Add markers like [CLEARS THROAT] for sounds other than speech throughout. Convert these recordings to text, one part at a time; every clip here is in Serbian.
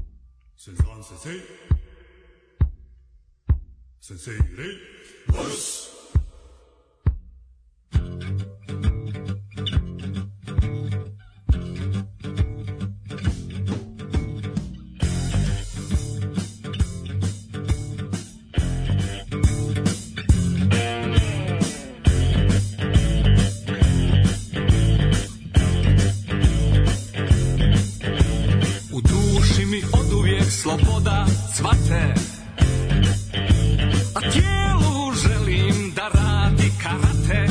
先生先生先生レイボイス U duši mi od uvijek sloboda cvate A tijelu želim da radi karate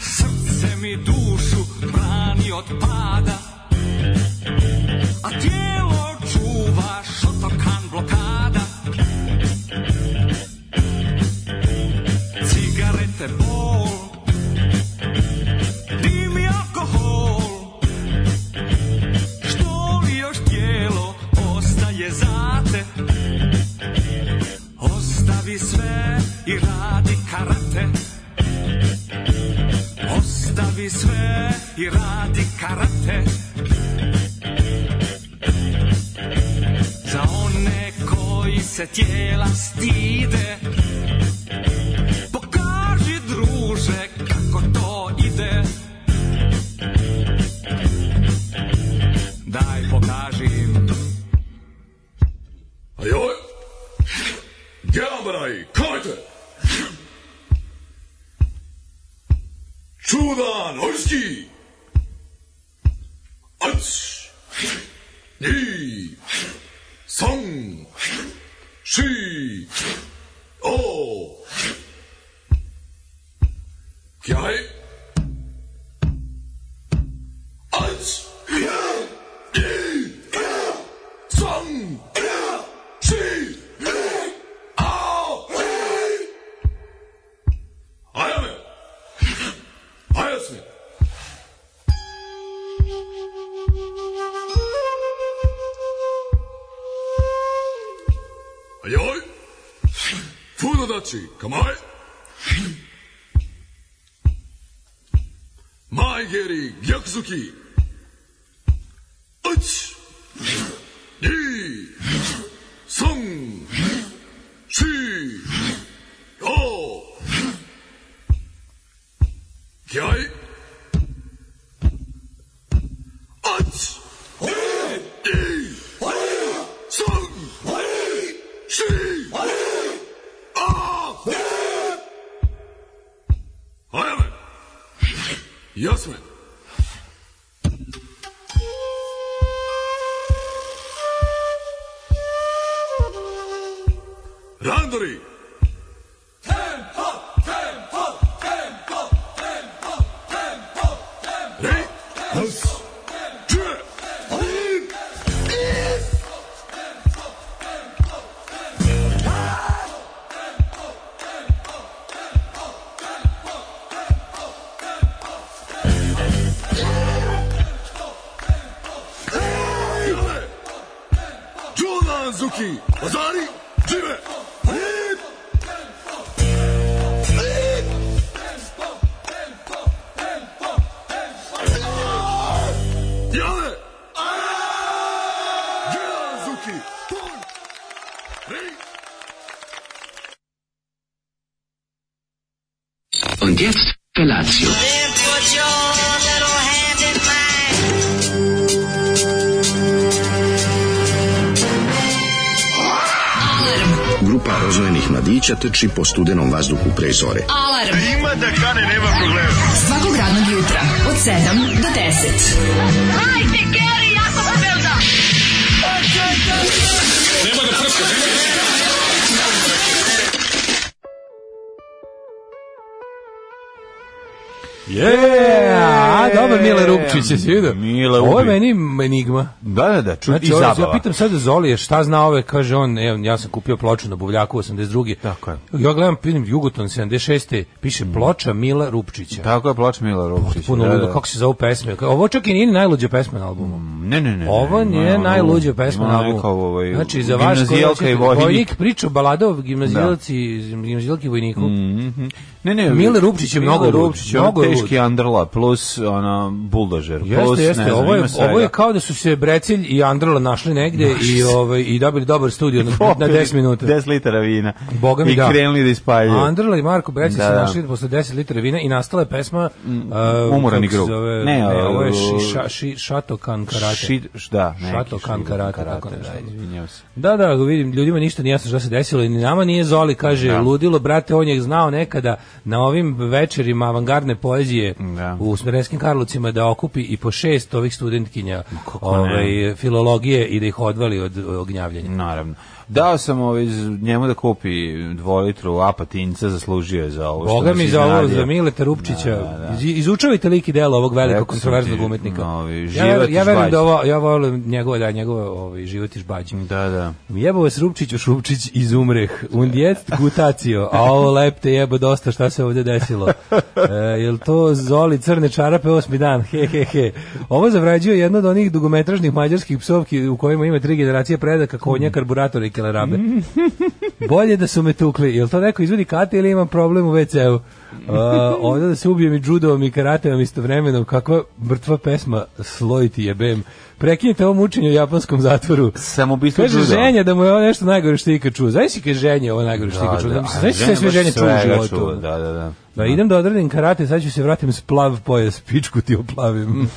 Srce mi dušu brani od pada A tijelo čuva šotokan blokada Cigarete bol Dim i alkohol što li još tijelo ostaje za te Ostavi sve i radi karate Ostavi sve i radi karate Za one koji se tijela stide Pokaži druže kako to ide Daj pokaži im はいギャブライ書いてチューダーノイスキーあっちにさんしおギャイあっちさんしあやめあやすみはいよいフードダッチ構え前蹴り逆突き1 2 3 4 5気合いあっち三四あー早め休めランドリーレイチューやばいジョーダン・ズキ技ありジムやばいジョーダン・ズキポンレイ Und jetzt Felatio. Then put your little hand in mine. Grupa rozvojenih mladića trči po studenom vazduhu pre zore. Alarm. Ima da kane, nema problema. Svakog radnog jutra, od 7 do 10. Hajde, Geri, jako se belda. Yeah! A, dobar Mile Rupčić, jesi vidio? E, Mile Ovo je Ubi. meni enigma. Da, da, da, ču, i Znači, ovo- zabava. ja pitam sada Zolije šta zna ove, kaže on, evo, ja sam kupio ploču na Buvljaku 82. Tako je. Ja gledam, pitam, Jugoton 76. piše ploča Mila Rupčića. Tako je ploč Mila Rupčić. Puno da, ludo, da. kako se zove pesme. Ovo čak i nije ni najluđa pesma na albumu. Ne, ne, ne. ne, Ovo ima nije ono- najluđa pesma ima na ono albumu. kao, ovaj, znači, za vas koji gimnazijalka i hoćete- vojnik. priču balada o gimnazijalci, gimnazijalki i vojniku. Mhm. Ne, ne, Mile Rupčić je Mile mnogo lud, Rupčić, je mnogo ono je lud. teški underla plus ono buldožer. plus, Jeste, jeste, ne znam, ovo je, ima svega. ovo je kao da su se Brecilj i Androla našli negde i, ovaj, i dobili dobar studio na, na [LAUGHS] Popili 10 minuta. 10 litara vina. Boga mi I da. krenuli da ispaljuju. Andrla i Marko Brecić Da, se da. našli posle 10 litara vina i nastala je pesma uh, Umorani kako se grub. Zove, Ne, ne, ovo- ovo je šiša, ši, Šatokan Karate. Šit, da, neki Šatokan šitokan karate, tako nešto. da, izvinjavam se. Da, da, vidim, ljudima ništa nije jasno šta se desilo i ni nama nije Zoli, kaže, Da. ludilo, brate, on je znao nekada na ovim večerima avangardne poezije Da. u Smerenskim Karlovcima da okupi i po šest ovih studentkinja kako ne? ovaj, filologije i da ih odvali od od ognjavljenja. Naravno. Dao sam ovaj, z- njemu da kupi dvolitru apatinca, zaslužio je za ovo. što Boga nas mi za ovo, iznenadio. za Mileta Rupčića, Da, da, da. iz- izučavajte lik i delo ovog velikog Rekao sam kontroverznog ti, umetnika. ovi, ja, život ver- i ja verujem žbađ. da ovo, ja volim njegove, da, njegove ovaj, život i žbađe. Da, da. Jebo vas Rupčiću Šupčić iz umreh. Und jetzt gutacio. A ovo lepte jebo dosta šta se ovdje desilo. E, jel to Zoli crne čarape osmi dan? He, he, he. Ovo zavrađuje jedno od onih dugometražnih mađarskih psovki u kojima ima tri generacije predaka, konja, karburatora i kelerabe. Bolje da su me tukli. Jel to neko izvodi kate ili imam problem u WC-u? E, ovdje da se ubijem i judovom i karateom istovremeno. Kakva mrtva pesma slojiti jebem. Prekinite ovo mučenje u japanskom zatvoru. Samoubistvo Kaže judo. ženja da mu je ovo nešto najgore što je ikad čuo. Znaš si kad ženja je ovo najgore što je ikad čuo. Da, Znaš si sve sve ženje čuo u svega životu. čuo, da. Da, da, da. idem da odradim karate, sad ću se vratim s plav pojas, pičku ti oplavim.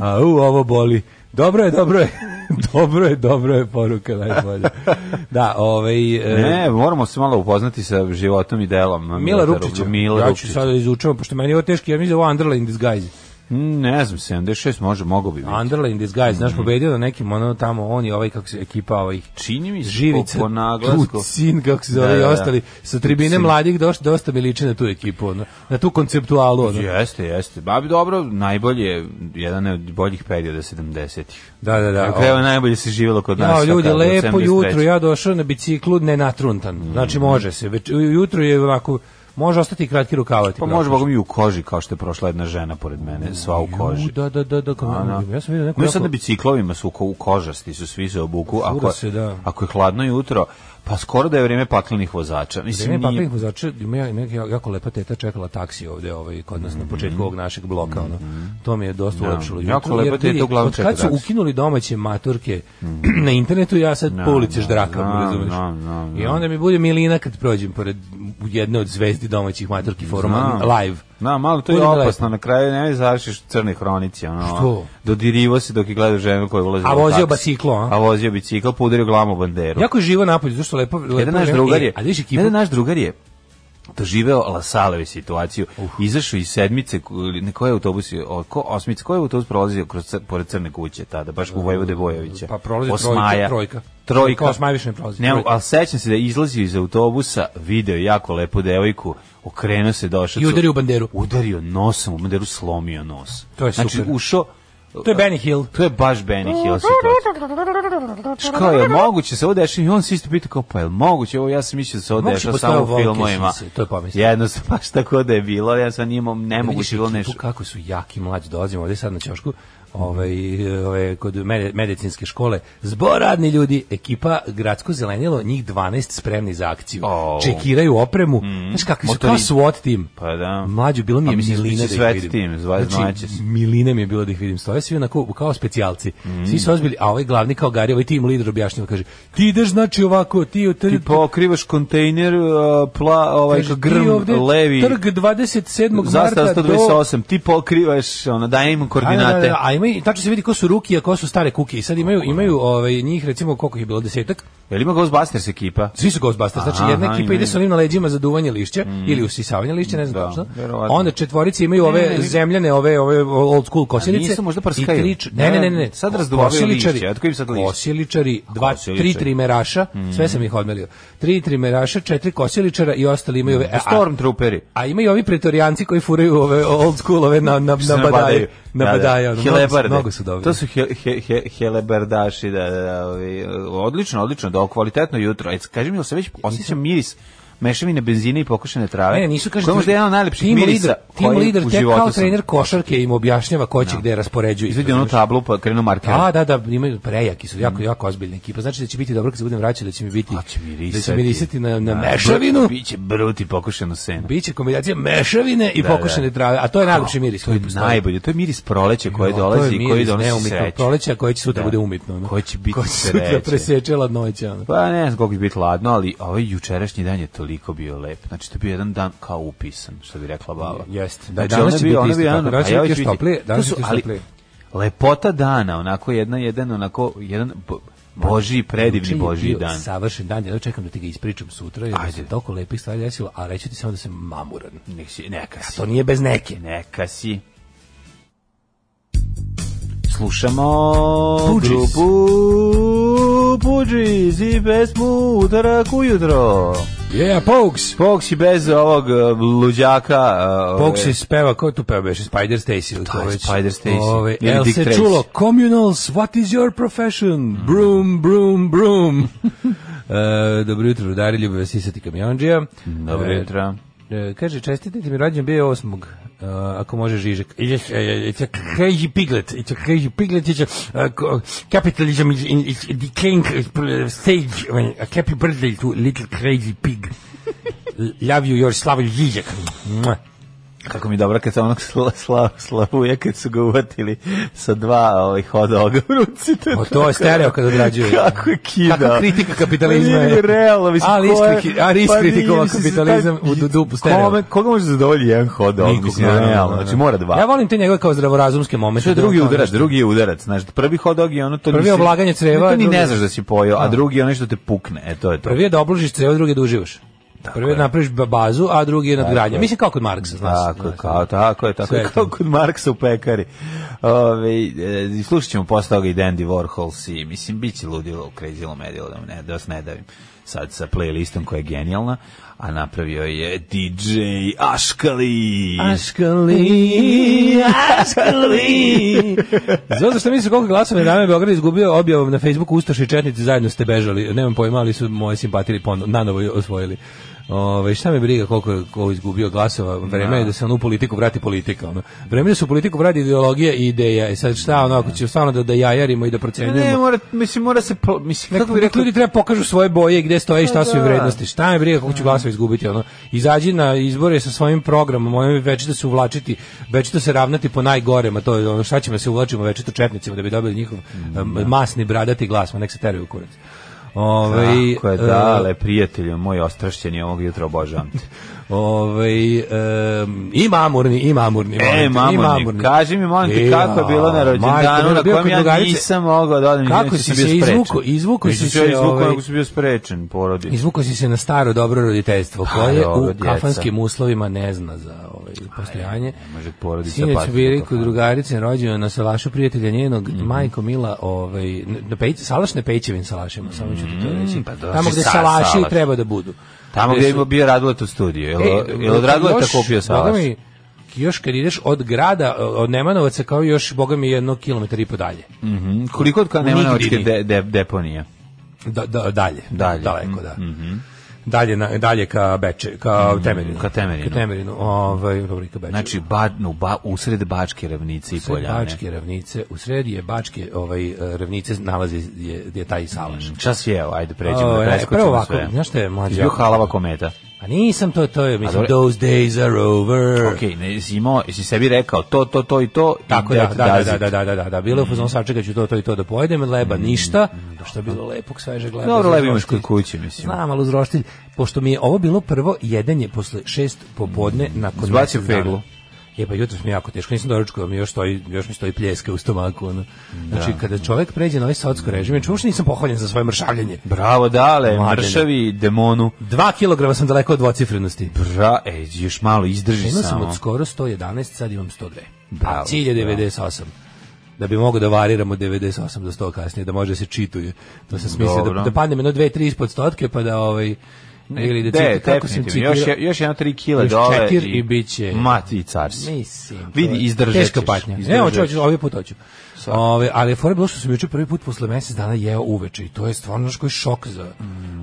A u, ovo boli. Dobro je, dobro je. [LAUGHS] dobro je, dobro je poruka najbolja. Da, ovaj... e, Ne, moramo se malo upoznati sa životom i delom. Mila Mileta Rupčića. Mila ja ću Rupčića. sada izučavam, pošto meni je ovo teško, ja mislim da je ovo Underla in disguise. Mm, Ne znam, 76 može, mogo bi biti. Underla in disguise, znaš, pobedio na nekim, ono tamo, on i ovaj, kako se, ekipa ovih Čini mi se Živica, po naglasku. Tucin, kako se zove, Da, da, i da. ostali. Sa tribine Tucin. mladih doš, dosta mi liči na tu ekipu, ono, na tu konceptualu. Ono. Jeste, jeste. Babi dobro, najbolje, je jedan od boljih perioda 70-ih. Da, da, da. Dakle, evo najbolje se živjelo kod nas. Ja, ljudi, tako, od lepo 73. jutro, ja došao na biciklu nenatruntan. Mm. Znači, može se. Već, jutro je onako, može ostati i kratki rukavati. Pa može bogom i u koži, kao što je prošla jedna žena pored mene, sva u koži. Da, da, da, da, kao- Ona. ja sam vidio neku... No i Ono. sad jako- na biciklovima su ko, u kožasti, su svi se obuku. Ako, se, da. ako je hladno jutro, pa skoro da je vrijeme paklenih vozača. Mislim, Vreme nije- papirnih vozača, ima ja- neka jako lepa teta čekala taksi ovde ovaj, kod Mhm. nas na početku ovog našeg bloka. Ono. To mi je dosta ulepšilo. jutro, jako lepa jer teta vidi, uglavnom od kad čeka su taksi. Mhm. ukinuli domaće maturke [CLEARS THROAT] na internetu, ja sad po ulici da, ždrakam, znam, razumeš? znam, znam, I znam. onda mi bude milina kad prođem pored jedne od zvezdi domaćih maturki foruma Znam. live. Na, malo to je Bude mi opasno, na kraju ne završiš u crnoj hronici, ono. Što? Dodirivo se dok je gledao ženu koja je ulazila A u vozio taksi. biciklo, a? A vozio biciklo, pa udario glavom u banderu. Jako je živo napolje, zašto lepo, lepo jedan naš vreme. drugar E, je, a vidiš ekipu, jedan naš drugar je doživeo Lasaleve situaciju. Izašao iz sedmice, k- ili na koji autobus je, o, ko, osmice, koji je autobus prolazio kroz, cr- pored Crne kuće tada, baš u Vojvode Bojovića. Pa prolazi Osmaja. trojka, trojka. Trojka. Osmaja više ne prolazi. Ne, Trojka. ali sećam se da je izlazio iz autobusa, video je jako lepu devojku, okrenuo se, došao. I udario u banderu. Udario nosom, u banderu slomio nos. To je Znači, super. ušao, to je Benny Hill. to je baš Benny Hill situacija. Znaš kao, je moguće se ovo dešava? I on se isto pita kao, pa je moguće? Ovo ja sam mislio da se ovo Moguće dešava postoje samo u volke filmovima. šise, to je pomislio. Jednostavno, baš tako da je bilo, ja sam njima nemoguće bilo Vidiš nešto. ekipu kako su jaki mlađi dolazimo ovde sad na ćošku ovaj, ovaj, kod mede- medicinske škole zbor radni ljudi ekipa gradsko zelenilo njih 12 spremni za akciju Au. Mm. čekiraju opremu znaš kakvi su kao Motori- SWAT tim Pa da. mlađu bilo mi je A mislim, milina biće da ih svet vidim tim, zva- znači znaće se. milina mi je bilo da ih vidim stoje svi onako kao specijalci Mm. svi su ozbiljni a ovaj glavni kao Gari ovaj tim lider objašnjava kaže ti ideš znači ovako ti, ti, Ti pokrivaš kontejner, uh, pla, ovaj, kaže, ti grm, ovde levi, trg 27. zastava marta do 128, ti pokrivaš, ono, daj im koordinate. Da, da, da, da, a ima i tačno se vidi ko su ruki, a ko su stare kuke. I sad imaju imaju ovaj njih recimo koliko ih je bilo desetak. Jel ima Ghostbusters ekipa? Svi su Ghostbusters, znači jedna Aha, ekipa ide imaju. Mm. sa onim na leđima za duvanje lišća ili usisavanje lišća, ne znam Da, tačno. verovatno. Onda četvorice imaju ove ne, ne. zemljane, ove ove old school kosilice. nisu možda i prskaju? tri č- Ne, ne, ne, ne. Sad razduvavaju Kosiličari- lišće, otkud im sad lišće? Kosiličari, dva, tri Kosiličari. Mm. trimeraša, sve sam ih odmelio. Tri trimeraša, četiri kosiličara i ostali imaju ove A, Stormtrooperi. a ima i ovi pretorijanci koji furaju ove old school ove na na na Što se badaju, na Da, da. badaju, ono, mnogo su- Helebarde. mnogo su dobri. To su he, he, he, helebardaši, da, da, da, ovi, odlično, odlično, da, kvalitetno jutro. Ajde, kaži mi, jel se već osjećam miris mešavine benzina i pokošene trave? Ne, ne, nisu, kažete, Pa Koji je možda jedan od najlepših tim mirisa lider- Tim koji lider u tek životu kao sam- trener košarke im objašnjava ko će gde raspoređuje. Izvedi onu tablu pa krenu marker. Da, da, da, imaju prejaki su, jako, jako ozbiljna ekipa. Znači da će biti dobro kad se budem vraćati, da će mi biti, Pa će mirisati. da će mirisati na, na mešavinu. Biće bruti pokušeno seno. Biće kombinacija mešavine i Da, pokušane da. trave, a to je najlepši miris To je koji postoji. najbolje, to je miris proleća koje Jo, dolazi i koji miris donosi neumitnog sreću. Proleća koje će sutra Da. bude umitno. ono. Koje će biti Koje sutra sreće. preseče ladnoća. ono. Pa ne znam koliko će biti ladno, ali ovaj jučerašnji dan je toliko bio lep. Znači, to je bio jedan dan kao upisan, što bi rekla baba. Jeste. Da, Znači, danas ono je će bio- biti ono je isto bio tako. jedan- Danas a će ja biti još još vidim- toplije, danas će to su- biti još ali toplije. Lepota dana, onako jedna, jedan, onako, jedan bo- božji, Juče predivni Znači, je božji bio dan. Savršen dan, ja čekam da ti ga ispričam sutra, jer Ajde. se toliko lepih stvari desilo, a reći ti samo da sam mamuran. Nek si, neka si. To nije bez neke. Neka si. Slušamo Fugees. grupu Puđis i pesmu Utorak ujutro. Yeah, Pogues! Pogs i bez ovog e, luđaka. e, Pogues ove- je speva, ko je tu peva, beše Spider Stacy ili ko Da, već? Spider Stacy. Ove, Ili El Dick se Tracy. Mm. čulo, communals, what is your profession? Broom, broom, [LAUGHS] broom. e, dobro jutro, rudari, ljubi vas isati kamionđija. Dobro jutro. E, kaže, čestitati mi rođen bio osmog, e, ako može Žižek. Yes, e, it's a crazy piglet, it's a crazy piglet, it's a uh, co- capitalism is in its decaying uh, stage. When a happy birthday to little crazy pig. [LAUGHS] Love you, your Slavoj Žižek. Mua. Kako mi je dobro kad sam onog sla, sla, slavuje kad su ga uvatili sa dva ovih hot doga u ruci. To je O, Pa to je stereo kad [LAUGHS] odrađuje. Kako je kidao. Kakva kritika kapitalizma Pa je. nije realno, mislim, Ali ko je- iskri- ali pa nije, iskritikova mislim, kapitalizam taj- u dudupu stereo. Kome, koga može zadovoljiti jedan hot dog? Nikog, mislim, naravno, da, realno, da. znači mora dva. Ja volim te njegove kao zdravorazumske momente. Što je da drugi on kao udarac, nešto- drugi je udarac. Znaš, prvi hot dog je ono to Prvi je nisi- oblaganje creva, To ni drugi- ne znaš da si pojeo, a drugi je ono što te pukne. E, to je to. Prvi je da obložiš crevo, drugi je da uživaš. Prvi je je. da napraviš ba- bazu, a drugi je nadgradnja. Mislim kao kod Marksa, znaš. Tako, je, znaš. kao, tako je, tako Sve je, je kao to. kod Marksa u pekari. Ove, e, slušat ćemo posle toga i Dandy Warhols i, mislim, bit će ludilo u Crazy Lomedilo, da, vam ne, da vas ne davim sad sa playlistom koja je genijalna, a napravio je DJ Aškali. Aškali, aškali. Zato što mislim koliko glasova je Dame Beograd izgubio objavom na Facebooku Ustaši i Četnici zajedno ste bežali. Nemam pojma, ali su moje simpatili ponovo, nanovo osvojili. Ove, šta me briga koliko je ko izgubio glasova, vreme je da se on u politiku vrati politika. Ono. Vreme je da se u politiku vrati ideologija i ideja. I sad šta ono, ako će stvarno da, da jajarimo i da Ne, procenjujemo. mora, mislim, mora se, pl- mislim, Kako kako bi bih rekli, rekao, Pa ljudi treba pokažu svoje boje i gde stoje i šta su im da. Mm. vrednosti. Šta je briga kako ću glasove izgubiti ono. Izađi na izbore sa svojim programom, mojim večito se uvlačiti, večito se ravnati po najgorema, to je ono šta ćemo se uvlačimo večito četnicima da bi dobili njihov Mm, em, masni bradati glas, ma nek se teraju u kurac. Ovaj Tako je, e, dale, prijatelju, moj ostrašćeni ovog jutra obožavam te. ovaj em, i mamurni, i mamurni. molim te, E, i mamurni, kaži mi, molim te, Ja, kako je bilo na majko rođendanu mila, na bio kojem kod ja drugarice. nisam mogao da odem. Kako inače si sam se bio sprečen. izvukao? Izvukao Nisam si ja se, izvukao, ovaj, nego sam bio sprečen, porodi. Izvukao si se na staro dobro roditeljstvo koje dobro, u djeca. kafanskim uslovima ne zna za ovaj postojanje. ne može porodica Sinoć patiti bili u kod kafani. drugarice rođena na salašu prijatelja njenog majko Mila, ovaj na pej, salaš ne pejčevim salašima, samo ću ti to reći. pa dođe Tamo gde sa- salaši salaš. treba da budu. Tamo gdje je bio Radulet u studiju. Jel, jel od Raduleta kupio salaš? E, Boga mi, još kad ideš od grada, od Nemanovaca, kao još, boga mi, jedno kilometar i po dalje. Mhm. Koliko od kada nema Nigdje nemačke ni. de, de, deponije? Da, da, dalje. Dalje. Daleko, da. Dalje, na, dalje ka Beče, ka Temerinu. ka Temerinu. Ka Temerinu, ovaj, dobro, i ka Beču. Znači, ba, no, ba, usred Bačke ravnice i Sve Poljane. Bačke ravnice, u sredi je Bačke ovaj, eh, ravnice, nalazi je, je taj salaš. Mhm. Čas je, evo, ajde, pređemo, O, da e, preskočimo prvo ovako, sve. znaš šta je, mlađe? Bio halava kometa. A nisam to, to je, mislim, dobro. those days are over. Ok, ne, jesi imao, jesi sebi rekao to, to, to i to. i Tako da, that da, does da, it. da, da, da, da, da, bilo je u fazonu sačekat ću to, to i to da pojedem, leba ništa, što je bilo lepog svežeg leba. Dobro, za lepo imaš roštilj. kod kuće, mislim. Znam, ali uz roštilj, pošto mi je ovo bilo prvo jedanje posle šest popodne nakon Zbacio mjesec dana. feglu. Je pa jutros mi je jako teško, nisam doručkao, mi još stoji, još mi stoji pljeska u stomaku. Ono. Znači, kada čovjek pređe na ovaj saotsko režim, ja čuš nisam pohvaljen za svoje mršavljenje. Bravo, dale, Mladene. mršavi, demonu. Dva kilograma sam daleko od dvocifrenosti. Bra, ej, još malo, izdrži Imao sam Pa, samo. od skoro 111, sad imam 102. Bravo, A cilj je 98. Da bi mogao da variram od 98 do 100 kasnije, da može da se čituje. To sam smislio da, Dobro. E, da padnem jedno 2-3 ispod stotke, pa da ovaj... Ili da De, čiti, kako sam definitivno. citirao. Još, je- još jedno 3 kila Još dole. četir i bit će- Mat i car si. Mislim. to Vidi, je izdržat Teška ćeš, patnja. izdržat Ne, hoću, hoću, ćeš. ovaj put hoću. Ove, ali je fora bilo što sam juče prvi put posle mesec dana jeo uveče i to je stvarno znaš koji šok za,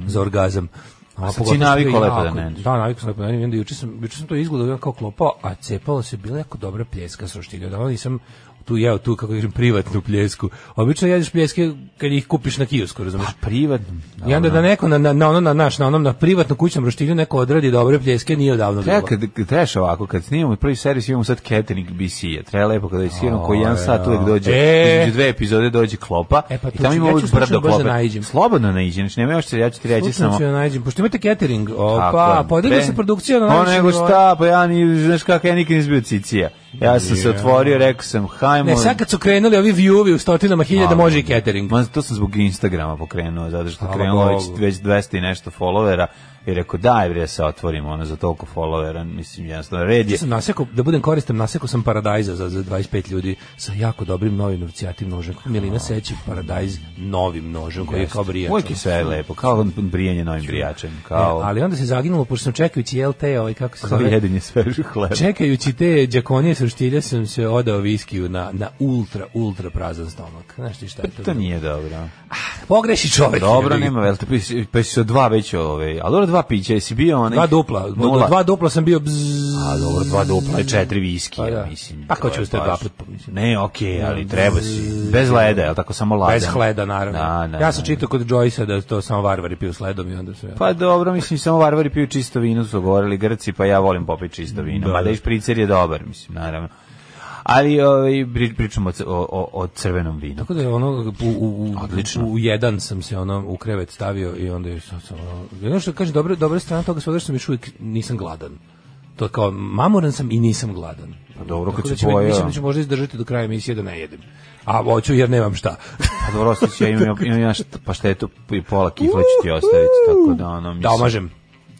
za orgazam. A sad pogotovo si što je navikao lepo da jako- neneš. Da, navikao sam lepo da neneš. I onda Juče sam, juče sam to izgledao ja kao klopao, a cepalo se bila jako dobra pljeska sa roštilja. Da, nisam tu jeo tu, kako kažem, privatnu pljesku. Obično jedeš pljeske kad ih kupiš na kiosku, Pa, razumiješ? Privatno. I onda da neko na, na, na, ono, na, naš, na onom na privatnom kućnom roštilju neko odradi dobre pljeske, nije odavno Treba, bilo. kad, kad trebaš ovako, kad snimamo prvi servis imamo sad catering BC-a, treba lepo kada isiramo koji jedan O, sat uvek ja. dođe, E. između dve epizode dođe klopa E, pa i tu tamo ću- ima ja ću uvek slučajno brdo baš da klopa. naiđem. Slobodno naiđi, znači nema još se, ja ću ti reći Slučajno samo... ću ja nađem, pošto imate catering, Tako opa, pa je. podigla Pre- se produkcija na O, najviši nego nivo. šta, pa ja ni, znaš kako, ja nikad nisam bio cicija. Ja sam se otvorio, rekao sam, hajmo... Ne, sad kad su krenuli ovi view-ovi u stotinama hiljada, Hvala. može i catering. Ma, to sam zbog Instagrama pokrenuo, zato što Hvala krenulo već, Bogu. već 200 i nešto followera i rekao, daj bre, se otvorim, ono, za toliko followera, mislim, jednostavno, red je. Ja sam nasekao, da budem koristan, nasekao sam paradajza za, za 25 ljudi sa jako dobrim novim novcijatim nožem. Milina seći paradajz novim nožem koji je kao brijač. ono, E, Uvijek je sve lepo, kao brijenje novim brijačem, kao, Ali onda se zaginulo, pošto sam čekajući LT, ovaj, kako se kao zove, jedenje svežeg hleba. Čekajući te đakonije sa štilja sam se odao viskiju na, na ultra, ultra prazan stomak. Znaš ti šta je to? To nije dobro. Pogreši čovek. Dobro, nema velte, pa si- pa si od dva već ove, ali dobro dva pića, jesi bio onaj... Dva dupla, Nula. dva dupla sam bio bzzz. A dobro, dva dupla i četiri viski, Pa ja da. mislim. Pa ko to će je ustati baš- dva put, mislim. Ne, okej, ali treba si. Bez leda, je li tako samo ladan? Bez hleda, naravno. Pa Da, da, ja sam da. čitao kod Joyce-a da to samo varvari piju s ledom i onda se... Pa dobro, mislim, samo varvari piju čisto vino, su govorili Grci, pa ja volim popiti čisto vino. Da, Mada da. i špricer je dobar, mislim, naravno. Ali ovaj, pri- pričamo o, c- o, o- o crvenom vinu. Tako da je ono u, u, Odlično. u, u jedan sam se ono u krevet stavio i onda je sam, sam ono, ono što kaže dobra dobra strana toga sve da sam još uvijek nisam gladan. To je kao mamoran sam i nisam gladan. Pa dobro, Tako kad da si će, mi- pojeo. mislim da ću možda izdržati do kraja emisije da ne jedem. A hoću jer nemam šta. Pa dobro, osjeća, ja imam, imam ja šta- paštetu i pola kifle ću ti ostaviti, tako da ono, mislim... da omažem.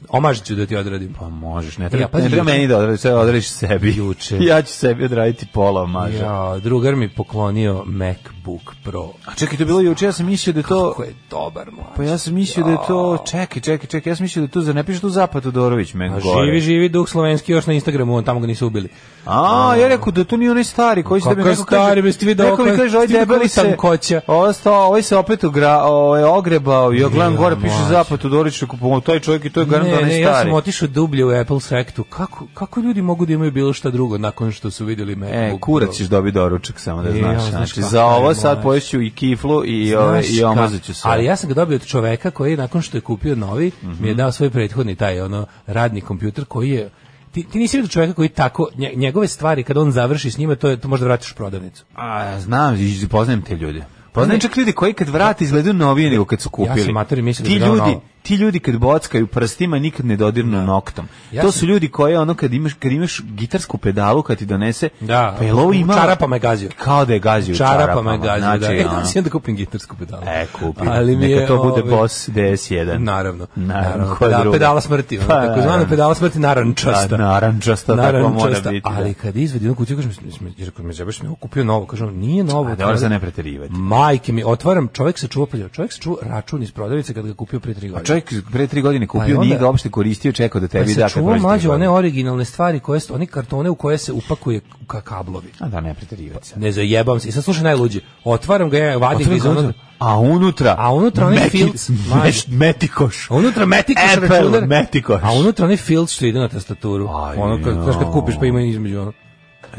Omaž ću da ti odradim. Pa možeš, ne treba, Ja, pazi, ne treba juče- meni da odradiš, sve odradiš sebi. Juče. Ja ću sebi odraditi pola maža. Ja, drugar mi poklonio MacBook Pro. A čekaj, to je bilo juče, ja sam mislio da je to... Kako je dobar mlađe. Pa ja sam mislio da je to... Čekaj, čekaj, čekaj, ja sam mislio da je to... Zar ne piše tu Zapad Todorović, men A gore? Pa Živi, živi duh slovenski još na Instagramu, on tamo ga nisu ubili. A, ja rekao da to nije onaj stari koji ste mi Kakav neko kaže. stari, bez ti vidio neko mi oko- kaže, ovaj ti vidio debeli koliko se, tankoća. ostao, ovaj se opet ugra, ovaj, ogrebao i ogledam Ja, gore, piše mlađe. zapad u Doriću, kupovo, taj čovjek i to je garant ne, onaj ne, stari. ja sam otišao dublje u Apple sektu. Kako, kako ljudi mogu da imaju bilo šta drugo nakon što su vidjeli E, MacBook kurac Pro? ćeš dobiti doručak, samo da E, Ja, znaš. znaš znači, kako za je, ovo mlađe. sad poješću i kiflu i, ove, Znaš i ka- omazat ću se. Ali ja sam ga dobio od čoveka koji je nakon što je kupio novi, mi je Mhm. dao svoj prethodni taj ono radni kompjuter koji je Ti, ti nisi vidio čoveka koji tako, nje- njegove stvari, kada on završi s njima, to, je, to možda vratiš u prodavnicu. A, znam, iz- poznajem te ljude. Ne. Poznajem čak ljudi koji kad vrate izgledaju novije nego kad su kupili. Ja sam mater i mislio da ti bi dao ljudi, novo. ti ljudi kad bockaju prstima nikad ne dodirnu noktom. Ja to sam- su ljudi koji ono kad imaš kad imaš gitarsku pedalu kad ti donese, Da, pa jel ovo u ima čarapama je gazio. Kao da je gazio u Čarapama je gazio, da. znači, [LAUGHS] E, ono, da si onda kupim gitarsku pedalu. E, kupi. Ali mi Neka je, to bude ovaj, Boss DS1. Naravno. Naravno, ko pedala, drugi? pedala smrti, ono, Pa, tako zvana naravno. pedala smrti narančasta. Da, narančasta, tako mora biti, da. Ali kad izvedi jednu kutiju, kažem, mislim, jer kod me zebaš mi ovo kupio novo, kažem, nije novo. A dobro za ne preterivati. Majke mi, otvaram, čovjek se čuva, pa čovjek se čuva račun iz prodavice kad ga je kupio pre tri godine. A čovjek pre tri godine Pa je kupio, onda- nije ga uopšte koristio, čekao da pa tebi se da kad čuva prođe tri mlađe one godine. originalne stvari, koje su, oni kartone u koje se upakuje ka kablovi. Ah, né, A da, ne preterivati. Ne zajebam se. I sad slušaj najluđi. Otvaram ga, ja vadim ga ono- iz onog... A unutra? A unutra onaj Meki- filc, mlađe. meš- Metikoš. A unutra metikoš Apple računar. metikoš. A unutra onaj field što ide na tastaturu. Aj, ono kad, znaš kad kupiš pa ima između ono.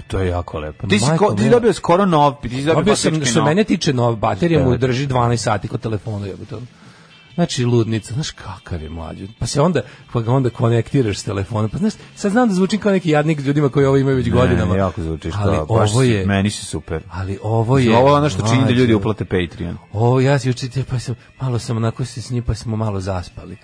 To je jako lepo. Ti si, Majko ko, ti si moja. dobio skoro nov, ti si dobio, Dobio sam, faktički što nov. mene tiče, nova baterija mu Devet. drži 12 sati kod telefona, jebote. ono. Znači, ludnica, znaš kakav je mlađi. Pa se onda, pa ga onda konektiraš s telefonom. Pa znaš, sad znam da zvučim kao neki jadnik ljudima koji ovo imaju već godinama. Ne, jako zvučiš né, ali to. baš Ovo si- je, Meni si é super. ali ovo je... Ovo je ono što čini da ljudi mlađe. uplate Patreon. O, ja si učitelj, pa sam, malo sam onako se s njim, pa smo malo zaspali.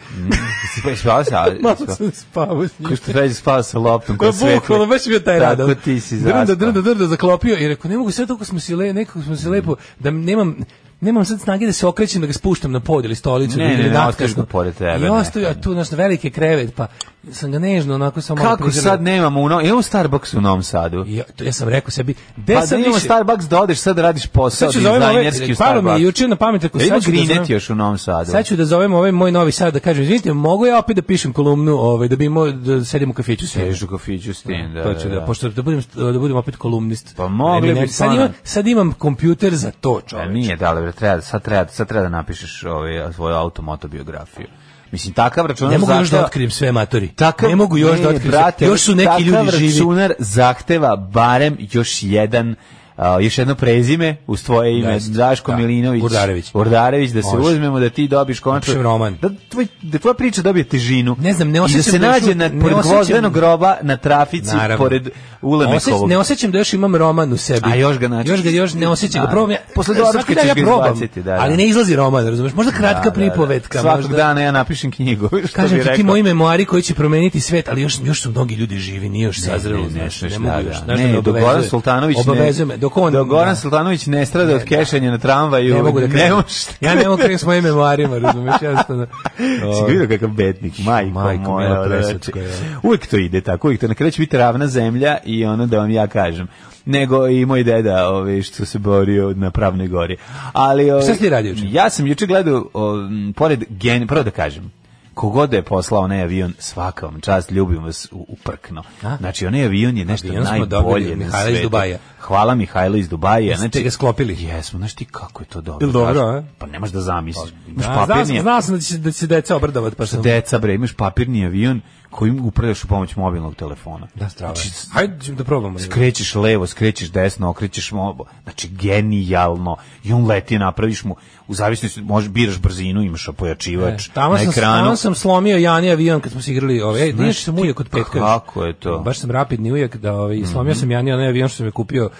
Spava se, ali... malo sam spavao s njim. Ko što ređe spava sa loptom Pa koja svetla. bukvalno, baš mi je taj radan. Tako ti si zaspao. Drnda, drnda, drnda, zaklopio i rekao, ne mogu sve toliko smo si le, nekako smo si lepo, da nemam, nemam sad snage da se okrećem, da ga spuštam na pod ili stolicu. Ne, ili ne, ne, natkasno. ostaviš ga pored tebe, I ostavio, neka. a tu, znaš, velike krevet, pa sam ga nežno, onako sam malo Kako prizirao. sad nemamo u Novom... Evo é um Starbucks u Novom Sadu. I Ja, to, ja sam rekao sebi, gde Pa da sad imamo više... um Starbucks da odeš, sad radiš posao Sad ću zovem ovaj, dizajnerski u palo mi je Starbucks. juče na pamet, ako Ja E, ima sad ću da Grinet zovem- još u Novom Sadu. Sad ću da zovem ovaj moj novi sad da kažem, izvinite, mogu ja opet da pišem kolumnu, ovaj, da bi imao, da sedim u kafiću sve. Sediš u kafiću s tim, da, to Pa ću da, pošto da budem da budem opet kolumnist. Pa mogli Ne, ne, bi sad stvarno. imam, sad imam kompjuter za to, Pa čoveče. nije, da, ali bre, treba, sad, treba, sad treba da napišeš ovaj, svoju automotobiografiju. Mislim, takav računar Ne mogu još da zahteva- otkrijem sve matori. Takav, ne mogu još ne, da otkrijem brate, sve. Još su neki ljudi takav živi. računar zahteva barem još jedan a, još jedno prezime uz tvoje ime Jeste, Draško da. Milinović Urdarević. Urdarević da se Može. uzmemo da ti dobiš konačno Napišem roman. da tvoj da tvoja priča dobije težinu Ne znam, ne i da osjećam se da još nađe u- na ne pored osjećam- gvozdenog groba na trafici Naravno. pored Osjeć, Ulemekovog ne osjećam da još imam roman u sebi. A još ga znači- Još ga još ne osjećam. Da. Ga probam ja. Posle doručka Svaki dan ćeš ja ga probam, izbaciti, da, da. Ali ne izlazi roman, razumeš? Možda kratka Da, da, da. pripovetka, svakog možda. dana ja napišem knjigu [LAUGHS] što Kažem bi ti, ti rekao. moji memoari koji će promeniti svet, ali još, još su mnogi ljudi živi, nije još sazrelo, ne, ne, znaš, ne, ne, e, šta, mogu da. još. Ne, Znaš, da me dok obavezuje. Goran Sultanović ne- Obavezuje me, dok on... dok Goran da. Sultanović ne strada od kešanja na tramvaju ne mogu da krenem. možeš da ja ne mogu krenem s mojim memoarima, razumeš, jednostavno. [LAUGHS] Si vidio kakav bednik, majko, Majko moja. mila, da, preslatko znači, je. uvijek to ide tako, uvijek to na kraju će biti ravna zemlja i ono da vam ja kažem. Nego i moj deda, ovaj, što se borio na pravnoj gori. Ali, ovaj, Šta si ti radio juče? Ja sam juče gledao, o, m, pored gen, prvo da kažem, kogod da je poslao onaj avion, svaka vam čast, ljubim vas u- uprkno. A? Znači, onaj avion je nešto Avion smo dobili najbolje od na Mihajla iz svetu. Dubaja. Hvala Mihajlo iz Dubaja. Znači, Jeste ga sklopili? Jesmo, znaš ti kako je to dobro. Jel dobro, Daško? a? Pa ne možeš da zamisliš. Imaš A, Znao sam, papirni- znao sam da će, se- da će se deca obradovat, pa sam... deca bre, imaš papirni avion kojim upravljaš u pomoć mobilnog telefona. Da, strava. Znači, Hajde da probamo. skrećeš levo, skrećeš desno, okrećeš mobo. Znači genijalno. I on leti, napraviš mu u zavisnosti možeš biraš brzinu, imaš pojačivač E, Tamo E, na sam, ekranu. tamo sam slomio Jani avion kad smo se igrali, ovaj, ej, Znaš znaš sam ti ujak od petka. kako je to? Mhm. Baš sam rapidni ujak da ovaj, slomio sam Jani onaj avion što sam je kupio,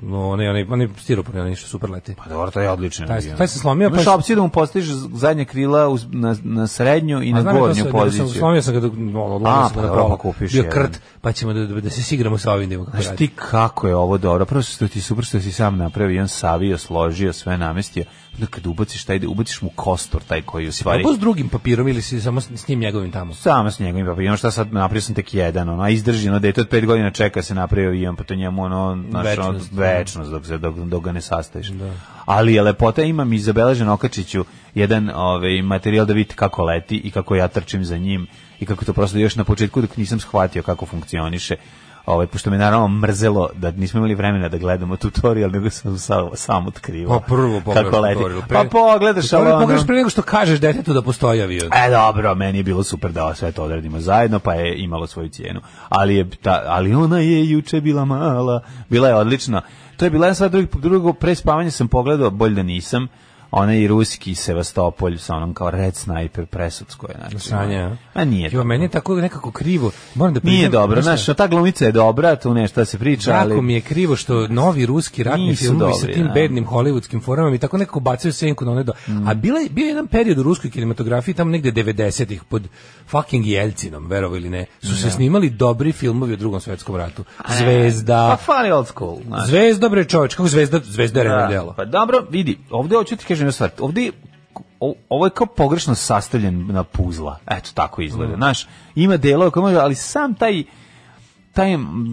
no, onaj, onaj, onaj stiropor, onaj što super leti. Pa dobro, to je odlično. Taj- taj se slomio, pa Imaš je- opciju da mu postaviš zadnje krila uz, na, na srednju i A na Pa znam ja to gornju sve, nego poziciju. Sam, slomio sam ga, da, no, A, odlomio sam ga pa na dobro, probu. pa kupiš Bio jedan. krt, pa ćemo da, da se sigramo sa ovim da imamo kako Znaš radi. ti kako je ovo dobro, prvo što ti super što si sam napravio, i on savio, složio, sve namestio, onda kad ubaciš taj, ubaciš mu kostor taj koji je u stvari... Probao s drugim papirom ili si samo s, s njim njegovim tamo? Samo s njegovim papirom, šta sad napravio sam tek jedan, ono, a izdrži, ono, dete od pet godina čeka se napravio avion, pa to njemu, ono, znaš, ono, Večnost. večnost dok, se, dok, dok ga ne sastaviš. Ali je lepota, imam i zabeležen okačiću jedan ovaj, materijal da vidite kako leti i kako ja trčim za njim i kako to prosto još na početku dok nisam shvatio kako funkcioniše. Ovaj, pošto me naravno mrzelo da nismo imali vremena da gledamo tutorial, nego sam sam, sam otkrivao Pa prvo pogledaš kako leti. tutorial. Pa pogledaš, ali Tutorial ono- pogledaš pre nego što kažeš detetu da postoji avion. E dobro, meni je bilo super da sve to odradimo zajedno, pa je imalo svoju cijenu. Ali je ta, ali ona je juče bila mala, bila je odlična. To je bila jedna stvar drugo, drugo pre spavanja sam pogledao, bolje da nisam. Onaj i ruski Sevastopolj sa onom kao Red Sniper presudsko je znači. Sranje, a? A nije. Jo, meni je tako nekako krivo. Moram da priznam, Nije dobro, znaš šta? znaš, ta glumica je dobra, tu nešto se priča, Jako ali mi je krivo što novi ruski ratni Nisu filmovi sa dobri, tim da. Mm. bednim hollywoodskim formama mi tako nekako bacaju senku na one do... A bila, je- bio je jedan period u ruskoj kinematografiji tamo negde 90-ih pod fucking Jelcinom, verovo ili ne, su se snimali dobri filmovi o drugom svetskom ratu. Pa Zvezda, fali old school. znaš. Zvezda bre čoveč, kako zvezda, zvezda je Da, reno delo. Pa dobro, vidi, ovde hoću ti kažem jednu stvar. Ovde o- ovo je kao pogrešno sastavljen na puzla. Eto tako Mm. izgleda. Znaš, ima delova koje može, ali sam taj taj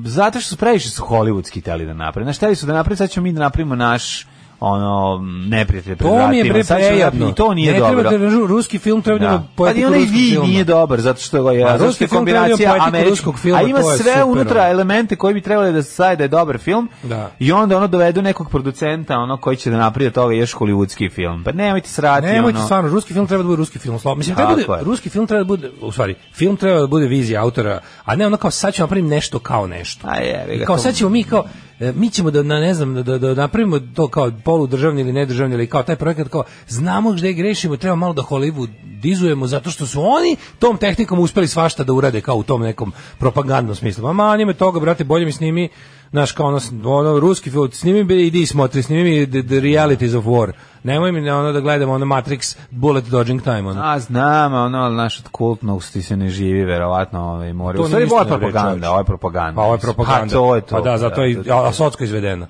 zato što su previše su hollywoodski teli da naprave. Znaš, teli su da naprave, sad ćemo mi da napravimo naš ono neprijatelj pred To mi je vratima. bre Sad ćemo prejadno. napraviti- I to nije ne dobro. treba da ruski film treba da, ima Da. Pa i poetiku onaj ono ruskog vi filma. nije dobar zato što ga je A zato ruski što je film treba da ima kombinacija poetiku američkog ruskog filma, a ima to je sve super, unutra ono. elemente koji bi trebali da se saje da je dobar film. Da. I onda ono dovedu nekog producenta ono koji će da napravi od toga još hollywoodski film. Pa nemojte srati Nemojte ono. stvarno, ruski film treba da bude ruski film. Slo- Mislim, treba da Tako bude, je. ruski film treba da bude, u stvari, film treba da bude vizija autora, a ne ono kao sad ćemo napraviti nešto kao nešto. A Pa jebi ga, I kao to- sad ćemo mi kao, e, mi ćemo da, na- ne znam, da, da, da napravimo to kao poludržavni ili nedržavni ili kao taj projekat kao znamo gde grešimo, treba malo da Hollywood dizujemo zato što su oni tom tehnikom uspeli svašta da urade kao u tom nekom propagandnom smislu. Ma manje me toga, brate, bolje mi snimi naš kao ono, ono ruski film, snimi bi idi i smotri, snimi mi the, the realities of war. Nemoj mi na ono da gledamo ono Matrix Bullet Dodging Time. Ono. A znam, ono, ali naš od kultnosti se ne živi, verovatno, ovaj, mora. To U stvari, nije ovo je istina, bre, propaganda, čoveče. ovo je propaganda. Pa ovo je mislim. propaganda. Pa to je to. Pa da, zato i, to je a, a to. Socko je izvedena.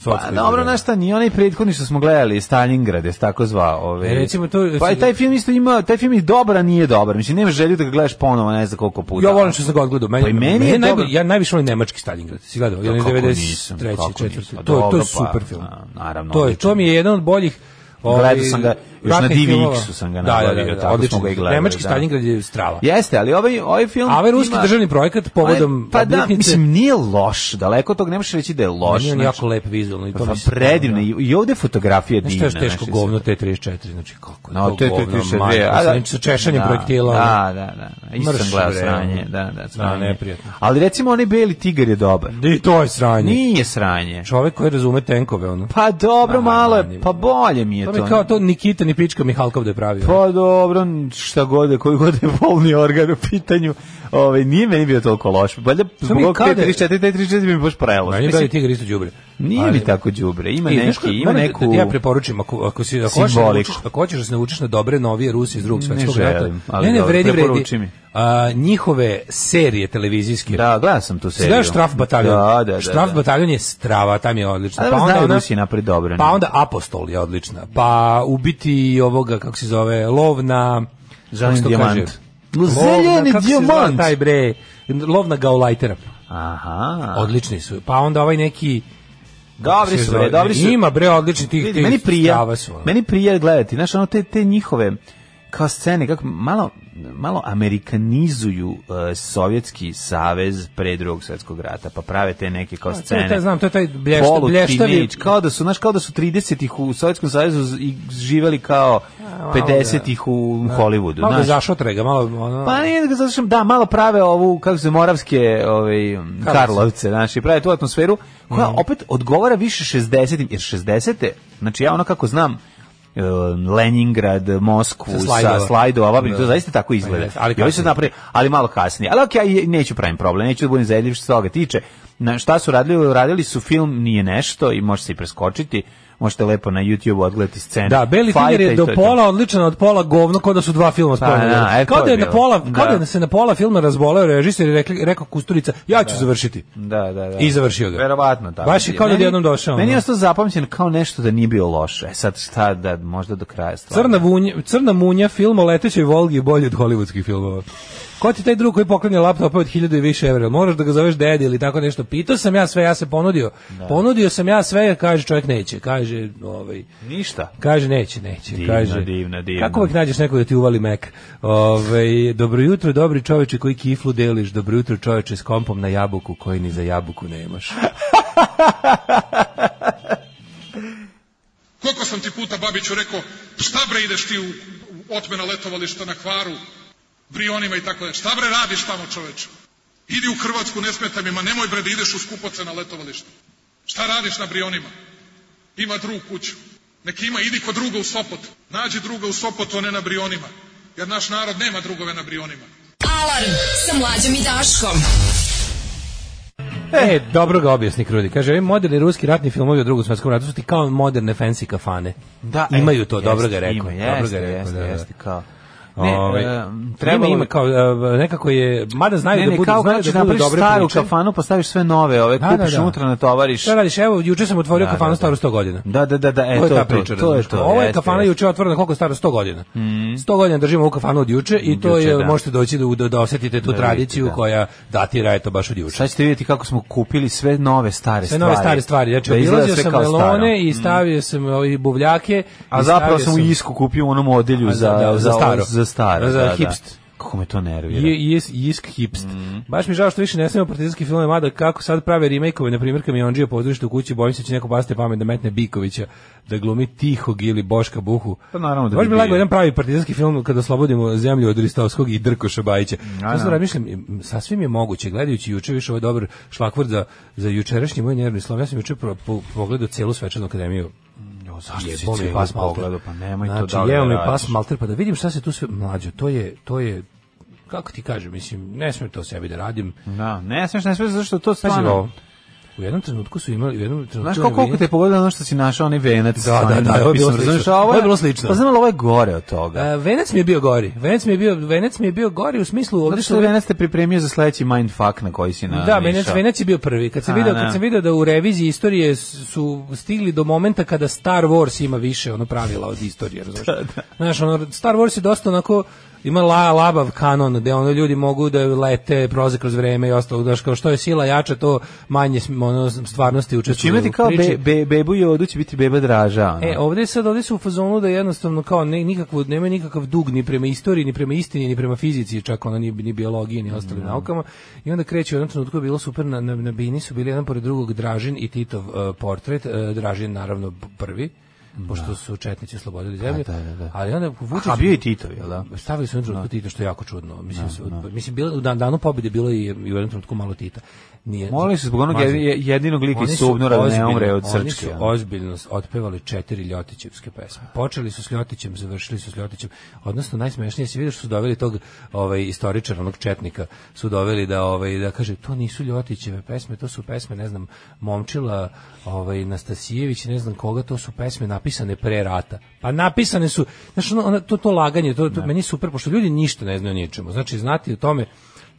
Socko Pa je dobro, izvedena. znaš šta, ni onaj prethodni što smo gledali, Stalingrad, je se tako zvao. Ove, E, recimo, to- pa i taj film isto ima, taj film je dobar, a nije dobar. Mislim, nema želju da ga gledaš ponovo, ne znam koliko puta. Ja volim što sam ga odgledao. Meni, Pa i meni je najbolji- dobro. ja najviše volim nemački Stalingrad. Si gledao? Ja kako nisam, 93. kako 4. nisam. To, je- to Dobro, je pa, super film. a, naravno, To je, odličan. to mi je jedan od boljih Gledao sam ga, još na ratnih filmova. DVX-u sam ga nabavio, tako smo ga i gledali, Nemački da. Stalingrad je strava. Jeste, ali ovaj, ovaj film... A ovaj ruski ima- državni projekat povodom Aj, Pa da, obljetnice- mislim, nije loš, daleko od tog ne možeš reći da je loš. Meni je on znači, jako lep vizualno i to pa mi se- predivno, i, i ovde fotografija divna. znači, Znaš što je još teško znaš, govno T-34, znači kako je No, to je govno, 32. majko, a sa onim sa češanjem da, projektila. ono. Da, da, da. Isto sam Mrš, gledao bre, sranje. ono. Da, da, Da, sranje. neprijatno. Ali recimo onaj beli tigar je dobar. ono. I to je sranje. Nije sranje. Čovek koji razume tenkove, ono. Pa dobro, Ma, malo je, manje. pa bolje mi je to. to mi kao to Nikita ni pička Mihalkov da je pravio. Pa dobro, šta god, je, koji god je polni organ u pitanju, ovaj, nije meni bio toliko loš. Valjda zbog mi ovog kada je- 34, 34 mi je baš prelo. Meni je Beli Tigar isto đubre. Nije mi tako đubre, ima I, E, znaš neki, kako, ima moram da- neku... da ti ja preporučim ako ako si ako hoćeš, da Simboliku. naučiš- ako hoćeš da se naučiš na dobre novije Rusije iz drugog Ne svetskog želim, rata. ali Ne, ne, dobro, vredi, preporuči mi. vredi. A, njihove serije televizijske. Da, gledao sam tu seriju. Znaš Štraf bataljon? Da, da, da. Štraf da. bataljon je strava, tam je odlična. A dobro, znaju Rusi napred dobro, ne? Pa onda Apostol je odlična. Pa ubiti ovoga, kako se zove, lov na... kako Zeleni se to dijamant. kaže? No, Lov na- zeleni kako se zove dijamant. Taj bre, lov na gaulajtera. Aha. Odlični su. Pa onda ovaj neki... Dobri su, bre, dobri su. Ima bre odlični tih, Vidi, tih meni prija, strava su. ono. meni prija gledati, znaš, ono te, te njihove kao scene, kako malo, malo amerikanizuju eh, Sovjetski savez pre drugog svjetskog rata, pa prave te neke kao To je scene. taj, znam, to je taj blješta, Polu blještavi... teenage, kao da su, znaš, kao da su 30-ih u Sovjetskom savezu z- i živeli kao 50-ih u Hollywoodu, Malo ga znaš. zašotre ga, malo... Ono, Pa nije da ga zašem, da, malo prave ovu, kako se, moravske ovaj, m, Karlovce. Mhm. Karlovce, znaš, i prave tu atmosferu, koja opet odgovara više 60-im, jer 60-te, znači ja ono kako znam, e, Leningrad, Moskvu, Sa sa slajdova. slajdova, Vabrin, to Da. Pa zaista tako izgleda. jeste, ali I ovi su kasnije. napravili, ali malo kasnije. Ali okej, ja i neću pravim problem, neću da budem zajedljiv što se toga tiče. Na, šta su radili? Radili su film Nije nešto i može se i preskočiti, možete lepo na YouTube odgledati scene. Da, Beli fajta Tiger i je do to to. pola odličan, od pola govno, kao da su dva filma spojene. da, e, to kao da je je na bilo. pola, kao Da. da. se na pola filma razboleo režiser i rekli, rekao Kusturica, ja ću završiti. Da, da, da. I završio ga. Verovatno tako. Baš je kao da je Meni- odjednom došao, Meni je ono. ostao zapamćen kao nešto da nije bio loše. E sad šta da možda do kraja stvarno. Crna, vunja, crna munja, film o letećoj Volgi je bolji od hollywoodskih filmova. Ko ti taj drug koji poklanja laptopa od 1000 i više evra? Moraš da ga zoveš dedi ili tako nešto. Pitao sam ja sve, ja se ponudio. Ponudio sam ja sve, kaže čovjek neće. Kaže, ovaj, Ništa. Kaže neće, neće. Divno, kaže, divno, divno. Kako uvek nađeš nekog da ti uvali mek? Ove, dobro jutro, dobri čoveče koji kiflu deliš, dobro jutro čoveče s kompom na jabuku koji ni za jabuku nemaš. Koliko sam ti puta Babiću rekao, šta bre ideš ti u, u otmena letovališta na kvaru, brionima i tako dalje. Šta bre radiš tamo čoveče? Idi u Hrvatsku, ne smeta mi, ma nemoj bre da ideš u skupoce na letovališta. Šta radiš na brionima? Ima drug kuću. Neki ima, idi kod druga u Sopot. Nađi druga u Sopotu, a ne na brionima. Jer naš narod nema drugove na brionima. Alarm sa mlađom i Daškom. e, dobro ga objasni Krudi. Kaže, ovi moderni ruski ratni filmovi o drugom svetskom ratu su ti kao moderne fancy kafane. Imaju to, dobro ga rekao. Ima, E, jeste, dobro ga rekao, jeste, da, da. jeste, kao. Ne, Ne, e, treba trebalo ima kao e, nekako je mada znaju Ne, da ne, budu kao znaju kad ćeš da budu napraviš dobre staru priče. kafanu, postaviš sve nove, ove, Da, da, kupiš da. unutra, natovariš. Šta radiš? Evo, juče sam otvorio Da, kafanu da, da. staru 100 godina. Da, da, da, da, e, to, je ta to, priča. to, to je razumeš. to. Ovo je jeste, kafana jeste. Mhm. juče otvorena koliko je stara 100 godina. 100 godina držimo ovu kafanu od juče i to Juče, je da. možete doći da da, da osetite tu Da vidite, tradiciju da. koja datira eto baš od juče. Sad ćete vidjeti kako smo kupili sve nove stare Sve stvari. nove stare stvari. Znači, Da izgleda obilazio sve sam kao staro. Mm. melone i stavio sam ove buvljake. A i zapravo stavio sam u isku kupio u onom odelju A, za, da, za, za staro. Za staro, Za da, da. hipst. Kako me to nervira. Je, jes, jisk hipst. Mm. Baš mi je žao što više ne snimamo partizanske filmove, mada kako sad prave remake-ove, na primjer Kamionđija pozorište u kući, bojim se da će neko baste pamet da metne Bikovića, da glumi Tihog ili Boška Buhu. Pa naravno da Baš bi bi bio. lagao jedan pravi partizanski film kada oslobodimo zemlju od Ristovskog i Drkoša Bajića. Ja sam razmišljam, sasvim je moguće, gledajući juče više ovaj dobar šlakvord za, za jučerašnji moj nervni slom, ja sam juče pro- po- pogledao cijelu svečanu akademiju Jo, zašto Jebo mi pas malter. pogledao? Pa nemoj znači, to da li jeo mi radiš. pas malter, pa da vidim šta se tu sve... Mlađo, to je, to je, kako ti kažem, mislim, ne smijem to sebi da radim. Da, ne smiješ, ne smiješ, zašto to Pazi stvarno... ovo. U jednom trenutku su imali, u jednom trenutku... Znaš kako, koliko te je pogodilo ono što si našao, onaj venac. Da, da, da, ovo je bilo slično. Ovo Ovo je je bilo slično. E, Pa znam, ali ovo je gore od toga. A, venac mi je bio gori. Venac mi je bio, venac mi je bio gori u smislu Zato ovdje što je venac te pripremio za sledeći mindfuck na koji si na, Da, Venac, Venac je bio prvi. Kad sam, A, video, da. kad sam video da u reviziji istorije su stigli do momenta [LAUGHS] kada Star Wars ima više ono pravila od istorije, razumiješ? Znaš, ono, Star Wars je dosta onako ima la, labav kanon gde ono ljudi mogu da lete prolaze kroz vreme i ostalo znaš kao što je sila jača to manje sm- ono, stvarnosti Znači učestvuju imati kao be, be, bebu i odu će biti beba draža. ono. E, ovde je sad ovde su u fazonu da jednostavno kao ne, nikakvo nema nikakav dug ni prema istoriji, ni prema istini, ni prema fizici, čak ona ni ni biologiji, ni ostalim naukama. I onda kreće u jednom trenutku je bilo super na, na, na bini su bili jedan pored drugog Dražin i Titov e, portret, e, Dražin naravno p- prvi. pošto su četnici oslobodili zemlju. da, da, da. Ali onda Vučić A bio je Titov, jel da? Stavili su u jednom trenutku Tita što je jako čudno. Mislim, su, mislim bilo, u dan, danu pobjede bilo je i u jednom trenutku malo Tita. Nije, Molili su zbog onog Mazi. jedi- jedinog lika Oni iz su Subnora da ne ozbiljno- umre od Oni su srčke. ono. ozbiljno otpevali četiri Ljotićevske pesme. Počeli su s Ljotićem, završili su s Ljotićem. Odnosno najsmešnije se vidiš su doveli tog ovaj istoričara, onog četnika, su doveli da ovaj da kaže to nisu Ljotićeve pesme, to su pesme, ne znam, Momčila, ovaj Nastasijević, ne znam koga, to su pesme napisane pre rata. Pa napisane su, znači to to laganje, to, to meni je super pošto ljudi ništa ne znaju o ničemu. Znači znati o tome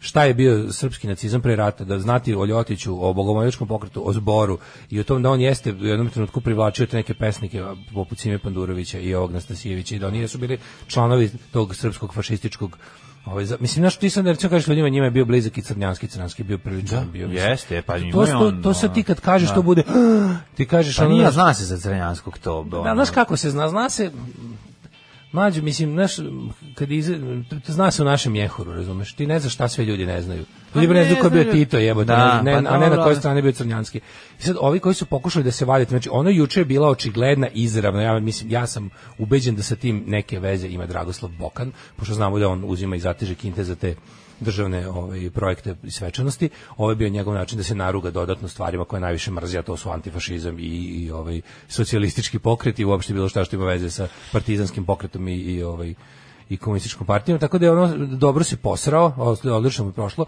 šta je bio srpski nacizam pre rata, da znati o Ljotiću, o bogomoljačkom pokretu, o zboru i o tom da on jeste u jednom trenutku privlačio te neke pesnike a, poput Sime Pandurovića i ovog Nastasijevića i da oni su bili članovi tog srpskog fašističkog Ovaj, za- mislim, znaš, ti sad ne recimo kažeš ljudima, njima je bio blizak i crnjanski, crnjanski je bio prilično. bio, mislim. jeste, pa njima to, je to, on, to sad ti kad kažeš, da. to bude, [GASPS] ti kažeš, Pa ono, nije, znaš, zna se za Crnjanskog to. ono. da, znaš kako se zna? Zna se mlađo, mislim, znaš, kad iz, zna se u našem jehuru, razumeš? Ti ne znaš šta sve ljudi ne znaju. Ljudi bre Pa ne ne znaju ko je bio znaju. Tito, jebote, Da, ne, pa a ne na dobro. kojoj strani je bio Crnjanski. I sad, ovi koji su pokušali da se vadite, znači, ono juče je bila očigledna izravna, ja, mislim, ja sam ubeđen da sa tim neke veze ima Dragoslav Bokan, pošto znamo da on uzima i zateže kinte za te državne ovaj, projekte i svečanosti. Ovo je bio njegov način da se naruga dodatno stvarima koje najviše mrzi, a to su antifašizam i, i ovaj socijalistički pokret i uopšte bilo šta što ima veze sa partizanskim pokretom i, i ovaj i komunističkom partijom, tako da je ono dobro se posrao, odlično mu je prošlo.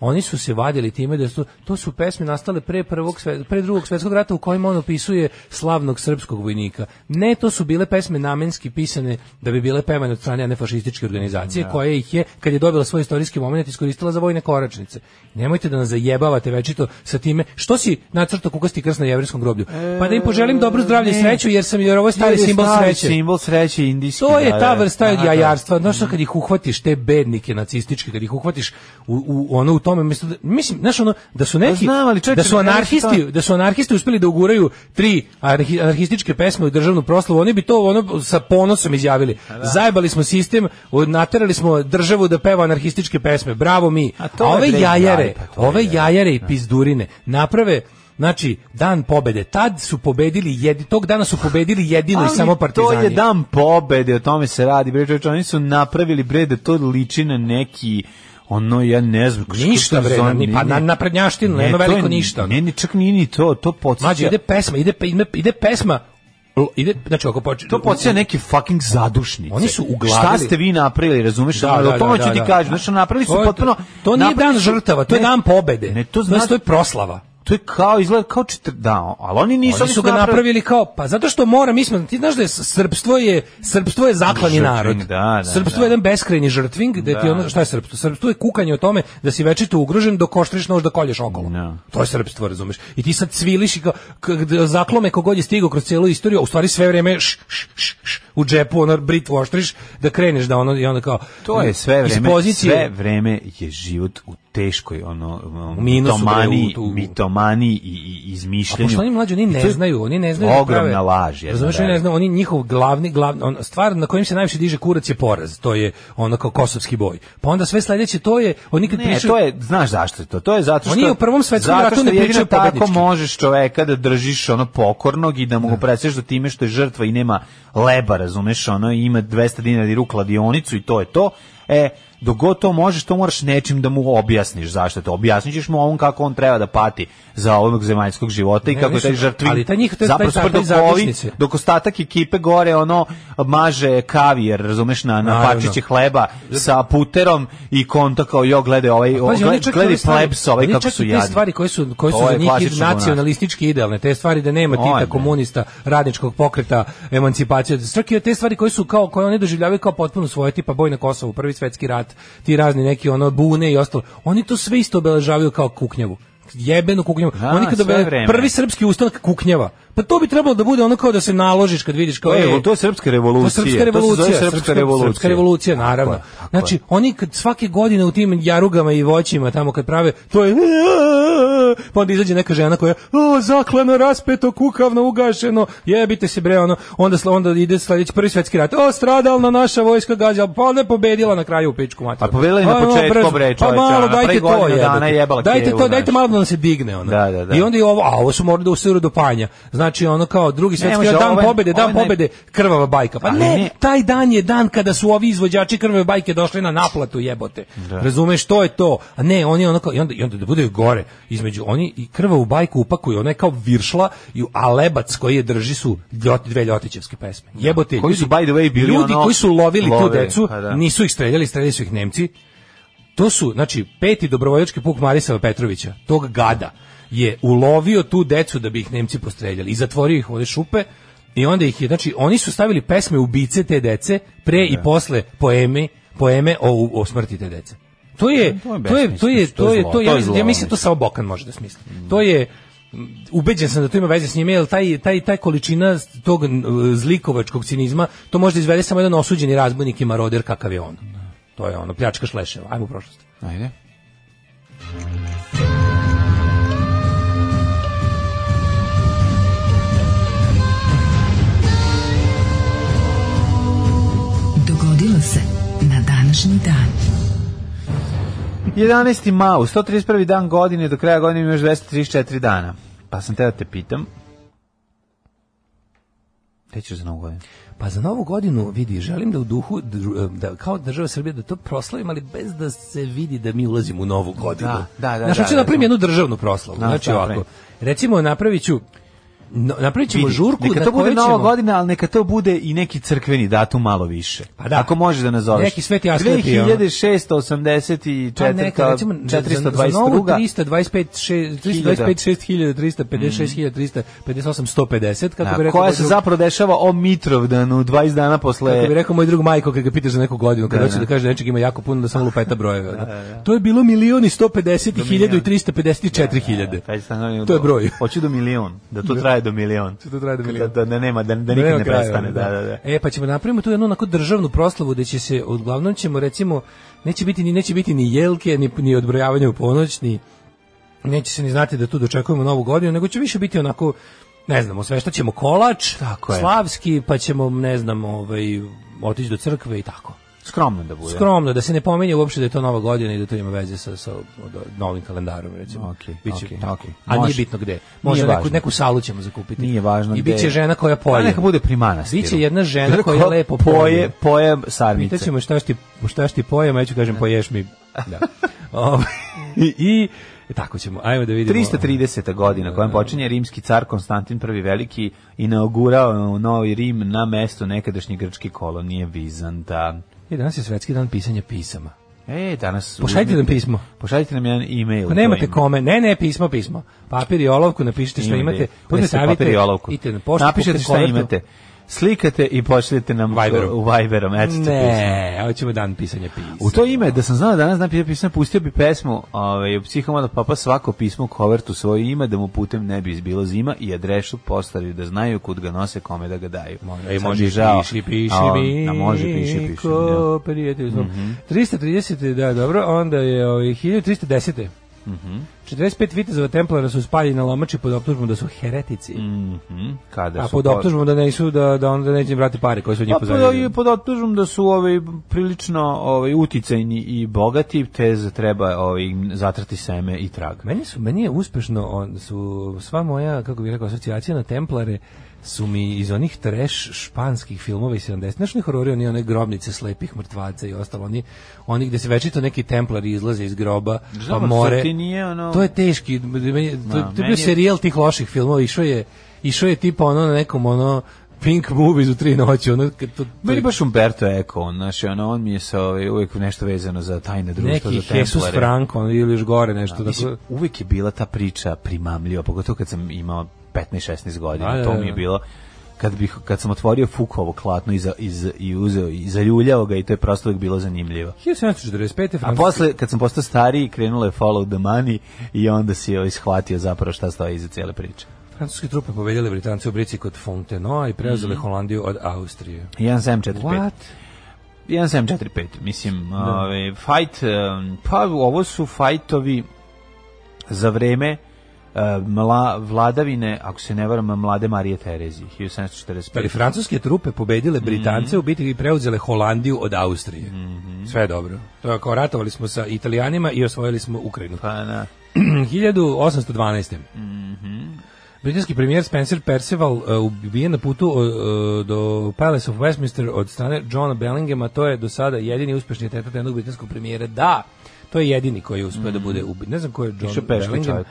Oni su se vadili time da su to su pesme nastale pre prvog sve, pre drugog svetskog rata u kojima on opisuje slavnog srpskog vojnika. Ne, to su bile pesme namenski pisane da bi bile pevane od strane nefašističke organizacije koja ih je kad je dobila svoj istorijski momenat iskoristila za vojne koračnice. Nemojte da nas zajebavate večito sa time što si nacrtao kukasti krst na jevrejskom groblju. Pa da im poželim dobro zdravlje i E, ne. sreću jer sam jer ovo je stari Jer je simbol stari sreće. Simbol sreće indijski. To je da, ta da. vrsta Da, da. jajarstva, znaš šta, kad ih uhvatiš te bednike nacističke, kad ih uhvatiš u, u ono u tome mislim, mislim znaš ono da su neki Pa znam, ali da čovječe, su ne znaš anarhisti, šta- da su anarhisti uspeli da uguraju tri anarhi- anarhističke pesme u državnu proslavu, oni bi to ono sa ponosom izjavili. Pa Zajebali smo sistem, od- naterali smo državu da peva anarhističke pesme. Bravo mi. A A, to je ove Blade jajare, Guy, pa to je, ove da. jajare i pizdurine naprave Znači, dan pobede. Tad su pobedili, jedi, tog dana su pobedili jedino i Ali samo partizani. To je dan pobede, o tome se radi. Bre, čovječe, oni su napravili bre da to liči na neki ono ja ne znam kako Ništa se bre, zove, ni- ne, pa ne. na naprednjaštinu, Ne, nema to je- veliko ništa. Ne, ni čak nije ni to, to podsjeća. Mađo, Znači, ide pesma, ide, pe- ide, ide pesma, l- ide, znači ako počne... To podsjeća neke fucking zadušnice. Oni su uglavili- Šta ste vi napravili, razumeš? Da, Ono, da, o da, tome ću da, ti da. kažem. Znači, napravili su To je- potpuno... To nije napravili dan su- žrtava, to je Ne, dan pobede. Ne, to znači, znači... to je proslava. To je kao, izgleda kao četiri... Da, ali oni nisu... Oni su ga napravili kao, pa zato što mora, mi smo, ti znaš da je s- srpstvo je, srpstvo je zaklani Žrtving, narod. da, da, srpstvo da. je jedan beskrajni žrtving, da ti Da. ono, šta je srpstvo? Srpstvo je kukanje o tome da si večito ugrožen dok oštriš nož da kolješ okolo. Da. To je srpstvo, razumeš? I ti sad cviliš i kao, k- d- zaklome kogod je stigao kroz cijelu istoriju, a u stvari sve vreme š, š, š, š, u džepu ono britvu oštriš da kreneš da ono, i onda kao... To je sve iz vreme, pozicije- sve vreme je život u teškoj ono um, minusu, bre, mitomani, u- u- mitomani i, i A izmišljanju. pošto oni mlađi, oni I to ne je znaju, oni ne znaju. da Ogromna prave- laž jedna. Razumeš, oni ne znaju, oni njihov glavni, glavni, on, stvar na kojim se najviše diže kurac je poraz, to je ono kao kosovski boj. Pa onda sve sledeće to je, oni kad Ne, pričaju, to je, znaš zašto je to? To je zato što... Oni u Prvom svetskom zato ratu što ne jedino pričaju tako pobednički. možeš čoveka da držiš ono pokornog i da mu ga presješ do time što je žrtva i nema leba, razumeš, ono, i ima 200 dinara i rukla dionicu i to je to. E, dok god to možeš, to moraš nečim da mu objasniš zašto je to. Objasnit ćeš mu ovom kako on treba da pati za ovog zemaljskog života i Ne, kako oni je taj su- žrtvi. ali taj njih- to je zapravo taj- taj- super taj dok ovi- zadušnice. dok ostatak ekipe gore ono maže kavijer, razumeš, na, na Naravno. parčiće hleba sa puterom i konta kao jo, gledaj ovaj, Pazi, oni Gled- čak i gledaj ove stvari- plebs ovaj oni kako čak i su te jadni. stvari koje su koje su To za je njih klasično nacionalistički idealne, te stvari da nema Oj, tita ne. komunista, radničkog pokreta, emancipacije, čak i te stvari koje su kao koje oni doživljavaju kao potpuno svoje, tipa boj na Kosovu, prvi svetski rat, ti razni neki ono bune i ostalo. Oni to sve isto obeležavaju kao kuknjavu jebeno kuknjava. Da, Oni kad sve dobe- vreme. prvi srpski ustanak kuknjava. Pa to bi trebalo da bude ono kao da se naložiš kad vidiš kao To je- ej, E, to je srpska revolucija. To je srpska To se revolucija, zove srpska revolucija. Srpska revolucija, Tako naravno. je, tako znači, je. oni kad svake godine u tim jarugama i voćima tamo kad prave, to je pa onda izađe neka žena koja o, zaklano, raspeto, kukavno, ugašeno, jebite se bre, ono, onda, sl- onda ide sledeći prvi svetski rat, o, stradalna naša vojska gađa, pa onda je pobedila na kraju u pičku A materiju. Pa pobedila je na početku, bre, Pa čoveče, ono, malo, dajte pre to, godinu dana jebate. jebala Dajte kevu, to, dajte znači. malo da nam se digne, ono. Da, da, da. I onda i ovo, a ovo su morali da usiru do panja. Znači, ono kao, drugi svetski može, rat, dan ovo je- pobede, dan ovo je naj- pobede, krvava bajka. Pa Ali ne, ne. taj dan je dan kada su ovi izvođači krvave bajke došli na naplatu jebote. Razumeš to je to. A ne, oni ono kao i onda i onda da bude gore između oni i krvavu bajku upakuju, ona je kao viršla i a lebac koji je drži su ljot, dve ljotićevske pesme. Jebote. Koji su, by the way, bili ljudi ono- koji su lovili tu lovili, decu, pa da. nisu ih streljali, streljali su ih Nemci. To su, znači, peti dobrovoljački puk Marisava Petrovića, tog gada, je ulovio tu decu da bi ih Nemci postreljali i zatvorio ih u one šupe i onda ih je, znači, oni su stavili pesme ubice te dece pre i posle poeme, poeme o, o smrti te dece. To je, To je to je, to je, besmislica, to je, zlo, to je, to je ja, zlo, ja mislim to mislim. samo Bokan može da smisli. To je, m, ubeđen sam da to ima veze s njime, jer taj, taj, taj količina tog n, zlikovačkog cinizma, to može da izvede samo jedan osuđeni razbojnik i maroder kakav je on. To je ono, pljačka šleševa, ajmo u prošlost. Ajde. Dogodilo se na današnji dan. 11. mao, 131. dan godine, do kraja godine ima još 234 dana. Pa sam te da te pitam. Te ćeš za novu godinu. Pa za novu godinu, vidi, želim da u duhu, dru- e, da, kao država Srbije, da to proslavim, ali bez da se vidi da mi ulazimo u novu godinu. Da, da, da, Znaš, da, hoću da, napravim da. jednu državnu proslavu. Da, znači šta ovako, napravi? recimo napravit ću, no, napravit ćemo Vidi, žurku neka na to bude kojoj nova ćemo- godina, ali neka to bude i neki crkveni datum malo više. Pa da. Ako možeš da nazoveš. Neki Sveti Aslepi, ono. 2684. Pa neka, recimo, za- Za, za novu 422. 325, še- 325, Mm. 6356, 358, 150, kako bi Da, rekao... koja moj se drug- zapravo dešava o Mitrovdanu 20 dana posle Kako bi rekao moj drug Majko kad ga pitaš za neku godinu, kad hoće da kaže nečeg ima jako puno da samo lupeta brojeve. ono. To je bilo milion i 150 i hiljadu i 354 hiljade. Taj stanovnik- To je broj. Hoću do milion, da to traje do milion. to traje do milion. Da, da nema, da, da Da nikad nema ne kraja, prestane. ono, Da, da, da. E, pa ćemo napravimo tu jednu onako državnu proslavu gde će se, uglavnom ćemo recimo, neće biti ni, neće biti ni jelke, ni, ni odbrojavanje u ponoć, ni, neće se ni znati da tu dočekujemo novu godinu, nego će više biti onako, ne znam, osveštat ćemo kolač, Tako je. slavski, pa ćemo, ne znam, ovaj, otići do crkve i tako. Skromno da bude. Skromno, da se ne pominje uopšte da je to nova godina i da to ima veze sa, sa novim kalendarom, recimo. Okej, Biće- okej, okej. A nije Može. bitno gde. Nije Možda neku, važno. neku salu ćemo zakupiti. Nije važno I gde bit će je. žena koja polje. A neka bude pri manastiru. Biće jedna žena Žena koja koja lepo poje, poje sarmice. Pitaćemo šta šti, šta šti pojem, a ja ću kažem poješ mi. [LAUGHS] Da. Ovaj, I, i tako ćemo. Ajmo da vidimo. 330. godina kojom počinje rimski car Konstantin I Veliki inaugurao Novi Rim na mestu nekadašnje grčke kolonije Bizanta. I E, danas je svetski dan pisanja pisama. Pa E, danas... Pošaljite uzmite- nam pismo. Pošaljite nam jedan e-mail. Ako to nemate ima. kome, ne, ne, pismo, pismo. Papir i olovku, napišite što Ima imate. gde. Uzmite Uzmite papir i olovku. Idite na poštu, Napišete kupite šta kovertu. imate. Slikate i pošaljete nam Viberom. u Viberom. ecete pismo. Ne, hoćemo dan pisanja pisama. U to ime, da sam znao danas dan pisam, pustio bi pesmu ovaj, u psihomoda papa svako pismo u kovertu svoje ime, da mu putem ne bi izbilo zima i adresu postavio da znaju kud ga nose, kome da ga daju. Može, Sad Ej, mi može je i žao. piši, piši, A, mi. a može, piši, piši. da. Mhm. Ko, prijatelju svom. 330, da, dobro, onda je ovaj, 1310. Mhm. 45 vitezova templara su spaljeni na lomači pod optužbom da su heretici. Mhm, Kada A su pod po- optužbom da nisu da da onda neće im brati pare koje su od njih Pa pod, pozajmili. pod optužbom da su ovaj prilično ovaj uticajni i bogati, te za- treba ovaj im zatrati seme i trag. Meni su meni je uspešno on su sva moja kako bih rekao asocijacija na Templare su mi iz onih trash španskih filmova iz 70-ih, znaš, oni horori, oni one grobnice slepih mrtvaca i ostalo, oni, oni gde se večito neki templari izlaze iz groba, Znam, pa ali more. sad ti nije ono- To je teški, meni, to, to je bio meni je- serijal tih loših filmova, išao je, išao je tipa ono na nekom ono Pink Movies u tri noći, ono, kad to, to Meni je- baš Umberto Eco, on, znači, ono, on mi je sa, ovaj, uvijek nešto vezano za tajne društvo, neki za Jesus templare. Franco, ono, ili još gore nešto. Da, Mislim, uvijek je bila ta priča primamljiva, pogotovo kad sam imao 15-16 godina, Da, da, to da, mi je da. bilo kad, bih, kad sam otvorio Fukovo klatno i, za, i, za- i uzeo i zaljuljao ga i to je prosto uvijek bilo zanimljivo. 1745. A Francuski- posle, kad sam postao stariji, krenulo je follow the money i onda si ovaj shvatio zapravo šta stoji iza cijele priče. Francuske trupe pobedile Britance u Brici kod Fontenoa i preuzele Holandiju od Austrije. 1745. What? 1745, mislim, ovaj fight, um, pa ovo su fajtovi za vreme uh, mla, vladavine, ako se ne varam, mlade Marije Terezije, 1745. Ali Pa francuske trupe pobedile Britance u bitki i preuzele Holandiju od Austrije. Sve je dobro. To je kao ratovali smo sa Italijanima i osvojili smo Ukrajinu. Pa, na. [CLEARS THROAT] 1812. Mhm. Britanski premijer Spencer Perceval uh, ubijen na putu uh, do Palace of Westminster od strane Johna Bellinghama, to je do sada jedini uspešni atentat jednog britanskog premijera. Da, to je jedini koji je uspeo da bude ubijen. Ne znam ko je Mhm. Išao John peške Bellingham. čovjek.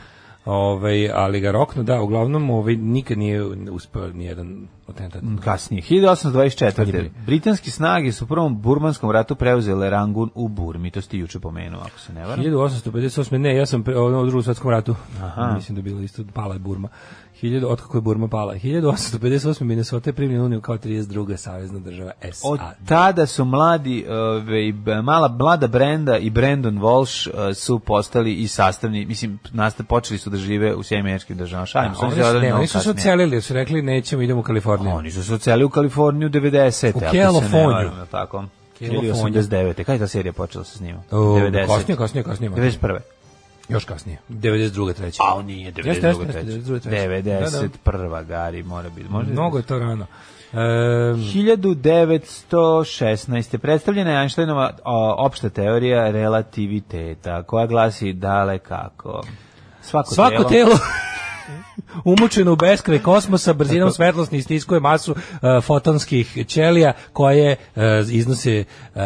Ovaj, ali ga rokno, da, uglavnom ovaj, nikad nije uspeo nijedan atentat. kasnije. 1824. Britanske snage su u prvom burmanskom ratu preuzele Rangun u Burmi, to ste juče pomenuo, ako se ne varam. 1858. Ne, ja sam pre, ono, u drugom svetskom ratu. Aha. Mislim da je bilo isto, pala je Burma. 1000, otkako je Burma pala. 1858. Minnesota je primljena u Uniju kao 32. savezna država SAD. Od tada su mladi, ovaj, b- mala, mlada Brenda i Brandon Walsh eh, su postali i sastavni, mislim, naste, počeli su da žive u Sjedinim američkim državama. Šalim, se, A oni su Oni, odali ne, mnogo oni su se kasnije. ocelili, jer su rekli nećemo, idemo u Kaliforniju. Oni su se ocelili u Kaliforniju 90. U ako se ne Keliforniju. varam, je li tako? Ili Keliforniju. 89. Kada je ta serija počela se snima? O, kasnije, kasnije, kasnije. 91. Još kasnije. 92. treće. A on nije Jeste, jeste, 92. jeste, treći. 92. treće. Da, da. 91. Gari mora biti. Može Mnogo je to rano. Ehm, 1916. predstavljena je Einsteinova o, opšta teorija relativiteta, koja glasi dalekako. Svako, Svako telo, telo [LAUGHS] umučeno u beskraj kosmosa brzinom svetlosti istiskuje masu e, fotonskih ćelija koje e, iznose e,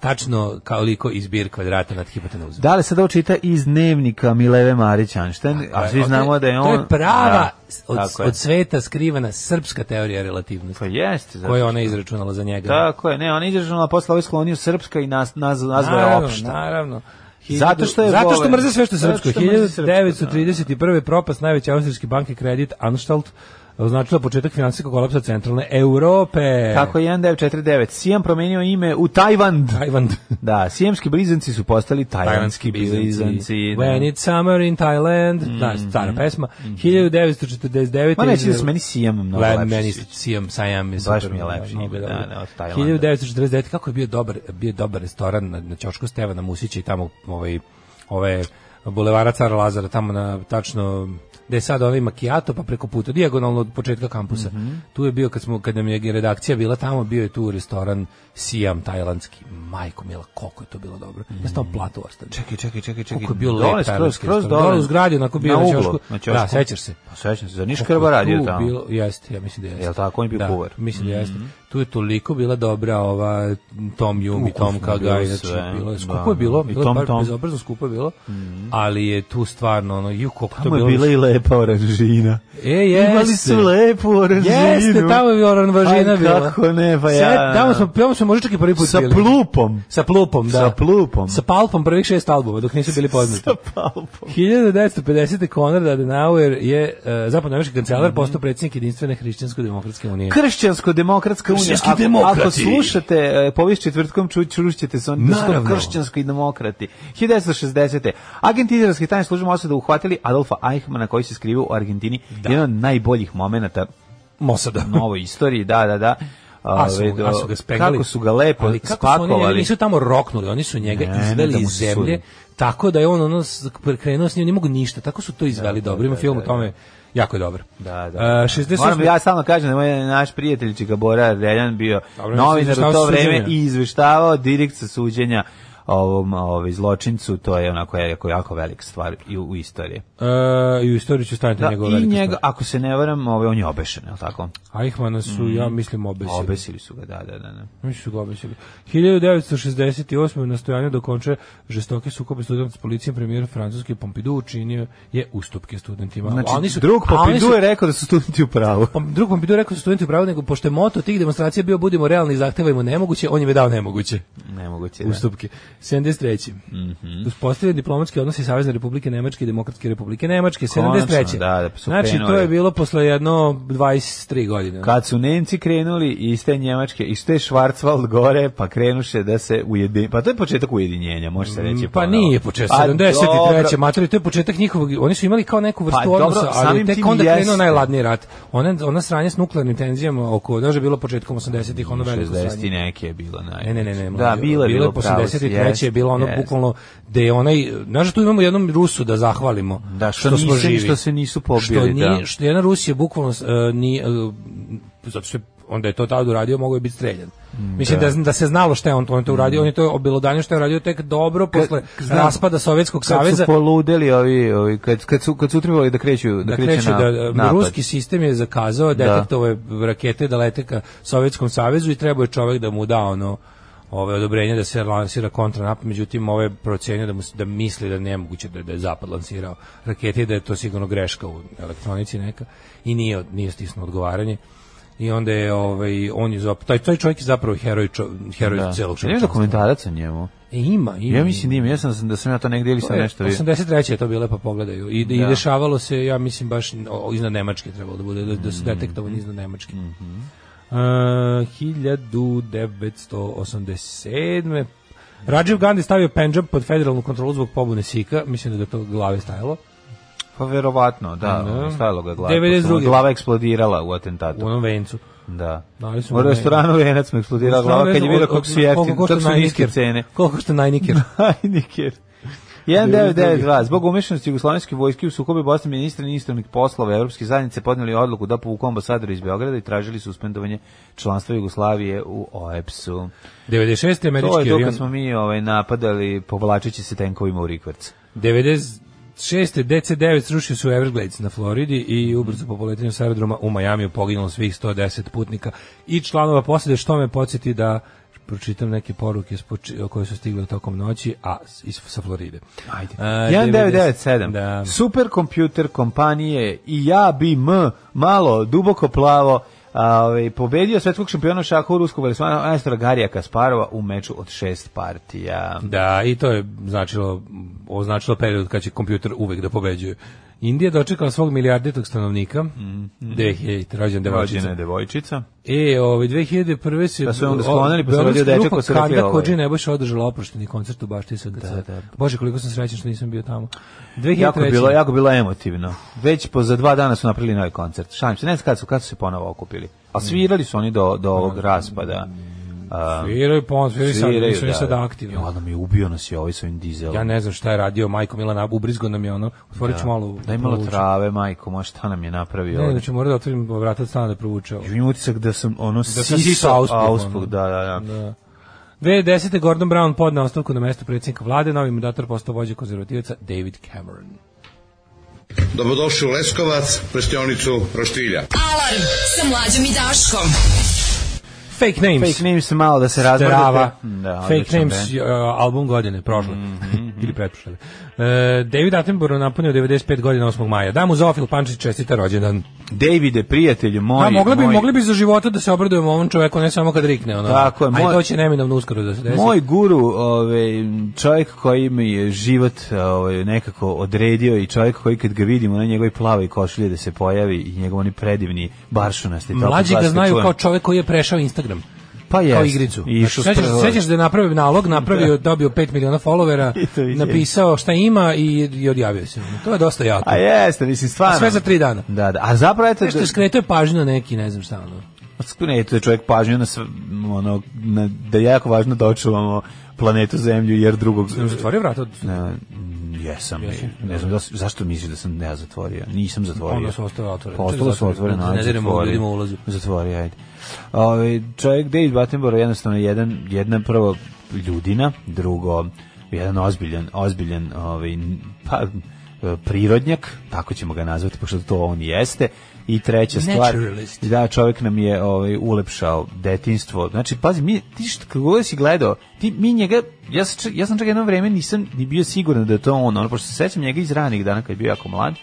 tačno kao liko izbir kvadrata nad hipotenuzom. Da li se ovo čita iz dnevnika Mileve Marić Einstein, a svi E, To znamo da je on... To je prava Da, od, tako je. od sveta skrivena srpska teorija relativnosti Pa jeste. zato koju je što- ona izračunala za njega. Tako je, ne, on je izražena posle ovaj sklonio srpska i naz, naz, nazvao je naravno, opšta. Naravno. Zato što je Zato što vole- mrze sve što je zato srpsko. što mrze srpsko, 1931. propast najveće austrijske banke kredit Anstalt označila početak finansijskog kolapsa centralne Europe. Tako je 1949. Sijam promenio ime u Tajvan. Tajvan. Da, sijemski blizanci su postali tajvanski blizanci. When da. Mm, it's summer in Thailand. Da, stara pesma. 1949. Ma neće da se meni Sijam mnogo Le, lepše meni sviđa. Sijam, Sajam je Baš super, mi je ono, lepši, mnogo da, dobro. da, od Tajlanda. 1949. Kako je bio dobar, bio dobar restoran na, na Ćošku Stevana Musića i tamo ovaj, ove bulevara Cara Lazara, tamo na tačno gde je sad ovaj makijato, pa preko puta, dijagonalno od početka kampusa. Mhm. Tu je bio, kad, smo, kad nam je redakcija bila tamo, bio je tu restoran Sijam, tajlandski. Majko mila, koliko je to bilo dobro. Ja sam tamo platu ostavio. Čekaj, čekaj, čekaj, čekaj. Koliko je bio Dole, lep skroz, tajlandski skroz restoran. dole. Dole u zgradi, onako bio na na uglu, ćošku. na ćošku. Da, sećaš se. Pa sećam se, za Niš Koliko Krba je radio tu tamo. Bilo, jeste, ja mislim da jeste. Jel tako? On je bio da, Mm. kuvar. Mislim da jeste. Tu je toliko bila dobra ova Tom Jum i Ukusno Tom je Kaga, bilo znači sve, bilo je skupo da. je bilo, I bilo Tom, Tom par, Tom. Mm. bezobrazno skupo je bilo, ali je tu stvarno ono ju koliko to Tamo je bilo. bila i lepa oranžina. E, jeste. Imali su lepu oranžinu. Jeste, tamo je oranžina Aj, bila. kako ne, pa Sve- ja- Tamo smo, tamo smo možda čak i prvi put Sa bili. plupom. [LAUGHS] Sa plupom, da. Sa plupom. Sa palpom prvih šest albuma, dok nisu bili poznati. Sa palpom. 1950. Konrad Adenauer je uh, zapadnoamerički kancelar, postao predsjednik jedinstvene hrišćansko-demokratske unije. Kršćansko-demokratska unija. Kršćanski Ako- demokrati. Ako slušate e, povijest četvrtkom, ču, čušćete se on Naravno. kršćanski demokrati. 1960. Agenti izraelske tajne službe osada uhvatili Adolfa Eichmana koji se skrivio u Argentini. Jedan od najboljih momenata Mosada. u novoj istoriji. Da, da, da. A su, Ove, mu- do- a su ga speglali. Kako su ga lepo Ali kako su oni njega- spakovali. nisu tamo roknuli, oni su njega Ne, ne, izveli da mu iz se zemlje, sudi. tako da je on ono s- krenuo s njim, ne mogu ništa, tako su to izveli dobro. Ima film o tome, jako je dobar. Da, da. E, 68. Moram, ja stalno kažem da moj naš prijatelj Čika Bora Reljan bio Dobro, novinar u izveštavao to sa vreme suđenja. i izveštavao direkt sa suđenja ovom ovaj zločincu, to je onako je jako, jako velika stvar i u, u istoriji. E, I u istoriju ću staviti Da, njegove I velike njega, stvari. ako se ne varam, ovaj, on je obešen, je li tako? Eichmanna su, Mm. ja mislim, obesili. Obesili su ga, da, da, da. da. Mi su ga obesili. 1968. u nastojanju da konče žestoke sukobe studenta s policijom premijer Francuske Pompidou učinio je ustupke studentima. Znači, A oni su, drug a oni Popidu su- je rekao da su studenti u pravu. Pa drug vam bi to rekao za studenti u pravu, nego pošto je moto tih demonstracija bio budimo realni i zahtevajmo nemoguće, on im je dao nemoguće Nemoguće, da. Mhm. ustupke. 73. Mm -hmm. Uspostavljen diplomatski odnosi Savezne republike Nemačke i Demokratske republike Nemačke. Konačno, 73. da, da, su znači, to je krenuli. bilo posle jedno 23 godine. Kad su Nemci krenuli iz te Njemačke, iz te Schwarzwald gore, pa krenuše da se ujedinje. Pa to je početak ujedinjenja, može se reći. Pa ponovo. nije početak Pa dobro. 73. materi, to je početek njihovog, oni su imali kao neku vrstu Pa dobro, odnosa, ali samim tek tim onda jeste. krenuo najladniji rat. Ona, ona sranja s nuklearnim tenzijama oko, daže bilo početkom 80-ih, ono veliko 60 i sranje. neke je bilo naj. Ne, ne, ne, ne. Da, mlađe, bilo je bilo po 83. je bilo ono jest. bukvalno da je onaj, znaš da tu imamo jednom Rusu da zahvalimo Da, što, smo nisu- živi. što se nisu što pobili, nije, da. što jedna Rusija bukvalno uh, ni uh, zato što je- onda je to tad uradio, mogao je biti streljan. Mm, Mislim da. da, se znalo šta je on to, on je to uradio, on je to obelodanio što je uradio tek dobro posle znam. raspada Sovjetskog Kad saveza. su poludeli ovi, ovi kad, kad su kad su utrivali da kreću da, da kreće kreće na, Dakle, znači da um, napad. ruski sistem je zakazao detektove rakete da lete ka Sovjetskom savezu i trebao je čovjek da mu da ono ove odobrenje da se lansira kontra napad, međutim ove procenio da mu s- da misli da je nemoguće da, da je zapad lansirao rakete i da je to sigurno greška u elektronici neka i nije od- nije stisnuo odgovaranje i onda je ovaj on je zapravo taj taj čovjek je zapravo heroj čo, heroj Da. celog Nema čovječanstva. dokumentarac o njemu. E, Ima, ima. Ja mislim da ima, ja sam da sam ja to negdje ili sam E, nešto vidio. 83. je to bilo, pa pogledaju. I, I Da. dešavalo se, ja mislim, baš o- iznad Nemačke trebalo da bude, da, da su Mhm. detektovani iznad Nemačke. Uh, 1987. Rajiv Gandhi stavio Pendžab pod federalnu kontrolu zbog pobune Sika, mislim da je do tog glave stajalo. Pa verovatno, da, Da. stavilo ga glava. 92.. Glava eksplodirala u U atentatu. onom vencu. Da. Dali su U mu ne- restoranu Venac mu eksplodirala glava kad je vidio kako su jeftine, Koliko košta kako su niske najniker? cene. [LAUGHS] Koliko košta najniker? Hajniker. 1992. Zbog umešanosti Jugoslovenske vojske u sukobe Bosne ministri inostranih poslova Evropske zajednice podnijeli odluku da povuku ambasadora iz Beograda i tražili suspendovanje članstva Jugoslavije u OEPS-u. 96. američki To je to avion. kad smo mi ovaj, napadali povlačeći se tenkovima u Rikvrc. 96. DC-9 srušio se u Everglades na Floridi i ubrzo po poletanju s aerodroma u Majamiju poginulo svih 110 putnika i članova posade, što me podsjeti da pročitam neke poruke s poči- koje su stigle tokom noći, a s- iz, sa Floride. Ajde. A, 1997. Da. Superkompjuter kompanije i ja bi m malo duboko plavo a, ovaj, pobedio svetskog šampiona u šahu ruskog velismana Anastora Garija Kasparova u meču od šest partija. Da, i to je značilo, označilo period kad će kompjuter uvek da pobeđuje. Indija dočekala svog milijarditog stanovnika, mm, mm. rođen devojčica. Rođena je devojčica. E, ovaj 2001. se Da su onda sklonili, pa se rodio dečak ko se rekli Kanda ovaj. Kođi Nebojša održala oprošteni koncert u Bašti SKC. Da, da. Bože, koliko sam srećan što nisam bio tamo. 2003. Jako je bilo, jako je bilo emotivno. Već po za dva dana su napravili novi koncert. Šalim se, ne znam kad su, kad su se ponovo okupili. A svirali su oni do, do ovog raspada. A, Sviraju pon, Mm. sviraju sad, sviraju, nisu ni sad aktivni. Jo, Adam mi ubio nas je ovaj s ovim dizelom. Ja ne znam šta je radio Majko Milana, ubrizgo nam je ono. Otvorit ću malo. Daj malo provučem. trave, majko, ma šta nam je napravio Ne, ovdje? da ću morati da otvorim vrata od stana da provuče ovo. Ja E, imam utisak da sam ono da sam sisao auspuh, ono. da, da, da. 2010. Gordon Brown podne ostavku na mesto predsjednika vlade, novi mandator postao vođa konzervativaca David Cameron. Dobrodošli u Leskovac, prštionicu Roštilja. Alarm sa mlađom i Daškom. Fake names. Fake names malo da se razbrdete. Trava. Da, Fake odličan Names, band. Mhm, uh, album godine, prošle. [LAUGHS] Ili pretprošle. Uh, David Attenborough napunio 95 godina 8. maja. Da mu Zofil Pančić čestita rođendan. Davide, prijatelju moj. Da, mogli bi, moj, mogli bi za života da se obradujemo ovom čoveku, ne samo kad rikne. Ono. Tako je, A i moj- to će neminovno uskoro da se desi. Moj guru, ovaj, čovjek koji mi je život ovaj, nekako odredio i čovjek koji kad ga vidimo na njegovoj plavoj košulji da se pojavi i njegov oni predivni baršunasti. topli Mlađi ga glas kad znaju čujem. kao čovek koji je prešao Instagram. pa kao jest. igricu. I išao Znači, sećaš, spravo- sećaš da je napravio nalog, napravio, dobio 5 miliona [LAUGHS] I to followera, je. napisao šta ima i, i odjavio se. To je dosta jako. A jeste, mislim, stvarno. A sve za tri dana. Da, da. A zapravo, eto, Nešto je skretao je pažnju na neki, ne znam šta. Ono. Skrenete čovjek pažnju na sve, ono, na, da je jako važno da očuvamo planetu Zemlju jer drugog... Sam zatvorio vrata od Ne, jesam, Jesi? ne znam, da, s- zašto misliš da sam ja zatvorio? Nisam zatvorio. Pa Onda su ostale otvorene. Pa ostalo su Čekaj, otvorene, da ne ajde, diremo zatvori. ljudima ulazu. Zatvori, ajde. Ove, čovjek David Battenborough jednostavno jedan, jedna prvo ljudina, drugo jedan ozbiljan, ozbiljan ovaj, n- pa, e, prirodnjak, tako ćemo ga nazvati, pošto to on jeste, i treća stvar, Naturalist. da, čovjek nam je ovaj, ulepšao detinstvo, znači, pazi, mi, ti što, kako god si gledao, ti, mi njega, ja, sam čak- ja sam čak jedno vreme nisam ni bio siguran da je to on, ono, pošto se sećam njega iz ranih dana kad je bio jako mlad,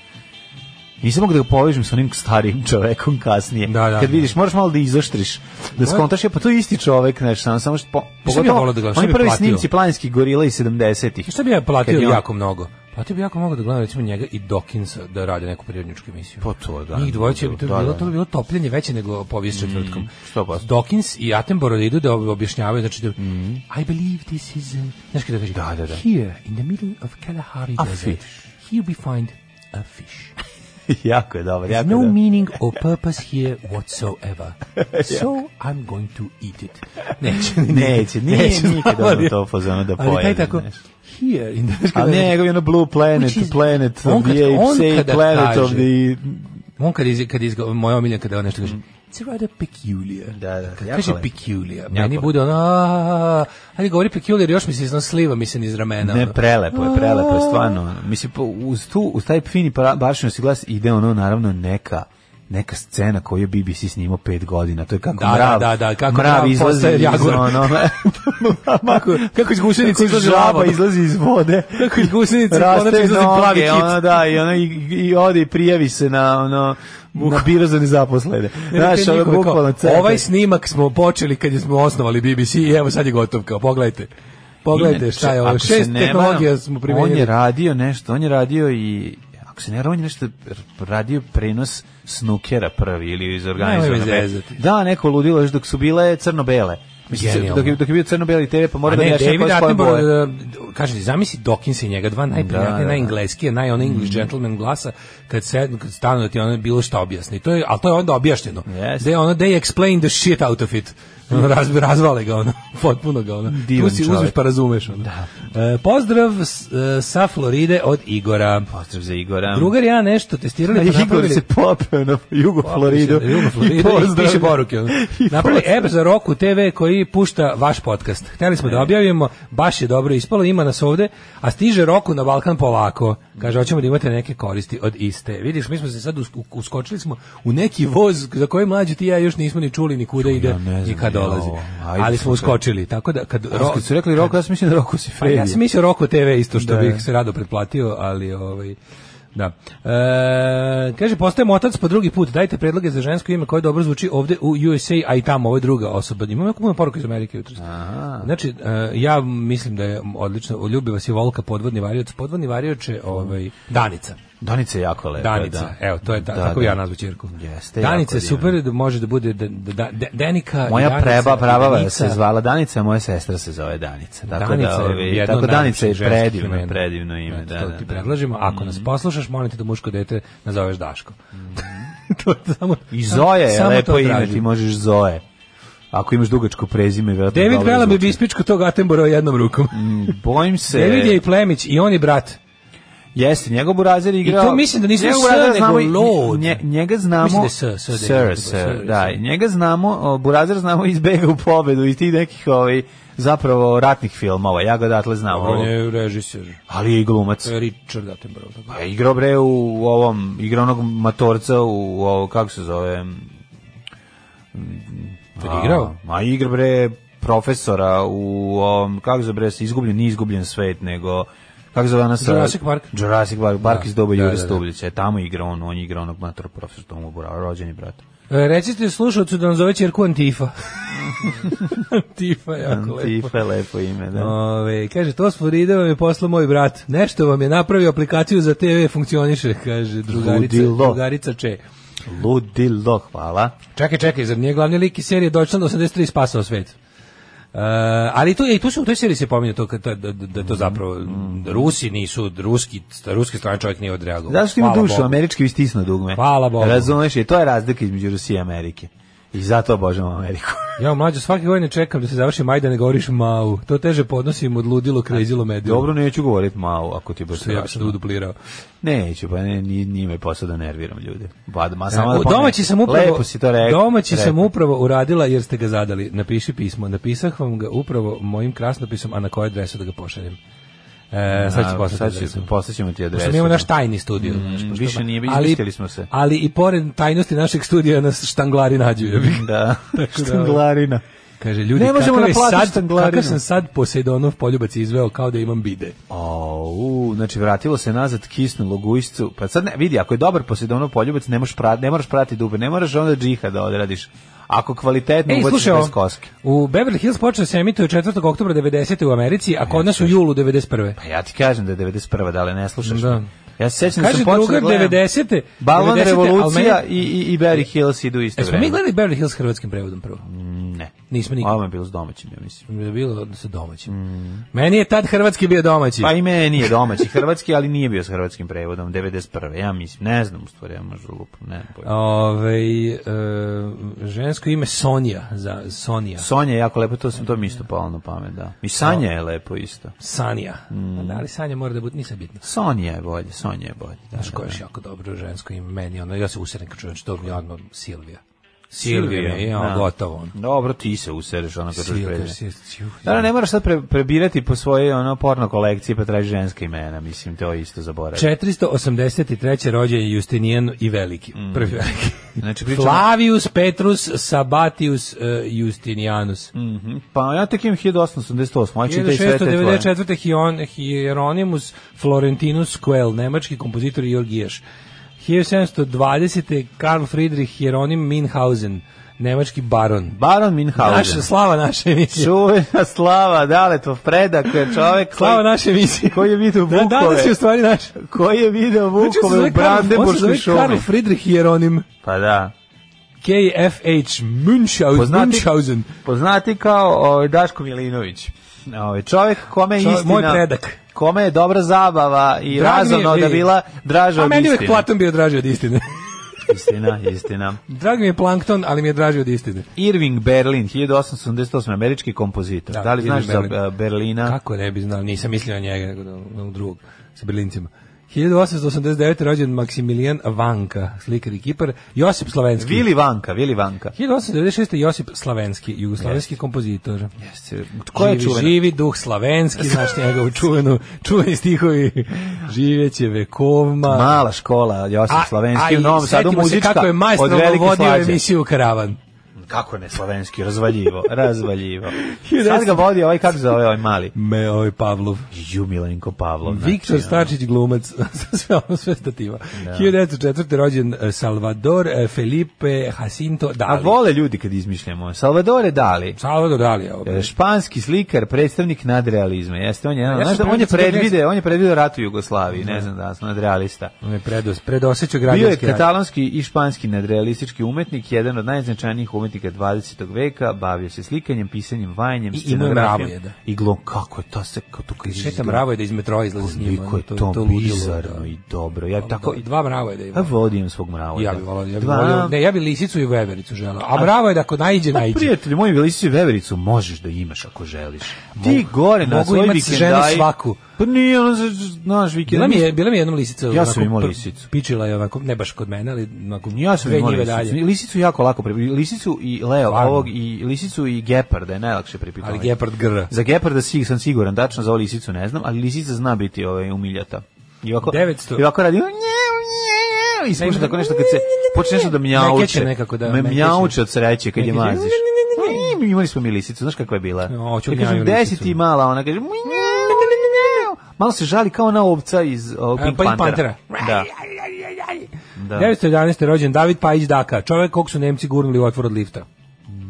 Nisam mogu da ga povežem sa onim starim čovekom kasnije. Da, da, Kad da. vidiš, moraš malo da izoštriš, da skontaš, je, pa to je isti čovek, znaš, samo, samo što... Po, bi ja volao da gledam? Šta oni bi prvi platio? snimci planinskih gorila iz 70-ih. Šta bi ja platio Kad je on- jako mnogo? Platio bi jako mnogo da gledam recimo njega i Dokinsa da rade neku prirodničku emisiju. Pa to, da. Njih dvojica bi to, Da, bilo, da. Mm, to bi bilo topljenje veće nego povijest četvrtkom. 100%. Dawkins i Attenborough da idu da ob- objašnjavaju, znači da I believe this is, uh, znaš kada kaže, Mm. Da, da, da. here in the middle of Kalahari A desert, fish. here we find a fish. [LAUGHS] jako je dobar, There's jako no je dobar. meaning or purpose here [LAUGHS] whatsoever. So I'm going to eat it. Neće, [LAUGHS] Neće, nije nikad ono ali- to fazonu da Ali Pa taj pojede, tako, znaš. here in the... A ne, nego je ono Blue Planet, Which is- Planet On of kad- the Apes, on Ape kada Planet kaže- of the... On kad iz, kad iz, moja omilja kada on nešto kaže, Mm. it's rather peculiar. Da, da, Kad jako kaže lepo. peculiar, Jako meni lepo. bude ono, "Aaaa", ajde govori peculiar, još mi se iznos sliva, mi se niz ramena. Ne, pa- ono. prelepo je, prelepo je, stvarno. Mislim, po- uz, tu, uz taj fini pra- bašnosti glas ide ono, naravno, neka neka scena koju je BBC snimao pet godina. To je kako Da, da, mrav, da, da, kako mrav mrav izlazi postaje iz jaguar. ono... [LAUGHS] kako, kako iz gusenice izlazi žaba lava. izlazi iz vode. Kako iz gusenice Raste konačno izlazi noge, plavi kit. Ono, da, i, ono, i, i ode i prijavi se na, ono, na biro za nezaposlene. Ne, ne, Znaš, to je ono, njihovo kao, bukvalno centar. Ovaj snimak smo počeli kad smo osnovali BBC i evo sad je gotov, kao, pogledajte. Pogledajte Inače, šta je ovo, ako se šest ne tehnologija varam, smo On je primenili. radio nešto, on je radio i ako se ne varam, on je nešto radio prenos snukera prvi ili iz organizovanog. Nemoj me zezati. Da, neko ludilo još dok su bile crno-bele. Mislim, Genijalno. dok, je, dok je bio crno-beli TV, pa mora A da ne, rešava David koje svoje Attenborough, boje. da, kažem ti, zamisli Dawkins i njega, dva najprijatnije, Da, Mhm. da. najengleskije, naj onaj English gentleman glasa, kad, se, kad stanu da ti ono bilo šta objasni. To je, ali to je onda objašnjeno. Jeste. Mhm. Yes. je ono, they explain the shit out of it. Ono, Raz, razvale ga ono, [LAUGHS] potpuno ga ono. Divan tu si čovek. uzmeš pa razumeš ono. E, pozdrav s- e, sa Floride od Igora. Pozdrav za Igora. Drugar i ja nešto testirali A pa Igor napravili- se popeo na jugo Pa, Floridu. Jugo Floridu i pozdrav. piše poruke. ono. [LAUGHS] I Napravili pozdrav. app za Roku TV koji pušta vaš podcast. Hteli E. smo da objavimo, baš je dobro ispalo, ima nas ovde, a stiže Roku na Balkan polako. Kaže, hoćemo da imate neke koristi od iste. Vidiš, mi smo se sad usk- uskočili smo u neki voz za koji mlađi ti i ja još nismo ni čuli ni kuda ide ne znam, ni kad jao, dolazi. ajde, Ali smo super. uskočili, tako da kad Ro- Kad su rekli Roko, ja sam mislim da Roko si E, pa Fredi. ja sam mislio Roko TV isto što Da. bih se rado pretplatio, ali ovaj Da. E, kaže, postajem otac po drugi put. Dajte predloge za žensko ime koje dobro zvuči ovde u USA, a i tamo, ovo je druga osoba. Imam jako puno poruka iz Amerike jutros. Znači, e, ja mislim da je odlično. Ljubi vas je Volka, podvodni varioc. Podvodni varioc je ovaj, Danica. Danica E, je jako lepa. Danica, da. evo, to je ta, Da, tako da. ja nazvu ćerku. Jeste, jako Danica je divno. super, da može da bude da, da, da- Denika, Moja Pa Danica, preba prava Danica. se zvala Danica, a moja sestra se zove Danica. Tako Danica da, je ove, jedno tako od Danica je najlepših ženskih predivno, imena. predivno ime, da, to da, Mhm. ti da. predlažemo, ako nas poslušaš, molim te da muško dete nazoveš Daško. [LAUGHS] to je samo, Mhm. I Zoja je samo to lepo ime, tražim. ti možeš Zoe. Ako imaš dugačko prezime, verovatno David dobro Vela bi zvuči. bispičko tog Attenborough jednom rukom. Bojim se. David je i plemić i on je brat. Jeste, njegov burazer je igrao. to mislim da nismo njegov Sir, burazer nego znamo i- Lord. nje- njega znamo. Mislim da je Sir, Sir David. Sir, Sir, da. Sir. Njega znamo, o, burazer znamo iz Bega u pobedu i tih nekih ovaj zapravo ratnih filmova. Ja ga odatle znam. On ovo. je režiser. Ali je i glumac. Richard Attenborough. tako. Pa igrao bre u ovom, igrao onog matorca u, ovo, kako se zove? Je li igrao? Ma igra bre profesora u ovom, kako se zove bre, se izgubljen, nije izgubljen svet, nego kako se zove ona sa- Jurassic Park. Jurassic Park, Park Da, iz doba da, Jure da, da. Stublića. E, Tamo igra on, on igra onog mator profesor Tomu Bura, rođeni brat. E, Recite slušalcu da nam zove čerku [LAUGHS] Antifa. Antifa je jako lepo. Tifa je lepo ime, da. Ove, kaže, to s Floride vam je poslao moj brat. Nešto vam je napravio aplikaciju za TV, funkcioniše, kaže drugarica, Ludilo. drugarica Če. Ludilo, hvala. Čekaj, čekaj, zar nije glavni lik iz serije Deutschland 83 spasao svet? E, ali to je i tu se u toj seriji se pominje to kad- da, da, da Mm. to zapravo Rusi nisu ruski ruski strani čovjek nije odreagovao. Zato što ima Hvala dušu, Bogu. američki vi stisnu dugme. Hvala Bogu. Razumeš, i to je razlika između Rusije i Amerike. I zato obožavam [LAUGHS] Ameriku. Ja mlađo svake godine čekam da se završi Majdan, ne govoriš mau. To teže podnosim od ludilo krezilo medijom. Dobro, neću govorit malo, ako ti je baš ja bi se strašno. duplirao. Neću, pa ne, nije, nije me posao da nerviram ljude. Ba, ma, Pa samo Samo da pomenem. E, domaći sam upravo Lepo si to rekao. Domaći sam upravo uradila jer ste ga zadali. Napiši pismo. Napisah vam ga upravo mojim krasnopisom, a na koju adresu da ga pošaljem. E, sad ću poslati Sad adresu. ću, poslaćemo ti adresu. Mm, Pošto mi imamo naš tajni studio. znaš, pošto- više nije, ali- izmislili smo se. Ali i pored tajnosti našeg studija nas štanglari nađu. jebi ga. [LAUGHS] Da, [LAUGHS] Tako da, štanglarina. Kaže, ljudi, Ne možemo kakav, je naplatiti sad, štanglarinu. kakav sam sad Poseidonov poljubac izveo kao da imam bide. Au, znači vratilo se nazad kisnulo gujscu. Pa sad ne, vidi, ako je dobar posedovno poljubac, ne možeš pra, ne moraš prati dube, ne moraš onda džiha da odradiš. Ako kvalitetno Ej, ubaciš slušaj, bez ovo. koske. u Beverly Hills počeo se emituje 4. oktobra 90. u Americi, a kod nas u julu 91. Pa ja ti kažem da je 91. da li ne slušaš Da. me? Ja se sećam da Kaže sam počeo da drugar gledam. 90. Balvan 90., revolucija ali meni- i, i, i Barry Hills idu isto Jesmo mi vreme. gledali Beverly Hills hrvatskim prevodom prvo? Ne. Nismo nikad. Ovo je bilo s domaćim, ja mislim. Je bilo da se domaćim. Meni je tad hrvatski bio domaći. Mm. Pa i meni je [LAUGHS] domaći hrvatski, ali nije bio s hrvatskim prevodom, 91. Ja mislim, ne znam u stvari, ja možda lupam, ne znam. pojma. Ovaj, e, žensko ime Sonja, za Sonija. Sonja je jako lepo, to sam to mi isto palo na pamet, da. I Sanja je lepo isto. Sanija. Mm. Da li Sanja mora da bude, nisam bitno. Sonja je bolje, Sonja je bolje. Da, Znaš da, koje je jako dobro žensko ime meni, ono, ja se usirim kad čujem, što mi je odmah Silvija. Silvija, Silvija je, da. ono, gotovo, ono. Dobro, ti se usereš ono kad Silvija, prezime. Silvija, Silvija. Da, ne moraš sad pre, prebirati po svojoj ono porno kolekciji pa traži ženska imena, mislim, to isto zaboravi. 483. rođen je Justinijan i veliki, Mm. prvi veliki. Znači, pričamo- Flavius Petrus Sabatius e, Justinianus. Mhm, Pa ja tek imam 1888, a čitaj sve Znači, te tvoje. 1694. Hion- Hieronymus Florentinus Quell, nemački kompozitor i orgijaš. 1720. Karl Friedrich Hieronym Minhausen, nemački baron. Baron Naš, Minhausen. slava naše emisije. [LAUGHS] Čuvena slava, Daletov predak, koji je čovjek Slava koji, naše emisije. koji je video Da, vukove, danas je u stvari naš. koji je video Znači, on se vukove zove u Karl- on se Brandenburgskoj zove Karl šumi. Friedrich Hieronym Pa da. KFH Münchau- Poznati, Münchhausen. poznati kao ovaj, Daško Milinović. Ovaj, čovjek kome je Čovjek- istina... moj predak. Kome je dobra zabava i Drag mi je, razumno da vidi. bila draža A od meni je uvijek istine. Platon bio draži od istine. Istina, istina. Drag mi je Plankton, ali mi je draži od istine. Irving Berlin, 1878, američki kompozitor. Da, Da, li znaš Irving za Berlin. e, Berlina? Kako ne bi znao, nisam mislio na njega, nego na onog drugog, sa Berlincima. 1889. rođen Maksimilijan Vanka, slikar i kipar, Josip Slavenski. Vili Vanka, Vili Vanka. 1896. Josip Slavenski, jugoslovenski kompozitor. Jeste. Ko je živi, čuvena? živi duh [LAUGHS] Slavenski, znaš njega u čuvenu, čuveni stihovi, živjeće vekovma. Mala škola, Josip Slavenski u Novom Sadu setimo se muzička kako je od majstorno velike vodio slađe. emisiju Karavan. Kako ne Slavenski, razvaljivo, [LAUGHS] razvaljivo. Sad ga vodi ovaj, kako se zove ovaj mali? Me, ovaj Pavlov. Ju Milenko Pavlov. znači, Viktor ono. Stačić glumac, [LAUGHS] sve ono sve stativa. 1904. rođen eh, Salvador eh, Felipe Jacinto A Dali. vole ljudi kad izmišljamo. Salvadore Dali. Salvador ovaj. Dali, evo. e, Španski slikar, predstavnik nadrealizma. Jeste, on je, jedan- Ja sam znaš da, on je primijetio predvide, on je predvideo rat u Jugoslaviji, ne znam da sam nadrealista. On Ono je predos, predosećao Bio je građanski rat. katalonski i španski nadrealistički umetnik, jedan od najznačajnijih umetnika 20. veka, bavio se slikanjem, pisanjem, vajanjem, I imao je scenografijom. mravoje, da. I glom, kako je to se, kako to kaže. Šeta mravo je da iz metroa izlazi s njima. Koliko je to, to, to ludilo, bizarno da. i dobro. Ja bi tako, Da, dva mravo je da ja ima. vodim svog mrava. Ja bih volao, ja bih Dva- volao, ne, ja bih lisicu i vevericu želeo. A bravo je da ako najđe, Pa, najđe. prijatelji moji, bili si vevericu, možeš da imaš ako želiš. Ti gore na mogu svoj imat vikendaj. ženu svaku. Pa nije ono za za- naš vikend. Bila mi je, bila mi je jednom lisica. Ja sam onako imao pr- lisicu. Pičila je onako, ne baš kod mene, ali onako Ja sam dve imao njive lisicu. dalje. Lisicu jako lako prepitati. Lisicu i leo Stvarno? ovog i lisicu i geparda je najlakše prepitati. Ali gepard grra. Za geparda si, sam siguran, tačno za ovu lisicu ne znam, ali lisica zna biti ovaj, umiljata. I ovako, 900. I ovako radi... "Nje, nje", I spušta tako nešto kad se počne nešto da mjauče. Mekeće nekako, da, Me mekeće. mjauče od sreće kad je Mekeće. maziš. Mm, Imali smo mi lisicu, znaš kakva je bila? O, ću Ja kažem, gnjavio "Gde si lisicu." ti mala? Ona kaže... "Mjau, mjau." Malo se žali kao ona ovca iz o, Pink, Pa Pink Panthera. Panthera. Da. Da. 911. rođen David Pajić Daka, čovjek kog su Nemci gurnuli u otvor od lifta.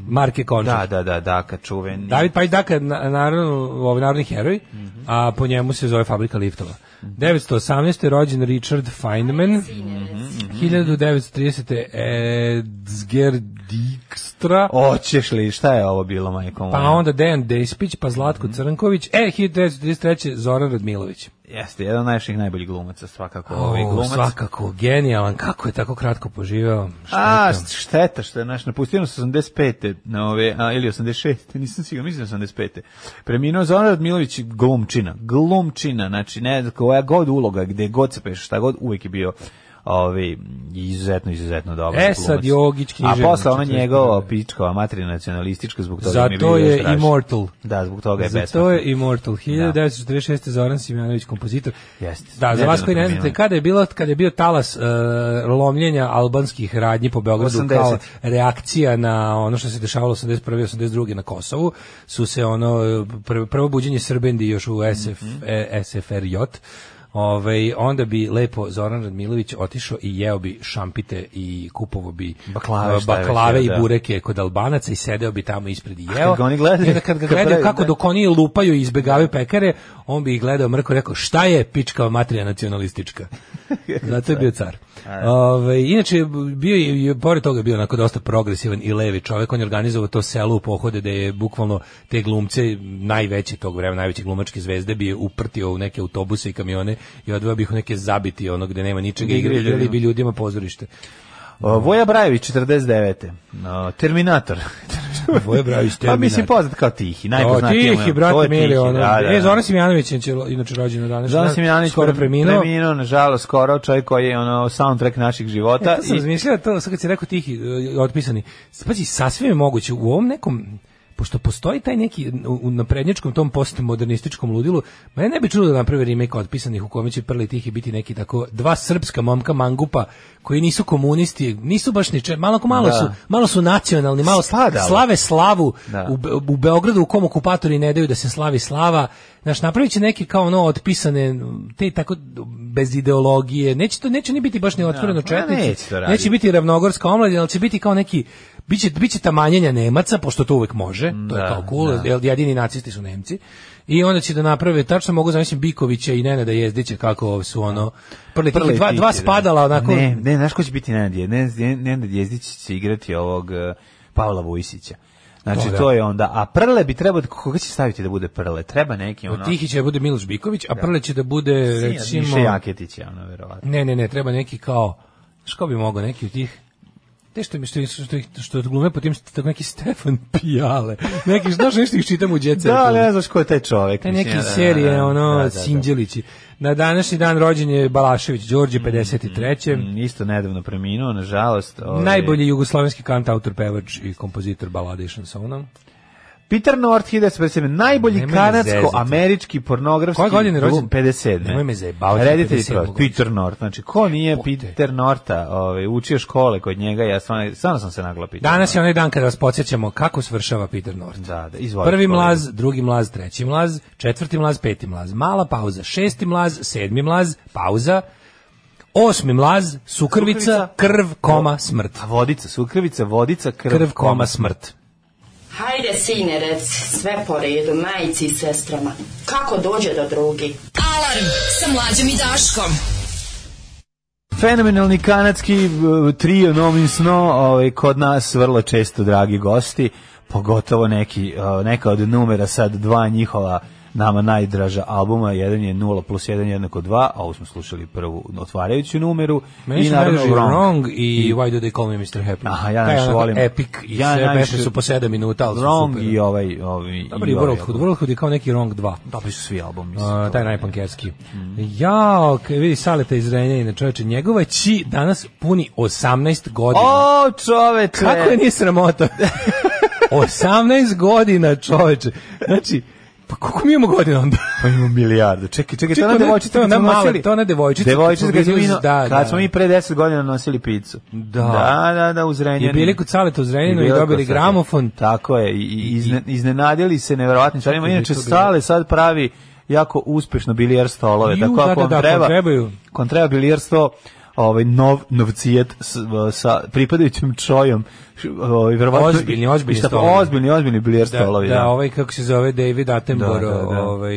Marke Končar. Da, da, da, da, kad čuveni. David Pajić Daka je na- naravno ovaj narodni heroj, Mhm. a po njemu se zove fabrika liftova. 918. rođen Richard Feynman. Mhm, 1930. Edsger Dijkstra. Oćeš li, šta je ovo bilo, majko Pa moja? Mhm. onda Dejan Despić, pa Zlatko Crnković. E, 1933. Zoran Radmilović. Jeste, jedan od najviših najboljih glumaca, svakako. ovaj O, glumac. svakako, genijalan. Kako je tako kratko poživeo? A, Šteta. šteta što je naš napustio nas 85. Na ove, a, ili 86. [LAUGHS] Nisam siguran, mislim da je 85. Preminuo Zoran Radmilović glumčina. Glumčina, znači ne, koja god uloga, gde god se peše, šta god, uvijek je bio Ovi, izuzetno, izuzetno dobro. E sad Jogić književnik. A posle ona njegova pičkova materina nacionalistička zbog toga mi je Zato bilo još je draže. Immortal. Da, zbog toga je Zato je Immortal 1946. Zoran Simjanović kompozitor. Jeste. Da, za Nedavno vas koji ne znate preminuli. kada je bilo kada je bio talas e, lomljenja albanskih radnji po Beogradu 80. kao reakcija na ono što se dešavalo 81. 82. na Kosovu, su se ono pr- prvo buđenje Srbendi još u SF Mhm. e, SFRJ. Ovaj onda bi lepo Zoran Radmilović otišao i jeo bi šampite i kupovo bi Baklave, e, šta je već baklave jeo, i da. bureke kod Albanaca i sedeo bi tamo ispred i kad jeo. ga oni gledaju, I onda kad ga kad gledaju pravi, kako da. dok oni lupaju i izbegavaju pekare, on bi ih gledao mrko i rekao šta je pička materija [LAUGHS] nacionalistička. Zato je bio car. Ove, inače, bio je, je- pored toga je bio onako dosta progresivan i levi čovjek, on je organizovao to selo u pohode da je bukvalno te glumce najveće tog vremena, najveće glumačke zvezde bi je uprtio u neke autobuse i kamione i odveo bi ih u neke zabiti ono gde nema ničega Igrali igre, igrali ljudima. bi ljudima pozorište. O, Voja Brajević, 49. O, Terminator. [LAUGHS] Voje Brajević, Pa mislim Terminator. poznat kao Tihi, najpoznatiji. O, mu je- tihi, brate, to je mili, Tihi, ono. da, da, E, da. Zoran Simjanović je inče- inače rođen danas. Zoran Simjanović skoro pre- preminuo. Preminuo, nažalost, skoro čovjek koji je ono soundtrack naših života. E, to sam razmišljao, to sad kad si rekao tihi, e, otpisani. Pazi, sasvim je moguće u ovom nekom pošto postoji taj neki u- u naprednjačkom tom postmodernističkom ludilu, mene ne bi čudo da naprave remake otpisanih u kome će prli tihi biti neki tako dva srpska momka mangupa koji nisu komunisti, nisu baš ni če, malo, malo Da. su, malo su nacionalni, malo Spadalo. slave slavu Da. u, Be- u Beogradu u kom okupatori ne daju da se slavi slava. Znaš, napravit će neke kao ono otpisane, te tako bez ideologije. Neće to, neće ni biti baš ni otvoreno ma četnici. neće to raditi. neće biti ravnogorska omladina, ali će biti kao neki biće biće tamanjenja Nemaca, pošto to uvek može, to je Da, kao cool, jer jedini nacisti su Nemci. I onda će da naprave, tačno mogu zamisliti Bikovića i Nenada Jezdića kako su ono, prli, tih Prle dva, Tihi, dva da. spadala onako, Ne, ne, znaš ko će biti Nenad Je- Nenad Je- Nenad Jezdić će igrati ovog eh, Pavla Vujsića. Znači, To da. to je onda. A Prle bi trebao, koga će staviti da bude Prle? Treba neki, ono... od Pa Tihi će da bude Miloš Biković, a Prle će da bude, Sina, recimo... Miše Jaketić je, ono, verovatno. Ne, ne, ne, treba neki kao što bi mogao neki od tih te što mi što što što, što glume po tim tako neki Stefan Pijale. Neki znaš nešto ih čitam u djece. Da, ali ne znaš ko je taj čovjek. Te mislim, neki da, da, da, serije, da, ono, da, da, da. Sinđelići. Na današnji dan rođen je Balašević, Đorđe, 53. Mm, Isto nedavno preminuo, nažalost. ovaj. Najbolji jugoslovenski kant, autor, pevač i kompozitor balade i šansona. Peter North, 1957. Najbolji Nemoj me kanadsko-američki pornografski Koje godine je glum- rođen? 57. Nemoj me zajebavati, Reditelj 57. i pro- Peter North. Znači, ko nije Jebote. Peter Norta ovaj, učio škole kod njega, ja stvarno, stvarno sam se nagla Peter Danas je onaj dan kada vas podsjećamo kako svršava Peter North. Da, da, izvoli, Prvi kolega. mlaz, drugi mlaz, treći mlaz, četvrti mlaz, peti mlaz, mala pauza, šesti mlaz, sedmi mlaz, pauza, osmi mlaz, sukrvica, Sukrvica. krv, koma, smrt. A vodica, sukrvica, vodica, krv, Krv, koma, smrt. Hajde, sine, rec, sve po redu, majici i sestrama. Kako dođe do drugi? Alarm sa mlađom i Daškom. Fenomenalni kanadski eh, trio Nomin Sno, ovaj, kod nas vrlo često dragi gosti, pogotovo neki, eh, neka od numera sad dva njihova nama najdraža albuma, jedan je 0 plus 1 jednako 2, a ovo smo slušali prvu otvarajuću numeru Meni i su naravno najdraži Wrong. wrong i Why do they call me Mr. Happy? Aha, ja Taj najviše onako volim. Epic i Ja sve najviše- pesme su po 7 minuta, ali su Wrong super. i ovaj... ovaj Dobar i je ovaj Worldhood. album. Worldhood je kao neki Wrong 2. Dobri su svi album, mislim. A, taj najpankerski. Mhm. Jao, kaj vidi Saleta iz Renjanina, čoveče, njegova ći danas puni 18 godina. O, čoveče! Kako je nije [LAUGHS] sramota? 18 godina, čoveče. Znači, pa koliko mi imamo godina [LAUGHS] onda? Pa imamo milijardu. Čekaj, Čekaj, čekaj, to je ona- ona devojčica to je kad ona smo mala- nosili. to je ona devojčica kad Devojčica smo kad smo bili mi, uz- da, kad da. smo mi pre 10 godina nosili picu. Da. Da, da, da, uz Renjanin. I bili kod Saleta uz Renjaninu I i bilo dobili kod Saleta. gramofon. Tako je, i, i izne, iznenadili se neverovatnim stvarima. Kako je Inače, to bilo? Sale sad pravi jako uspešno bilijar stolove. Ju, tako da, ako da, vam da, ako vam treba, trebaju. ako vam treba bilijar sto, ovaj nov novcijet s, sa pripadajućim čojom š- ovaj verovatno Ozbiljni, ozbiljni i šta- stolovi. ozbiljni ozbiljni bilijar Da, stolovi da, ovaj kako se zove David Attenborough, Da, da, da. ovaj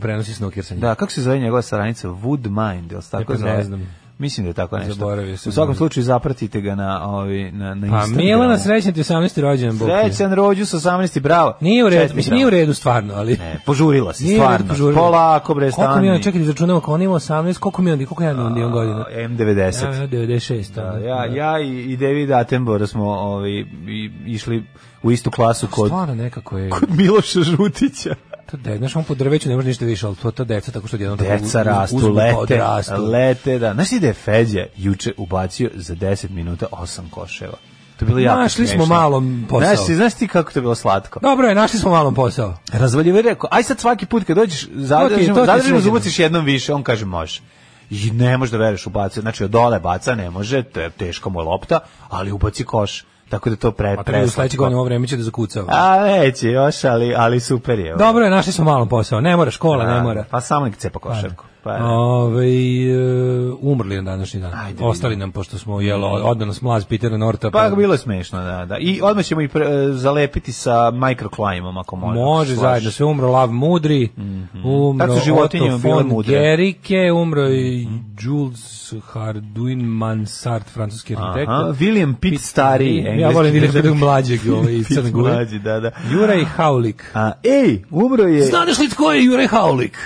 prenosi snooker sa njim. Da, kako se zove njegova saranica? Woodmind, je li se tako Ne zove? znam. Mislim da je tako nešto. Zaboravio sam. U svakom slučaju zapratite ga na, ovi, na, na Pa Instagramu. Milana srećan ti 18. rođendan, Bog. ti. Srećan rođu sa 18. Bravo. Nije u redu, Čestitam. mislim nije u redu stvarno, ali Ne, požurila [LAUGHS] si, Nije u redu, stvarno. požurila. Polako, bre, Koliko mi stani. on, čekaj, da izračunamo, ako on ima 18, koliko mi on, koliko ja imam imam godina? Ja, M90. ja, 96. Da, ono. ja, ja i, i David Attenborough smo ovi, i, išli u istu klasu kod, Stvarno nekako je... kod Miloša Žutića. To da, znaš, on po drveću ne može ništa više, ali to to deca tako pa što jedno Deca rastu, lete, lete, da. Znaš ti da je Feđa juče ubacio za 10 minuta 8 koševa? To je bilo jako Našli smo smešno. malom posao. Znaš, ti- znaš ti kako to je bilo slatko? Dobro je, našli smo malom posao. Razvaljivo je rekao, aj sad svaki put kad dođeš, To zadržimo, ti je zadržimo, sređeno. zubaciš jednom više, on kaže može. I ne može da veruješ ubacio, znači od dole baca ne može, to je teško mu je lopta, ali ubaci koš, tako da to pre, A kad je u sledećeg preslatko. godina ovo vreme će da zakucava. A neće još, ali, ali super je. Dobro je, našli smo malom posao. Ne mora, škola A, ne mora. Pa samo nek cepa košarku. Pa, da. Ove, e, umrli na današnji dan. Ostali nam, pošto smo, jelo, Mm. odmah nas mlaz Pitera Norta. Pa bilo je smešno, da, da. I odmah ćemo i pre, e, zalepiti sa microclimom, ako može. Može zajedno, sve umro Lav Mudri, umro Tako Mm. su Mhm. životinje Otto bile von mudre. Mhm. Gerike, umro i Jules Harduin Mansart, francuski arhitekt. Aha, William Pitt, stari, engleski. Ja volim William Pitt književnik. mlađeg ovaj, iz [LAUGHS] Pitt Crne Gore. Mlađi, da, da. Juraj Haulik. A, ej, umro je... Znaš li tko je Juraj Haulik?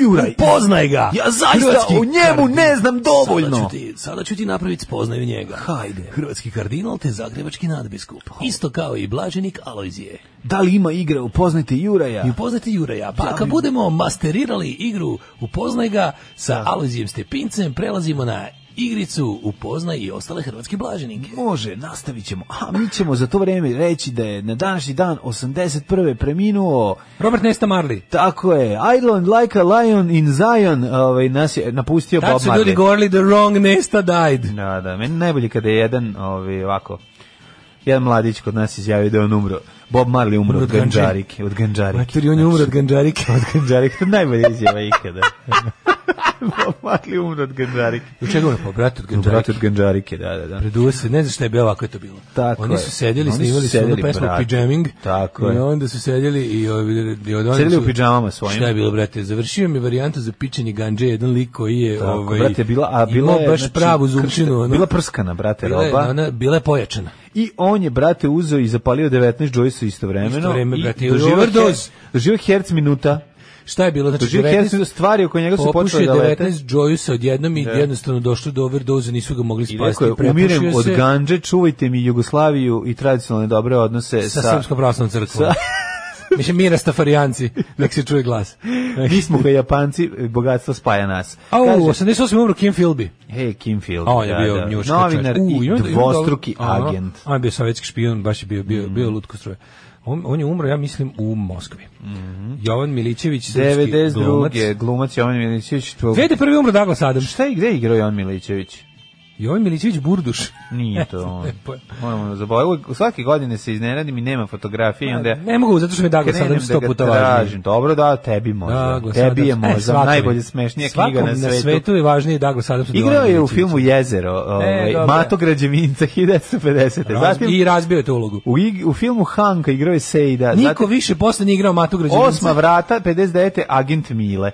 Juraj. Poznaj ga. Ja zaista o njemu ne znam dovoljno. Sada ću ti, sada ću ti napraviti spoznaju njega. Hajde. Hrvatski kardinal te zagrebački nadbiskup. Isto kao i blaženik Alojzije. Da li ima igre, upoznajte Juraja. I upoznati Juraja. Pa kad budemo masterirali igru Upoznaj ga sa Alojzijem Stepincem, prelazimo na igricu Upoznaj i ostale hrvatske blaženike. Može, nastavit ćemo. A mi ćemo za to vreme reći da je na današnji dan 81. preminuo Robert Nesta Marley. Tako je, Island like a lion in Zion ovaj, nas je napustio Tad Bob su Marley. ljudi govorili the wrong Nesta died. Da, da, meni najbolje kada je jedan, ovaj, ovako, jedan mladić kod nas izjavio da je on umro. Bob Marley umro Umro od od ganđe. ganđarike. Od ganđarike. Maturi, on je umro od ganđarike. znači, Od [LAUGHS] ganđarike, to je najbolja izjava ikada. [LAUGHS] Bob Marley umro od ganđarike. U čega ono, pa, brate od Brat ganđarike. od ganđarike, da, da, da. Preduo se, ne znaš šta je bilo, ovako je to bilo. Tako oni je. su sedjeli, Oni su snimali su sedjeli, onu pesmu brate. Pyjaming. Tako I je. onda su sedjeli i, ovi- i od onda Sedjeli su- u pidžamama svojim. Šta je bilo, brate? Završio mi varijantu za pičenje ganđe, jedan lik koji je... Tako, ovaj, brate, bila, a bila imao je, baš znači, pravu kršta- zumčinu. ono. Bila prskana, brate, Bila je, roba. ona, bila je pojačana. I on je, brate, uzeo i zapalio 19 Joyce istovremeno. Isto vreme, brate, i doživio overdose. her- Doživio herc minuta. Šta je bilo? Znači, Doživio herc 19 minuta. Stvari oko njega su Popušio počele je da lete. 19 Joyce odjednom i jednostavno došlo do overdoze, nisu ga mogli I spasiti. rekao je, umirem Prepušio od Pa se ganđe, čuvajte mi Jugoslaviju i tradicionalne dobre odnose sa, sa... Srpskom pravoslavnom crkvom. Mislim, mi rastafarijanci, nek se čuje [LAUGHS] glas. [LAUGHS] Mi smo ga Japanci, bogatstvo spaja nas. A u Kaže, Pa 88. umro Kim Philby. Hej, Kim Field. A on je bio njuška Novinar čovjek. U, i onda- dvostruki onda- aha, agent. Mm. On je bio sovjetski špijun, baš je bio, bio, bio lutko stroje. On, on je umro, ja mislim, u Moskvi. Mhm. Jovan Milićević, srpski glumac. 92. Glumac Jovan Milićević. tvoj- 2001. umro Douglas Adams. Šta je, gde je igrao Jovan Milićević? Jovan Milićević Burduš. Nije to on. nemam pojma. Moramo zaboraviti. Svake godine se iznenadim i nema fotografije. i Onda Ne mogu, zato što mi je Douglas krenem Adams sto da ga puta važniji. tražim. Dobro da, tebi možda. Douglas tebi je Adams. E, možda svakom najbolje je. smešnija Svakom knjiga na na svetu. svetu je važniji Douglas Adams. od Igrao Jovana je u Milićevića. filmu Jezero, ovaj, E, dobro. Mato [LAUGHS] Građevinca 1950. Raz- I Zatim razbio je tu ulogu. u, ig- u filmu Hanka igrao je Sejda. Niko zatim više posle nije igrao Matu Građevinca. Osma vrata, 59. Agent Mile.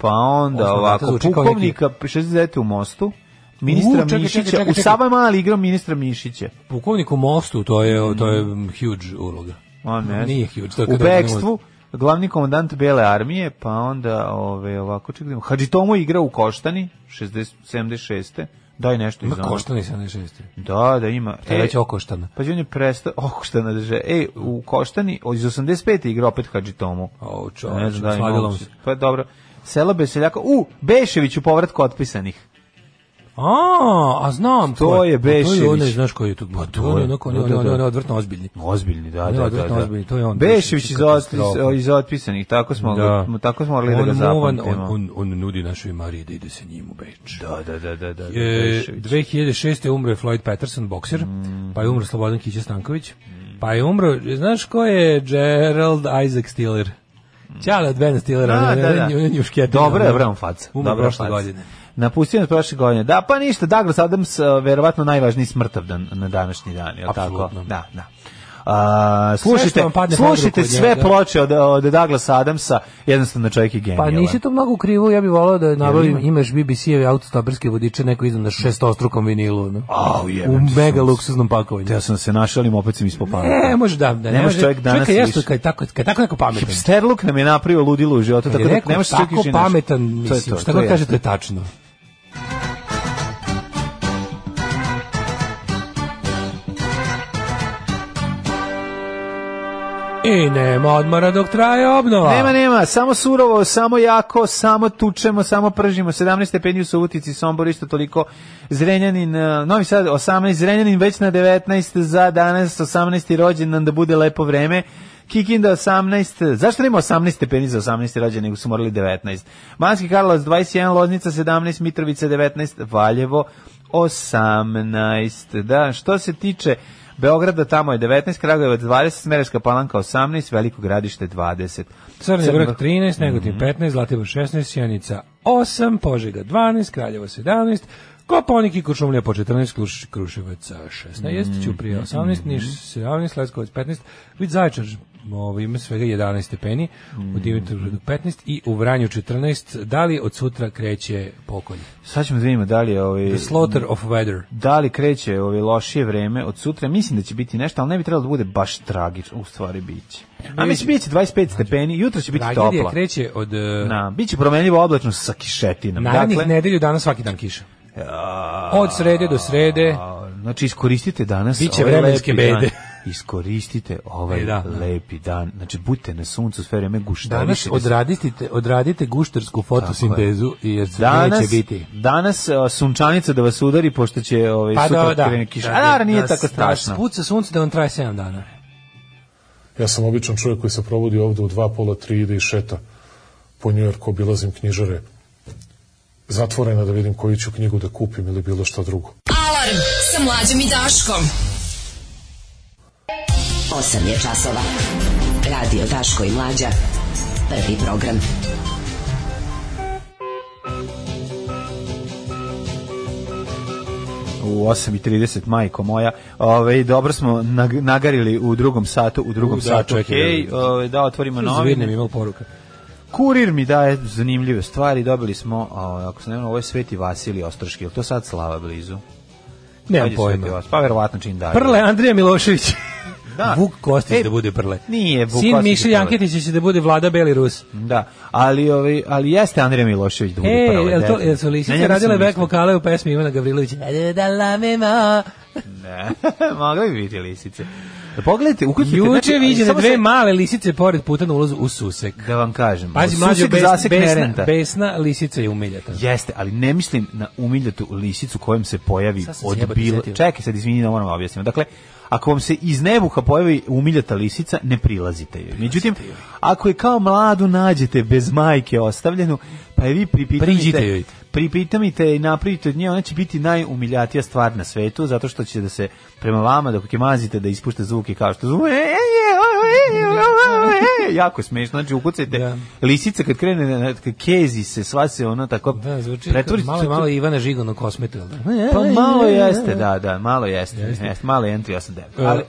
Pa onda Osma vrata ovako, zvuči kao neki- pukovnika, 69. u Mostu. Ministra U, čekaj, Mišića, čekaj, čekaj, u čekaj. Sava Mali igrao ministra Mišića. Pukovnik u Mostu, to je, to je mm, huge uloga. A Mhm. ne. Nije huge. To je u kad radimo- bekstvu, glavni komandant Bele armije, pa onda ove, ovako, čekaj, da imamo. Hadži Tomo igra u Koštani, 60, 76. Daj nešto iz Ma onog. koštani 76. Da, da ima. To je E, već okoštana. Pa on je [LAUGHS] prestao, okoštana da že. E, u Koštani, o, iz 85. igra opet Hadži Tomu. O, Ne čovječ, znam da li slavilo mogu mu se- se. Pa dobro. Sela Beseljaka, u, Bešević u povratku otpisanih. A, a znam To ko je To je Bešević. onaj, znaš koji je tu. Pa to to je, je onako, on da, je da, da. on je odvrtno ozbiljni. Ozbiljni, da, Ne, da, da. odvratno da. ozbiljni, to je on, Bešević Bešević iz, je otpis, katastrofa. iz otpisanih, tako smo, Da. ga, tako smo morali da ga on, muvan, zapamtimo. on, on, on nudi našoj Mariji da ide sa njim u Beč. Da, da, da, da, da. E, 2006. je umro je Floyd Patterson, bokser, pa je umro Slobodan Kića Stanković, pa je umro, znaš ko je Gerald Isaac Stiller? Ćale od Bena Stillera, Da, on je- da, on da. je- on je njušketina, Dobro je, ono. vrem faca. Umro Dobra prošle faca. godine. Napustio nas prošle godine. Da, pa ništa, Douglas Adams, e, verovatno najvažniji smrtav dan na današnji dan, je li tako? Apsolutno. Da, da. A, što slušajte, vam padne pod ruku slušajte od sve njega. ploče od, od Douglas Adamsa, jednostavno čovjek je Pa genijalan. nisi to mnogo u krivu, ja bih volao da nabavim, imaš BBC-eve autostoperske vodiče, neko izdam na šestostrukom vinilu, no? Au, jebem u ti mega sunce. luksuznom pakovanju. Ja sam se našalim, opet sam ispopao. Ne, može da, da, Ne ne može može. čovjek danas Čovjeka jeste više. kad je tako, kad je tako neko pametan. Hipsterluk nam je napravio ludilo u životu, tako Kad je da neko ne možeš čovjek tako više ništa. pametan, To je mislim, to, šta to god je. kaže, to je tačno. I nema odmora dok traje obnova. Nema, nema, samo surovo, samo jako, samo tučemo, samo pržimo. 17 stepeni u Suvutici, Sombor isto toliko. Zrenjanin, eh, Novi Sad 18, Zrenjanin već na 19 za danas, 18. rođendan da bude lepo vreme. Kikinda 18, zašto nema 18 stepeni za 18. rođendan, nego su morali 19. Manski Karlovac 21, Loznica 17, Mitrovica 19, Valjevo 18. Da, što se tiče Beograda tamo je 19, Kragujevac 20, Smederska Palanka 18, Veliko Gradište 20. Crni Crni vrh Mhm. Vrh- 13, Negotin 15, Zlatibor 16, Sjenica 8, Požega 12, Kraljevo 17, Koponik i Kuršumlija po 14, Kruš, Kruševac 16, mm. Ćuprija 18, Niš 17, Leskovac 15, Vid Zajčar ovo, ima svega 11 stepeni, u Dimitrovgradu 15 i u Vranju 14. Da li od sutra kreće pokolj? Sad ćemo da vidimo da li je ovi... The slaughter of weather. Da li kreće ovi lošije vreme od sutra? Mislim da će biti nešto, ali ne bi trebalo da bude baš tragično. U stvari biće. A mislim biće 25 stepeni, jutro će biti Tragedija toplo. kreće od... e, Na, biće promenljivo oblačno sa kišetinom. Narednih Dakle, nedelju dana svaki dan kiša. Od srede do srede. znači iskoristite danas Biće ovaj vremenske lepi dan. bede. Iskoristite ovaj E, da, da. lepi dan. Znači, budite na suncu sve vreme guštarišite. Danas se. odradite, odradite guštarsku fotosintezu i jer se neće Danas, biti. danas a, sunčanica da vas udari pošto će ovaj, Pa sutra da, krene kiša. A, naravno, nije tako strašno. Da spuca sunce da on traje 7 dana. Ja sam običan čovjek koji se provodi ovde u dva, pola, tri, ide i šeta po Njujorku, obilazim knjižare zatvorena da vidim koju ću knjigu da kupim ili bilo šta drugo. Alarm sa mlađom i Daškom. 8 je časova. Radio Daško i Mlađa. Prvi program. u 8.30, majko moja. Ove, dobro smo nag- nagarili u drugom satu, u drugom U, da, satu. čekaj, Hej, da. ove, da otvorimo Zvirnem Pa novine. imao poruka. Kurir mi daje zanimljive stvari. Dobili smo, ove, ako se ne vrlo, ovo je Sveti Vasilij Ostroški. Je li to sad slava blizu? Nemam Kad je Sveti pojma. Vas- Pa verovatno čim dalje. Prle Andrija Milošević. Da. Vuk Kostić E, da bude Prle. Nije Vuk Sin Kostić Miše je Prle. Janketić će da bude Vlada Beli Rus. Da, ali, ove, ali jeste Andrija Milošević da bude E, prva, jel to, definitivno. jel su Na lisice njega radile sam back mislio. vokale u pesmi Ivana Gavrilovića? Da la me ma. Ne, [LAUGHS] mogli bi biti lisice. Pogledajte, ukucajte. znači, [LAUGHS] Juče viđene samo se- dve male lisice pored puta na ulazu u susek. Da vam kažem. Pazi, u mlađo, susek besna, zasek ne besna, renta. besna lisica je umiljata. Jeste, ali ne mislim na umiljatu lisicu kojom se pojavi Sad sam se od jebote bilo... setio. Čekaj, sad izvini, da moram objasniti. Dakle, ako vam se iz nebuha pojavi umiljata lisica, ne prilazite joj. Međutim, ako je kao mladu nađete bez majke ostavljenu, pa je vi Priđite pripitamite... joj. Pripitamite i napravite od nje, ona će biti najumiljatija stvar na svetu, zato što će da se prema vama, dok je mazite, da ispušta zvuke kao što E, zvuke... e, Jako je smešno, znači ukucajte Da. lisice kad krene, na- na- kad kezi se, sva se ono tako Da, zvuči Pretvori- malo, malo E, Ivana Žigon u kosmetu, jel da? Pa malo jeste, da, da, malo jeste. jeste malo je entry 89. Ali, Ali,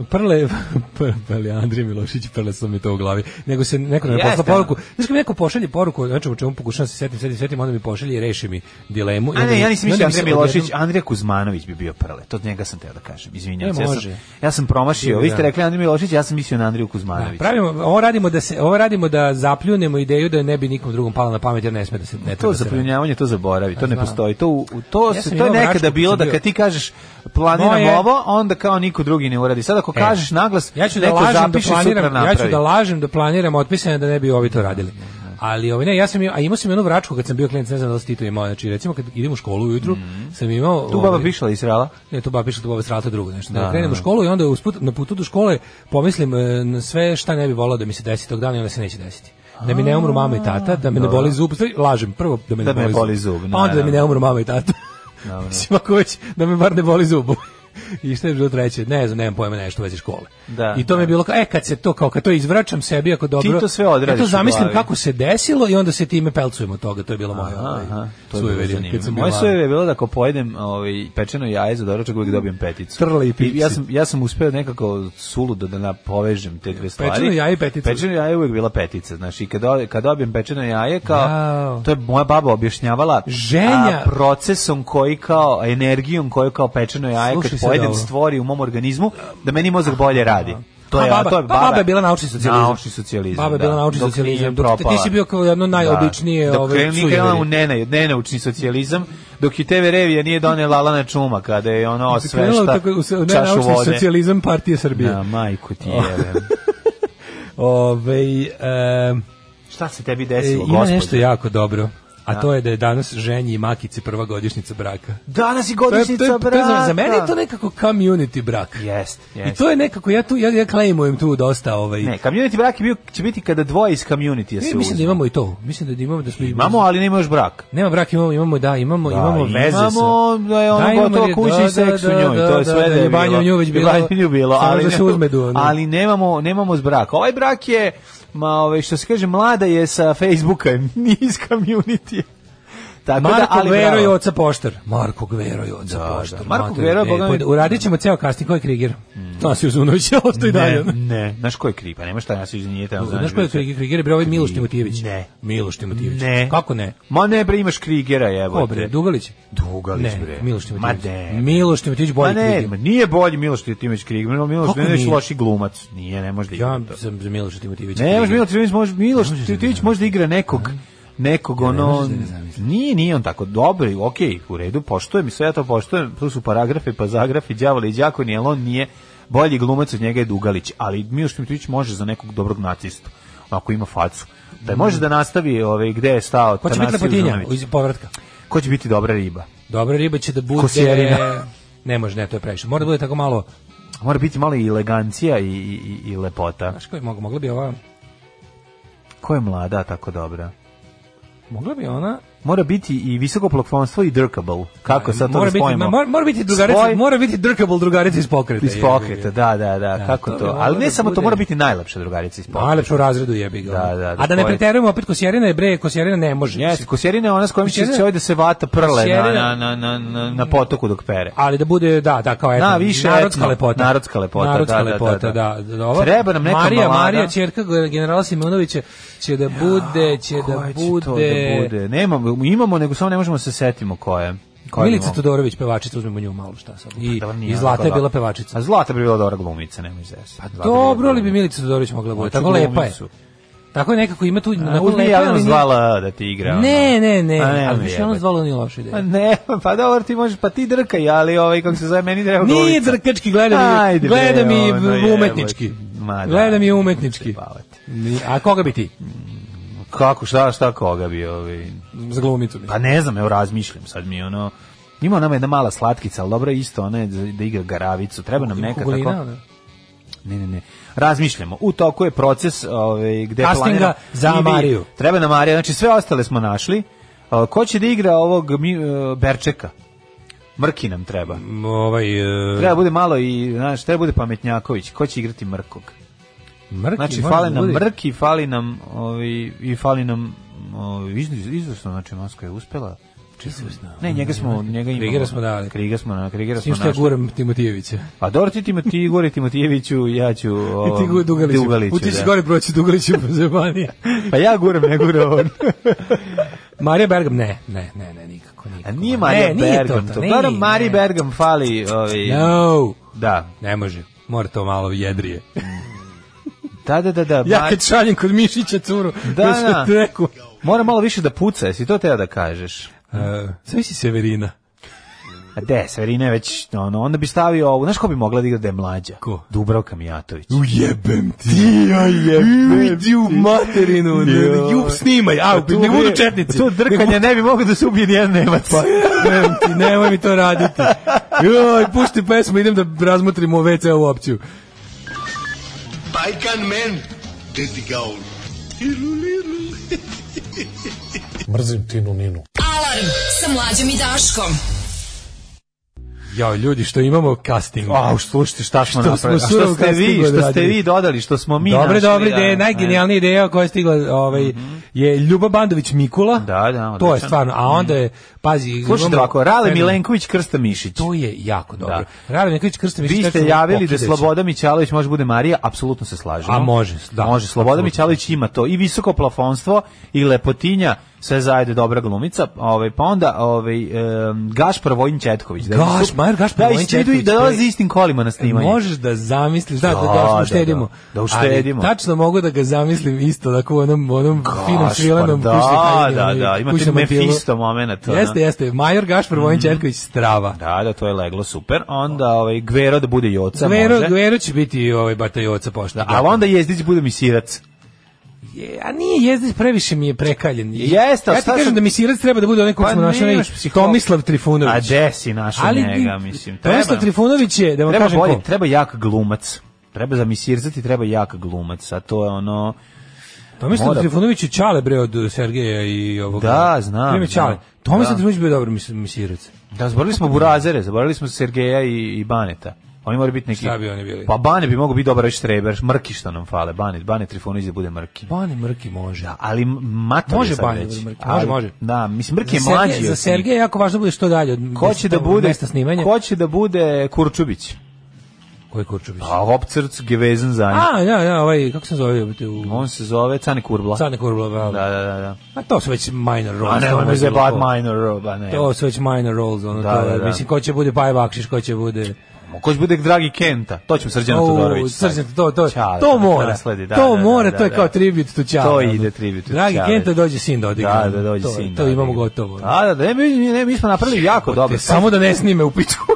E, Prle, [LAUGHS] pr- prle, Andrije Milošić, prle sam mi to u glavi. Nego se neko nam je poslao Jeste, poruku. Znaš kad mi neko pošalje poruku, znači o čemu pokušavam da se setim, setim, setim, onda mi pošalje i reši mi dilemu. I a onda ne, mi- ja nisam i onda mislio mi se Andrija Milošić, odjednom- Andrija Kuzmanović bi bio prle. To od njega sam teo da kažem, izvinjavam E, se. Ja sam, može. ja sam promašio, vi ste Da. rekli Andrija Milošić, ja sam mislio na Andriju Da, Kuzmanović. pravimo, ovo radimo da se ovo radimo da zapljunemo ideju da ne bi nikom drugom palo na pamet jer ne sme da se ne treba to da se radi. zapljunjavanje, to zaboravi, to ne Znam. postoji. To, u- u- to, Ja se, sam to je imao nekada mračku bilo kad sam da bio. kad ti kažeš planiram Moje- ovo, onda kao niko drugi ne uradi. Sad ako E, kažeš naglas, ja ću da neko lažem da zapiše, sutra planiram, ja napravi. ću da lažem da planiram otpisanje da ne bi ovi to radili. Ali ovaj ne, ja sam imao, a imao sam jednu vračku kad sam bio klijent, ne znam da li si ti to imao, znači recimo kad idem u školu ujutru, sam imao Mhm. Tu baba ovaj, pišla iz Rala. Ne, to baš piše to baba srata drugo nešto. Da, Da, da, krenem u da. školu i onda usput, na putu do škole pomislim e, na sve šta ne bi volao da mi se desi tog dana i onda se neće desiti. Da mi ne umru mama i tata, da me ne Dobro. boli zub, Stvari, lažem, prvo da me ne Da me boli boli zub, zub, pa onda da mi ne naravno. umru mama i tata. [LAUGHS] Dobro. Mislim, ako već, da me bar ne boli zub. [LAUGHS] I šta je bilo treće? Ne znam, nemam pojma nešto u vezi škole. Da, I to mi je da. bilo kao, e, kad se to, kao kad to izvraćam sebi, ako dobro... to sve Ja odradiš to u zamislim glavi. kako se desilo i onda se time pelcujem od toga, to je bilo moje. ovaj, Aha, to je bilo sujeverje, zanimljivo. kad sam bio Moje mlad. sujeve je bilo da ako pojedem ovaj, pečeno jaje za doručak uvijek dobijem peticu. Trle i pipci. Ja sam, ja sam uspeo nekako suludo da na- povežem te dve stvari. Pečeno jaje i petica. Pečeno jaje je uvijek bila petica. Znači, kad, do- kad dobijem pečeno jaje, kao, Jao. to je moja baba objašnjavala Ženja. a, procesom koji kao, energijom koju kao pečeno jaje Slušaj kad sad pojedem ovo. stvori u mom organizmu, da meni mozak bolje radi. To Pa je, baba- to je pa baba je bila naučni socijalizam. Naučni socijalizam, Baba je da. bila naučni Dok socijalizam, nije dok ti- ti si propala. bio kao jedno najobičnije, Da. Dok ovaj, krenu- nije sujeveri. krenula u nena, nenaučni socijalizam, dok i TV Revija nije donela Lana Čuma, kada je ono osvešta Krenula u tako- u, čašu naučni Oh. vode. socijalizam partije Srbije. Na, majku ti jeve. Ove, e, Šta se tebi desilo, e, Ima gospode? nešto jako dobro. A Da. to je da je danas ženji i makici prva godišnjica braka. Danas je To je- to godišnjica je- to je za- braka. Za mene je to nekako community brak. Jest, I jest. to je nekako, ja tu, ja, ja klejmujem tu dosta ovaj... Ne, community brak je bio, će biti kada dvoje iz community se E, mislim da uzmu. imamo i to. Mislim da imamo da smo Imamo, ali nema još brak. Nema brak, imamo, imamo, da, imamo, Da, Pa imamo veze sa... imamo, da je ono imamo gotovo je- kući i seks u njoj, to je sve da je da, banja u nju već bila, Banja u nju bilo, samo ali, da se ne- uzme do, ono. ali nemamo, nemamo s braka. Ovaj brak je, ma, ove, što se kaže, mlada je sa Facebooka, [LAUGHS] nije iz community. Tako da, Marko ali Gvero i bravo. oca Poštar. Marko Gvero i oca Da, Poštar. da. Marko Mater, Gvero e, je Boga mi- pod- Uradit ćemo ceo kasting, koji je Krigir? To si uzunović, osto i dalje. Ne, ono. ne, znaš ko je kriv, pa nema šta nas iz nije tamo. Znaš ko je Krigir? Krigir je bre ovaj Miloš Timotijević. Ne. Miloš Timotijević. Ne. Kako ne? Ma ne bre, imaš Krigera, jebote. Ko bre? Dugalić? Dugalić Ne, bre. Miloš Ma Timotijević. ne. Miloš Timotijević Ma bolji ne, Krigir. ma nije bolji Miloš Timotić Krigman, ali Miloš Kako Timotić nije? loši glumac. Nije, ne može da igra Ja to. sam za Miloša Timotijevića. Ne, može Krigir. Miloš Timotić, može Miloš Timotić može da igra nekog nekog ono možeš da ne zamislim. nije nije on tako dobar i okej u redu poštujem i sve ja to poštujem tu su paragrafi pa zagrafi đavoli i đakoni ali on nije bolji glumac od njega je Dugalić ali Miloš Timotić može za nekog dobrog nacistu ako ima facu da može da nastavi ovaj gde je stao Mm. Ko će biti Tanasiju lepotinja Zunović. iz povratka? ko će biti dobra riba Dobra riba će da bude... Kosjerina. Ne može, ne, to je previše. Mora da bude tako malo... mora biti malo i elegancija i, i, i- i lepota Znaš koji mogla, mogla bi ova... ko je mlada a tako dobra Mogla bi ona... mora biti i visoko plafonstvo i drkable kako sad to mora da biti, spojimo ma- mora, mora biti drugarica, Spoj- mora biti drkable drugarica iz pokreta. iz jebi ga. pokreta, da, da, da, kako to to. bi moglo Ali ne da samo to, bude. mora biti najlepša drugarica iz pokreta. Najlepše u razredu jebi ga. Da, da, da, A da ne to je- preterujemo opet Kosjerina je bre, Kosjerina ne može. Jeste, Kosjerina je ona s kojom će Kosjerina- će ovaj da se vata prle na, Kosjerina- na, na, na, na, na potoku dok pere. Ali da bude, da, da, kao etno, Da, više narodska etno, lepota. narodska lepota, Narodska da, da, lepota, da, da. da. da, ova- Treba nam neka Marija, balada. Marija, čerka generala Simonovića će da bude, će da Koja će bude... to da bude? Nemamo, imamo, nego samo ne možemo da se setimo koje. Koje Milica imamo. Todorović, pevačica, uzmemo nju malo šta sad. I, Pa Da vam nije i Zlata je onako bila dobro. pevačica. A Zlata bi bila dobra glumica, nemoj zesi. Pa Dobro li bi Milica Todorović mogla bude? Tako lepa je. Tako je nekako ima tu... Na onako Znači, uzmi lepa je, Jelenu ali nije- zvala da ti igra. ono. Ne, ne, ne, A nemoj ali više ono jebati. zvala nije loša ideja. Pa ne, pa dobro ti možeš, pa ti drkaj, ali ovaj, kako se zove, meni treba glumica. Nije drkački, gleda mi, Ajde, bre, gleda mi ono, umetnički. jebote. Ma da. Gleda mi umetnički. Bavati. Ni- A koga bi ti? Kako, šta, šta koga bi, ovaj... Za glumicu bi. Pa ne znam, evo razmišljam, sad mi je ono... Ima nama jedna mala slatkica, ali dobro je isto, ona je za- da igra garavicu, treba nam neka Kugolina, tako... ono. Ne, ne, ne. Razmišljamo. U toku je proces ovaj gde Castinga planiramo- za I vi- Mariju. Treba na Marija, znači sve ostale smo našli. A, Ko će da igra ovog mi, e, Berčeka? Mrki nam treba. M, Ovaj, e, Treba bude malo i, znaš, treba bude pametnjaković. Ko će igrati Mrkog? mrki, Znači, može fali da nam bude. Mrki, fali nam ovaj, i fali nam ovaj, iz- izvrsno, znači, Moskva je uspela. Ne, njega smo, njega imamo. Krigera smo dali. Krigera smo, na, Krigera S tim smo što ja našli. guram Timotijevića. Pa dobro ti Timo- ti Igor Timotijeviću, ja ću... I [LAUGHS] ti ovom, gu- Dugaliću. Dugaliću, Uti da. si gore proći Dugaliću po Zemanije. Pa ja guram, ne gura [LAUGHS] on. Marija Bergam, ne, ne, ne, ne, nikako, nikako. A nije Ne, Marija nije Bergam. To, ne, Gledam, Mari ne. Bergam fali. Ovaj, No, Da. ne može. Mora to malo jedrije. [LAUGHS] Da, da, da, da. Ja Mar- kad šaljem kod Mišića curu, Znači- Da, da, sam da. ti rekao. Mora malo više da puca, jesi to teo da kažeš? E, Sve si Severina. A Pa de, Severina je već, ono, onda bi stavio ovu, znaš ko bi mogla da igra da je mlađa? Ko? Dubravka Mijatović. Ujebem ti. Ti, ja jebem ti. u materinu. ne, ne, Jub, snimaj. A, To ne budu bi- četnici. To drkanje ne bi moglo da se ubije nijedan Nemac. Pa, jebem ti, nemoj mi to raditi. Joj, pušti pesmu, idem da razmotrimo WC ovu opciju. Bajkan men, gde ti ga on? Mrzim Tinu Ninu. Alarm sa mlađom i Daškom. Jao, ljudi, što imamo casting. A, što slušajte šta smo Što napravili. smo A što surov ste vi, casting što ste odradili. vi dodali, što smo mi Dobre, našli, dobre da, ideje, ne. najgenijalnija ideja koja je stigla ovaj, je Ljuba Bandović Mikula. Da, da, To je odličan. stvarno, a onda je, pazi... Slušajte imamo- ovako, Rale Milenković, Krsta Mišić. To je jako dobro. Rale Nikolić Krstović... Vi ste javili da Sloboda Mićalović može bude Marija, apsolutno se slažemo. A može, da. može, Sloboda Apsolutno. Mićalović ima to i visoko plafonstvo i lepotinja sve zajedno dobra glumica, ovaj pa onda ovaj um, Gašpar Vojin Četković. Da, Gaš, Majer Gašpar da, Vojin istidu i Četković, Da to je- dolazi istim kolima na snimanje. Možeš da zamisliš, da, da, Da, da, da, uštedimo. da, da uštedimo. Ali tačno mogu da ga zamislim isto, tako u onom, onom finom Gašpar, svilenom da, kućnom haljinu, da, ono, da, ima kućnom tu motilu. Mefisto momenat, ono. Mhm. Jeste, jeste. Major Gašpar Vojin Četković, strava. Da, da, to je leglo super. Onda ovaj Gvero da bude Joca, Gvero, može. Gvero će biti ovaj batajoca pošto. Ali onda Jezdić bude mi sirac. Je, a nije Jezdić previše mi je prekaljen. Jeste, ali ja ti šta kažem sam- da mi sirac treba da bude onaj kog Pa smo našli, onaj nemaš psiholo- Tomislav Trifunović. A gde si našao Ali njega, ni- mislim. Treba, Tomislav Trifunović je, da vam treba kažem bolje, ko. treba jak glumac. Treba za misirzati, treba jak glumac. A to je ono... Tomislav Mora- Pa Trifunović je Čale bre od Sergeja i ovoga. Da, znam, Ime Čale. znam. Tomislav Da. Trifunović bio dobar mis- misirac. Da, zaboravili smo Burazere, zaboravili smo Sergeja i, i Baneta. Oni moraju biti neki... Šta bi oni bili? Pa Bane bi mogao biti dobar već treber. Mrki što nam fale. Bane, Bane Trifunović da bude Mrki. Bane Pa Mrki može. Ali Mator Može je sad Bane već. da bude Mrki, može, Ali- može. Da, mislim Mrki je Za Sergeja- mlađi. od Za njih. Sergeja je jako važno da bude što dalje od Ko će da mesta- bude, mesta snimanja. ko će da bude Kurčubić? Ko je Kurčović? A Hopcrc gevezan za njim. A, ja, ja, ovaj, kako se zove? brate, u- On se zove Cane Kurbla. Cane Kurbla, bravo. Da, da, da. da. A to su već minor roles. A ne, to ono je je bilo bad ko. minor roba, ne. To su već minor roles, ono, Da, to, je- da, da. mislim, ko će bude Baje Bakšiš, ko će bude... Ko će bude dragi Kenta? To ćemo Srđana Au, Todorović. Srđan, to, to, Ćale, to da mora, nasledi, da, to da, da, mora, da, to je da. kao tribut tu Ćale. To ono. ide tribut tu Dragi Ćale. Kenta dođe sin da odigra. Da, da, dođe to, sin da To imamo odigra. gotovo. ono. Da, da, da, ne, mi, ne, mi smo napravili jako dobro. Samo da ne snime u pičku.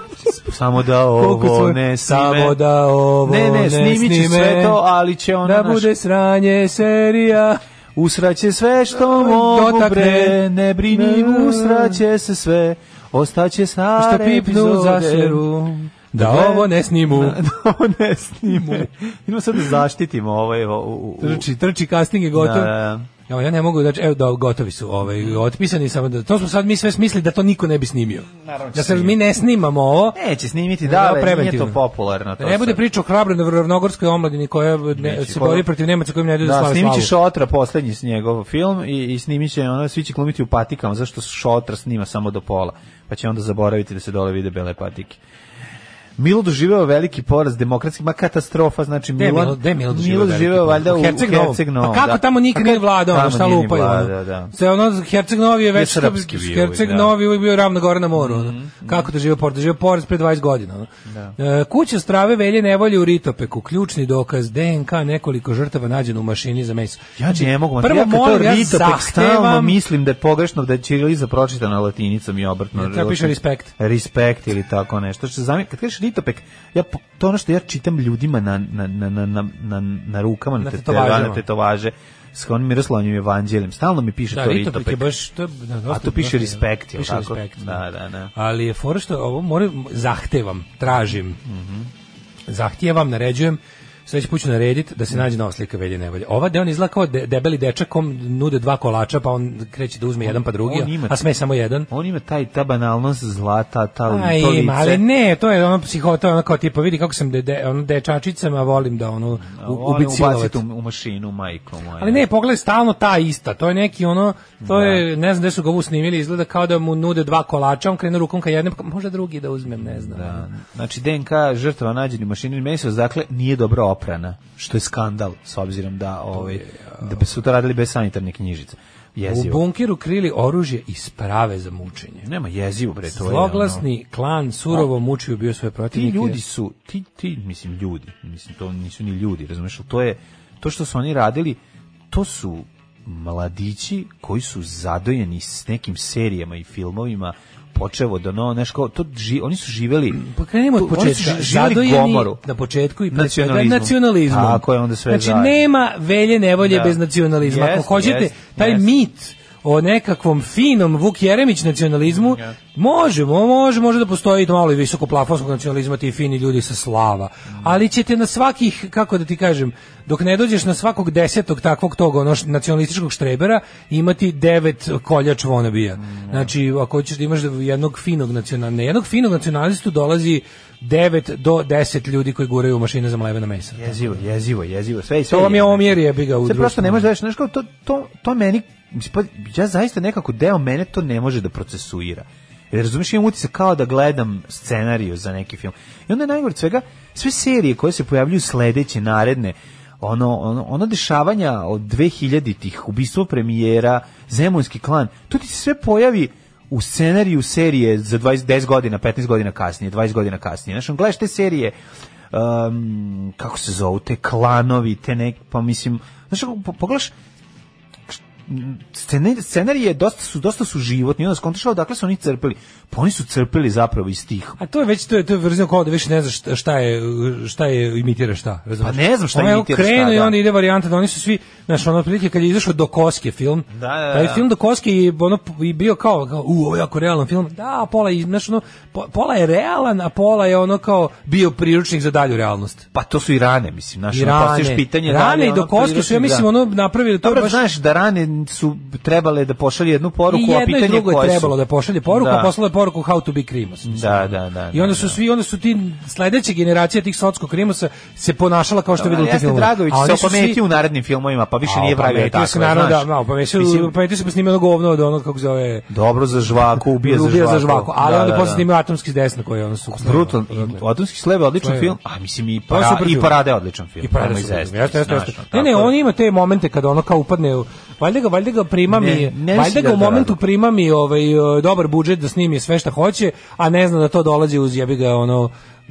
[LAUGHS] Samo da Koliko ovo smo- ne snime. Samo da ovo ne, ne, snimit će snime. sve to, ali će ono Da naš- bude sranje serija. Usraće sve što mogu Dotakne. bre, ne brini, usraće se sve, ostaće stare Što pipnu epizode. za seru. Da Ne. ovo ne snimu. [LAUGHS] da ovo ne snime. Idemo sad da zaštitimo ovaj... o- u- u- Trči, trči, casting je gotov. Da, da, Evo, ja ne mogu da evo da gotovi su, ovaj otpisani samo da to smo sad mi sve smislili da to niko ne bi snimio. Naravno će da se mi snimiti. ne snimamo ovo. da. Neće snimiti, Nego da, ovo ali nije preventivno. to popularno. To Da ne bude sad. priča o hrabroj ravnogorskoj omladini koja ne, Neće. pa se bori protiv Nemaca kojim ne daju da, Da, slave snimit će slavu. Šotra poslednji s njegov film i, i snimit će, ono, svi će klumiti u patikama, zašto Šotra snima samo do pola, pa će onda zaboraviti da se dole vide bele patike. Milo doživeo veliki poraz demokratski, ma katastrofa, znači Gde je Milo, Milo- gde je Milo doživeo Milo veliki doživeo poraz? valjda u U Herceg Novom. Herceg Novom. A kako da. tamo nikad A nije kako vladao, ono, tamo šta nije ni lupaju, ono? vladao, da. Se ono Herceg Novi je Ne, već srpski bio uvijek, Herceg da. Mhm, Novi uvijek bio ravno gore na moru. ono. Kako da žive poraz? Da žive poraz pre 20 godina. ono. E, kuća strave velje nevolje u Ritopeku. Ključni dokaz DNK nekoliko žrtava nađeno u mašini za meso. Znači, Ja ne mogu, ma prvo ja kad to molim, ja Ritopek stalno zahtevam- mislim da je pogrešno da je Čiriliza pročitana latinicom i obratno. Ne, treba piše respekt. Respekt ili tako nešto. Što zami, kad kažeš Ritopek, ja, po- to je ono što ja čitam ljudima na, na, na, na, na, na, na rukama, na, Na tete- tetovažama. na tetovaže, s onim Miroslavnim evanđeljem. Stalno mi piše Da, to Ritopek Ritopek. je baš... To, je- da, dosta- A to piše dosta je- respekt, jel piše tako? respekt, Da, da, da. ali je fora što ovo moram, zahtevam, tražim, zahtijevam, naređujem, sledeći put ću narediti da se nađe nova slika Velje Nevolje. Ova gde on izgleda kao de, debeli dečak kom nude dva kolača pa on kreće da uzme jedan pa drugi, on ima- a sme samo jedan. On ima taj, ta banalnost zlata, ta, ta Aj, to lice. ima, ali ne, to je ono psihota, ono kao tipa, vidi kako sam de, de, ono, dečačicama, volim da ono, u, Volim ubiti silovat. ubaciti u, u mašinu, majko moja. Ali ne, pogledaj, stalno ta ista. To je neki ono, to je, ne znam gde su ga ovu snimili, izgleda kao da mu nude dva kolača, on krene rukom ka jednom, pa možda drugi da uzmem, ne znam. ono. Da. Znači, DNK žrtava nađeni u mašini meso, dakle, nije dobro oprana, što je skandal, s obzirom da, ovaj, da bi su to radili bez sanitarne knjižice. U Jezivo. bunkiru krili oružje i sprave za mučenje. Nema jezivo, bre, to je ono- Zloglasni klan surovo mučio bio svoje Ti protivnike. ljudi su, ti, ti, mislim, ljudi, mislim, to nisu ni ljudi, razumiješ, to je, to što su oni radili, to su mladići koji su zadojeni s nekim serijama i filmovima, počevo od ono, znaš, kao, to ži- oni su živeli, Pa krenimo od Oni su početka. ži- živeli Zadojeni gomoru. na početku i pre svega Nacionalizmom. nacionalizmom. Tako je, onda sve Znači, zajedno. nema velje nevolje Da. bez nacionalizma. Ako Jest, hoćete, jest, taj jest. mit o nekakvom finom Vuk Jeremić nacionalizmu, može, mo- može, može da postoji to malo i visoko plafonskog nacionalizma, ti fini ljudi sa slava. Ali ćete na svakih, kako da ti kažem, dok ne dođeš na svakog desetog takvog tog ono, š- nacionalističkog štrebera, imati devet koljač vonabija. Znači, ako hoćeš da imaš jednog finog nacional, na jednog finog nacionalistu dolazi 9 do 10 ljudi koji guraju u mašine za mlevena mesa. Jezivo, jezivo, jezivo. Sve, sve To vam je jezivo. omjer jebi ga u Sve društvu. ono. prosto ne može da reći, znaš kao, to, to, to meni, mislim, pa, ja zaista nekako deo mene to ne može da procesuira. Jer razumiješ, imam utisak kao da gledam scenariju za neki film. I onda je najgore od svega, sve serije koje se pojavljuju sledeće, naredne, ono, ono, ono dešavanja od 2000-ih, ubistvo premijera, Zemunski klan, to ti se sve pojavi u scenariju serije za 20, 10 godina, 15 godina kasnije, 20 godina kasnije. Znaš, on gledaš te serije, um, kako se zovu, te klanovi, te neki, pa mislim, znaš, ako po- pogledaš, scene- scenarije dosta su dosta su životni onda skontaš odakle su oni crpili pa oni su crpili zapravo iz tih A to je već to je to je verzija kao da više ne znaš šta- šta je šta je imitira šta, razumeš? Pa ne znam šta Ono je imitira krenuo šta, i da. onda ide varijanta da oni su svi, znaš, ono otprilike kad je izašao do Koske film. Da, da, Taj da. film do Koske je ono i bio kao, kao u ovo je jako realan film. Da, pola je, znaš, ono po- pola je realan, a pola je ono kao bio priručnik za dalju realnost. pa to su i rane I mislim znači ono, postojiš rane. pitanje da li rane je i do ono Koske su ja priručnik, mislim da. Pa ono napravili to je Dobro, baš znaš da rane su trebale da pošalje jednu poruku, I a jedno pitanje i drugo je koje su. trebalo da pošalje poruku, Da. a poslalo je poruku how to be krimos. Da, da, da. I onda su svi, onda su ti sledeća generacija tih sotsko krimosa se ponašala kao što Da, videlo u jeste, tim filmovima. Dragović A oni se su svi- opameti u narednim filmovima, pa više A, nije pravio opametio tako. se, naravno, znaš. da, da, opametio se, Mislim, opametio se pa snimio govno od onog kako zove... Dobro za žvaku, ubija, za žvaku. Ali Da, onda da, posle da. snimio Atomski s desna koji je ono su... Brutal, i Atomski slebe odličan Sleb. film, a mislim i, To je para, super Pa i film. Parade je odličan film. I parada nema su izvesti, super. Jeste, jeste, znaš, jeste. ono, Ne, ne, tako on ima te momente kada ono kao upadne u valjda ga valjda ga prima Ne, mi, ne valjda mislim ga da u to momentu radi. prima mi ovaj o, dobar budžet da snimi sve šta hoće, a ne zna da to dolazi uz jebi ga ono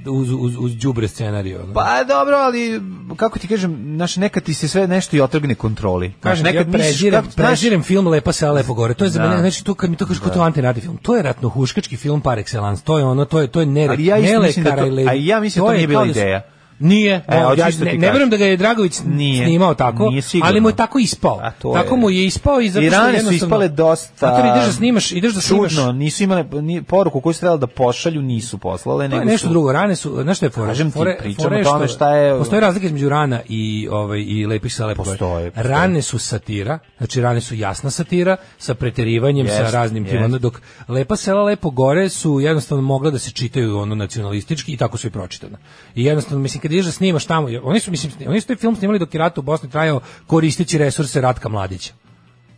uz uz uz đubre scenarijo. ono. Pa dobro, ali kako ti kažem, znaš, nekad ti se sve nešto i otrgne kontroli. Znaš, Kažem, nekad ja misliš prezirem, kako- znaš, prezirem film Lepa se lepo gore. To je za Da. mene, znači to kad mi to kažeš kao to je antinarni film. To je ratno huškački film par excellence. To je ono, to je to je nere, Ali ja isto nele mislim da to- Karajle- a ja mislim da to je nije bila kao su- ideja. Nije, E, no, hoćeš ja što ne, ti ne verujem kažem. da ga je Dragović Nije. nije, snimao tako, Nije sigurno. ali mu je tako ispao. A to tako je. mu je ispao i zato I što rane su jednostavno- ispale dosta... Zato jer ideš da snimaš, ideš da snimaš. Čudno, nisu imale ni, poruku koju su trebali da pošalju, nisu poslale. To nego je nešto su- drugo, rane su, znaš šta je fora? Kažem ti, Fore- pričamo fore o tome što- šta je- Postoji razlika između rana i, ovaj, i lepih sa lepog. Postoje, postoje. Rane su satira, znači rane su jasna satira, sa preterivanjem, sa Jest, raznim tim, jest. ono, dok lepa sela lepo gore su jednostavno mogla da se čitaju ono nacionalistički i tako su i pročitana. I jednostavno, mislim, kad ideš da snimaš tamo, oni su, mislim, sni- oni su taj film snimali dok je rat u Bosni trajao koristeći resurse Ratka Mladića.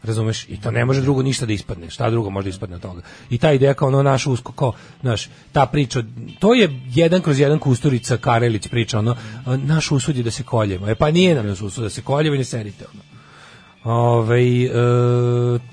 Razumeš? I to ne može drugo ništa da ispadne. Šta drugo može da ispadne od toga? I ta ideja kao ono naš usko, kao, znaš, ta priča, to je jedan kroz jedan Kusturica, Karelić priča, ono, a, naš usud je da se koljemo. E pa nije nam naš usud da se koljemo i ne serite, ono. Ove, e,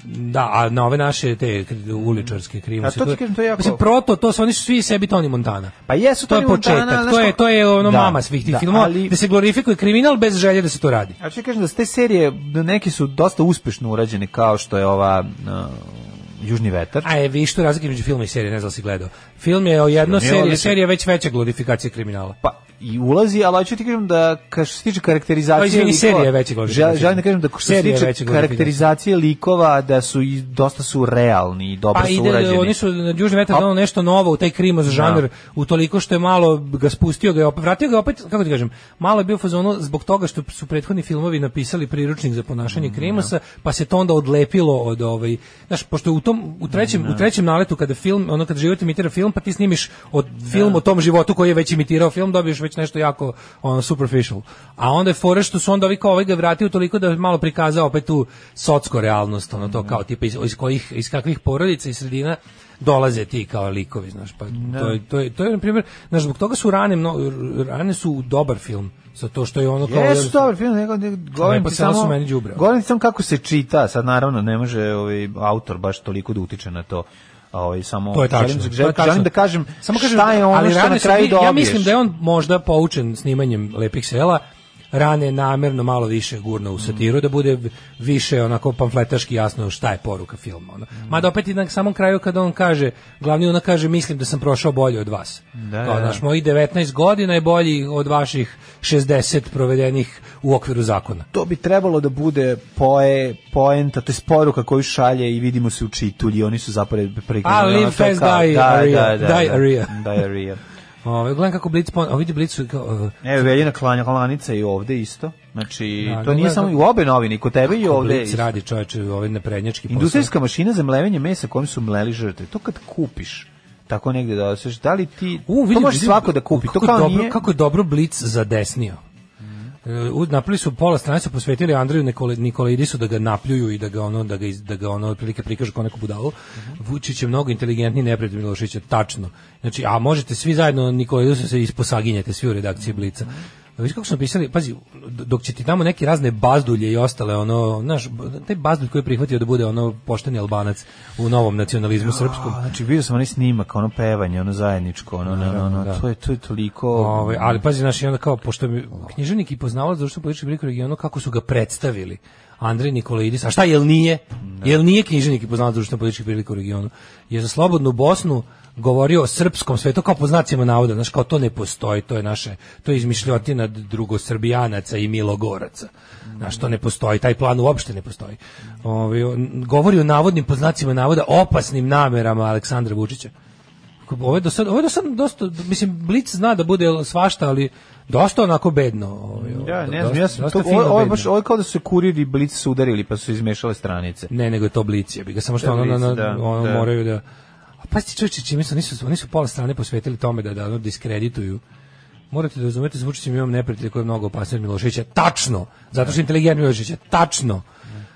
da, a na ove naše te kri- uličarske krivce. A to ti kažem, to je jako- Mislim, proto, to su, oni su svi sebi Tony Montana. Pa jesu to Tony je Montana, početak, znaš to je, kako- to je ono Da, mama svih tih da, filmova, ali- da se glorifikuje kriminal bez želje da se to radi. A što kažem da su te serije, da neke su dosta uspešno urađene, kao što je ova uh, Južni vetar. A je, viš tu razlike među filma i serije, ne znam da li si gledao. Film je o jedno Film je serije, odličan. serija je već veća glorifikacija kriminala. Pa i ulazi, ali hoću ti kažem da ka što se tiče karakterizacije Pa, izvini, likova- serija je veći glorifikacija. Žel- Želim da kažem da što se Serija je tiče veći glorifikacija. karakterizacije likova da su i dosta su realni i dobro Pa su ide, urađeni. oni su na Južni vetar A- donao nešto novo u taj krimos žanr, Da. u toliko što je malo ga spustio, ga je opet, vratio ga je opet, kako ti kažem, malo je bio u fazonu zbog toga što su prethodni filmovi napisali priručnik za ponašanje Mm, krimosa, pa se to onda odlepilo od ovaj, znaš, pošto u tom, u trećem, u trećem naletu kada film, ono kada život imitira film, pa ti snimiš od film o tom životu koji je već imitirao film, dobiješ već nešto jako ono, superficial. A onda je fore što su onda ovi kao ovaj ga je vratio toliko da je malo prikazao opet tu socko realnost, ono to kao tipa iz, iz kojih, iz kakvih porodica i sredina dolaze ti kao likovi, znaš, pa to je, to je, to je, na primjer, znaš, zbog toga su rane, mno, rane su dobar film, zato što je ono kao... Jesu dobar film, nego nego- govorim pa ti samo samo su meni đubre. Govorim ti samo kako se čita, sad naravno ne može ovaj autor baš toliko da utiče na to. A, Ovaj samo To je tačno. želim, to je želim, tačno. želim da kažem Samo kažem, šta je ono ali što rane na su kraju bili- dobiješ. Ja mislim da je on možda poučen snimanjem lepih sela, rane namerno malo više gurno u satiru, da bude više onako pamfletaški jasno šta je poruka filma. Ono. Mm. Mada opet i na samom kraju kada on kaže, glavni ona kaže, mislim da sam prošao bolje od vas. Da, Kao, da, znaš, mojih 19 godina je bolji od vaših 60 provedenih u okviru zakona. to bi trebalo da bude poe, poenta, to je poruka koju šalje i vidimo se u čitulji, oni su zapravo prekrenuli. A, ono live to fast, kao- die area, die area. Diarrhea. Ove, gledam kako Blitz, pon- a vidi Blitz, kao, uh, Evo, E, Veljina klanja klanica i ovde isto. Znači, Da, to nije gledam samo i kako- u obe novine, i kod tebe i kako ovde. Blitz isto. radi čoveče ovaj naprednjački posao. Industrijska mašina za mlevenje mesa kojom su mleli žrtve. To kad kupiš, tako negde da osješ, da li ti... U, vidim, to može vidim svako da kupi. To kako kao dobro, nije... Kako je dobro Blitz zadesnio. E, u- Napravili su pola strane su posvetili Andreju Nikole- Nikolaidisu da ga napljuju i da ga ono da ga iz, da ga ono otprilike prikažu kao neku budalu. Vučić je mnogo inteligentniji neprijatelj Miloševića, tačno. Znači, a možete svi zajedno Nikolaidisu se isposaginjete svi u redakciji Blica. Viš kako su napisali, pazi, dok će ti tamo neke razne bazdulje i ostale, ono, znaš, taj bazdulj koji je prihvatio da bude ono pošteni albanac u novom nacionalizmu srpskom. Znači, bio sam onaj snimak, ono pevanje, ono zajedničko, ono, ono, ono, Da. to, je, to je toliko... Ovaj, ali pazi, znaš, i onda kao, pošto mi književnik i poznavalac društvo političke prilike u regionu, kako su ga predstavili. Andrej Nikolaidis, a šta, jel nije? Jel nije književnik i poznavalac društvo političke prilike u regionu? Je za slobodnu Bosnu govorio o srpskom svetu kao po znacima navoda, znaš, kao to ne postoji, to je naše, to je izmišljotina drugosrbijanaca i milogoraca. Znaš, to ne postoji, taj plan uopšte ne postoji. Ovaj, on govori o navodnim po znacima navoda opasnim namerama Aleksandra Vučića. Ovo je do sad, ovo je do sad dosta, mislim, Blic zna da bude svašta, ali dosta onako bedno. Ovaj, Ja, ne dosta- znam, ja sam dosta to, fino ovo, ovo je bedno. baš, ovo je kao da su se kurir i blic sudarili, pa su se izmešale stranice. Ne, nego je to Blic, ja bih ga samo što Da, ono, Blic, ono, da, ono da. moraju da... A pa ti čovječe, čime su, nisu, oni su pola strane posvetili tome da, da ono, diskredituju Morate da razumete, s Vučićem imam neprijatelja koji je mnogo opasniji od Miloševića. Tačno! Zato što je inteligentni Milošević je Tačno!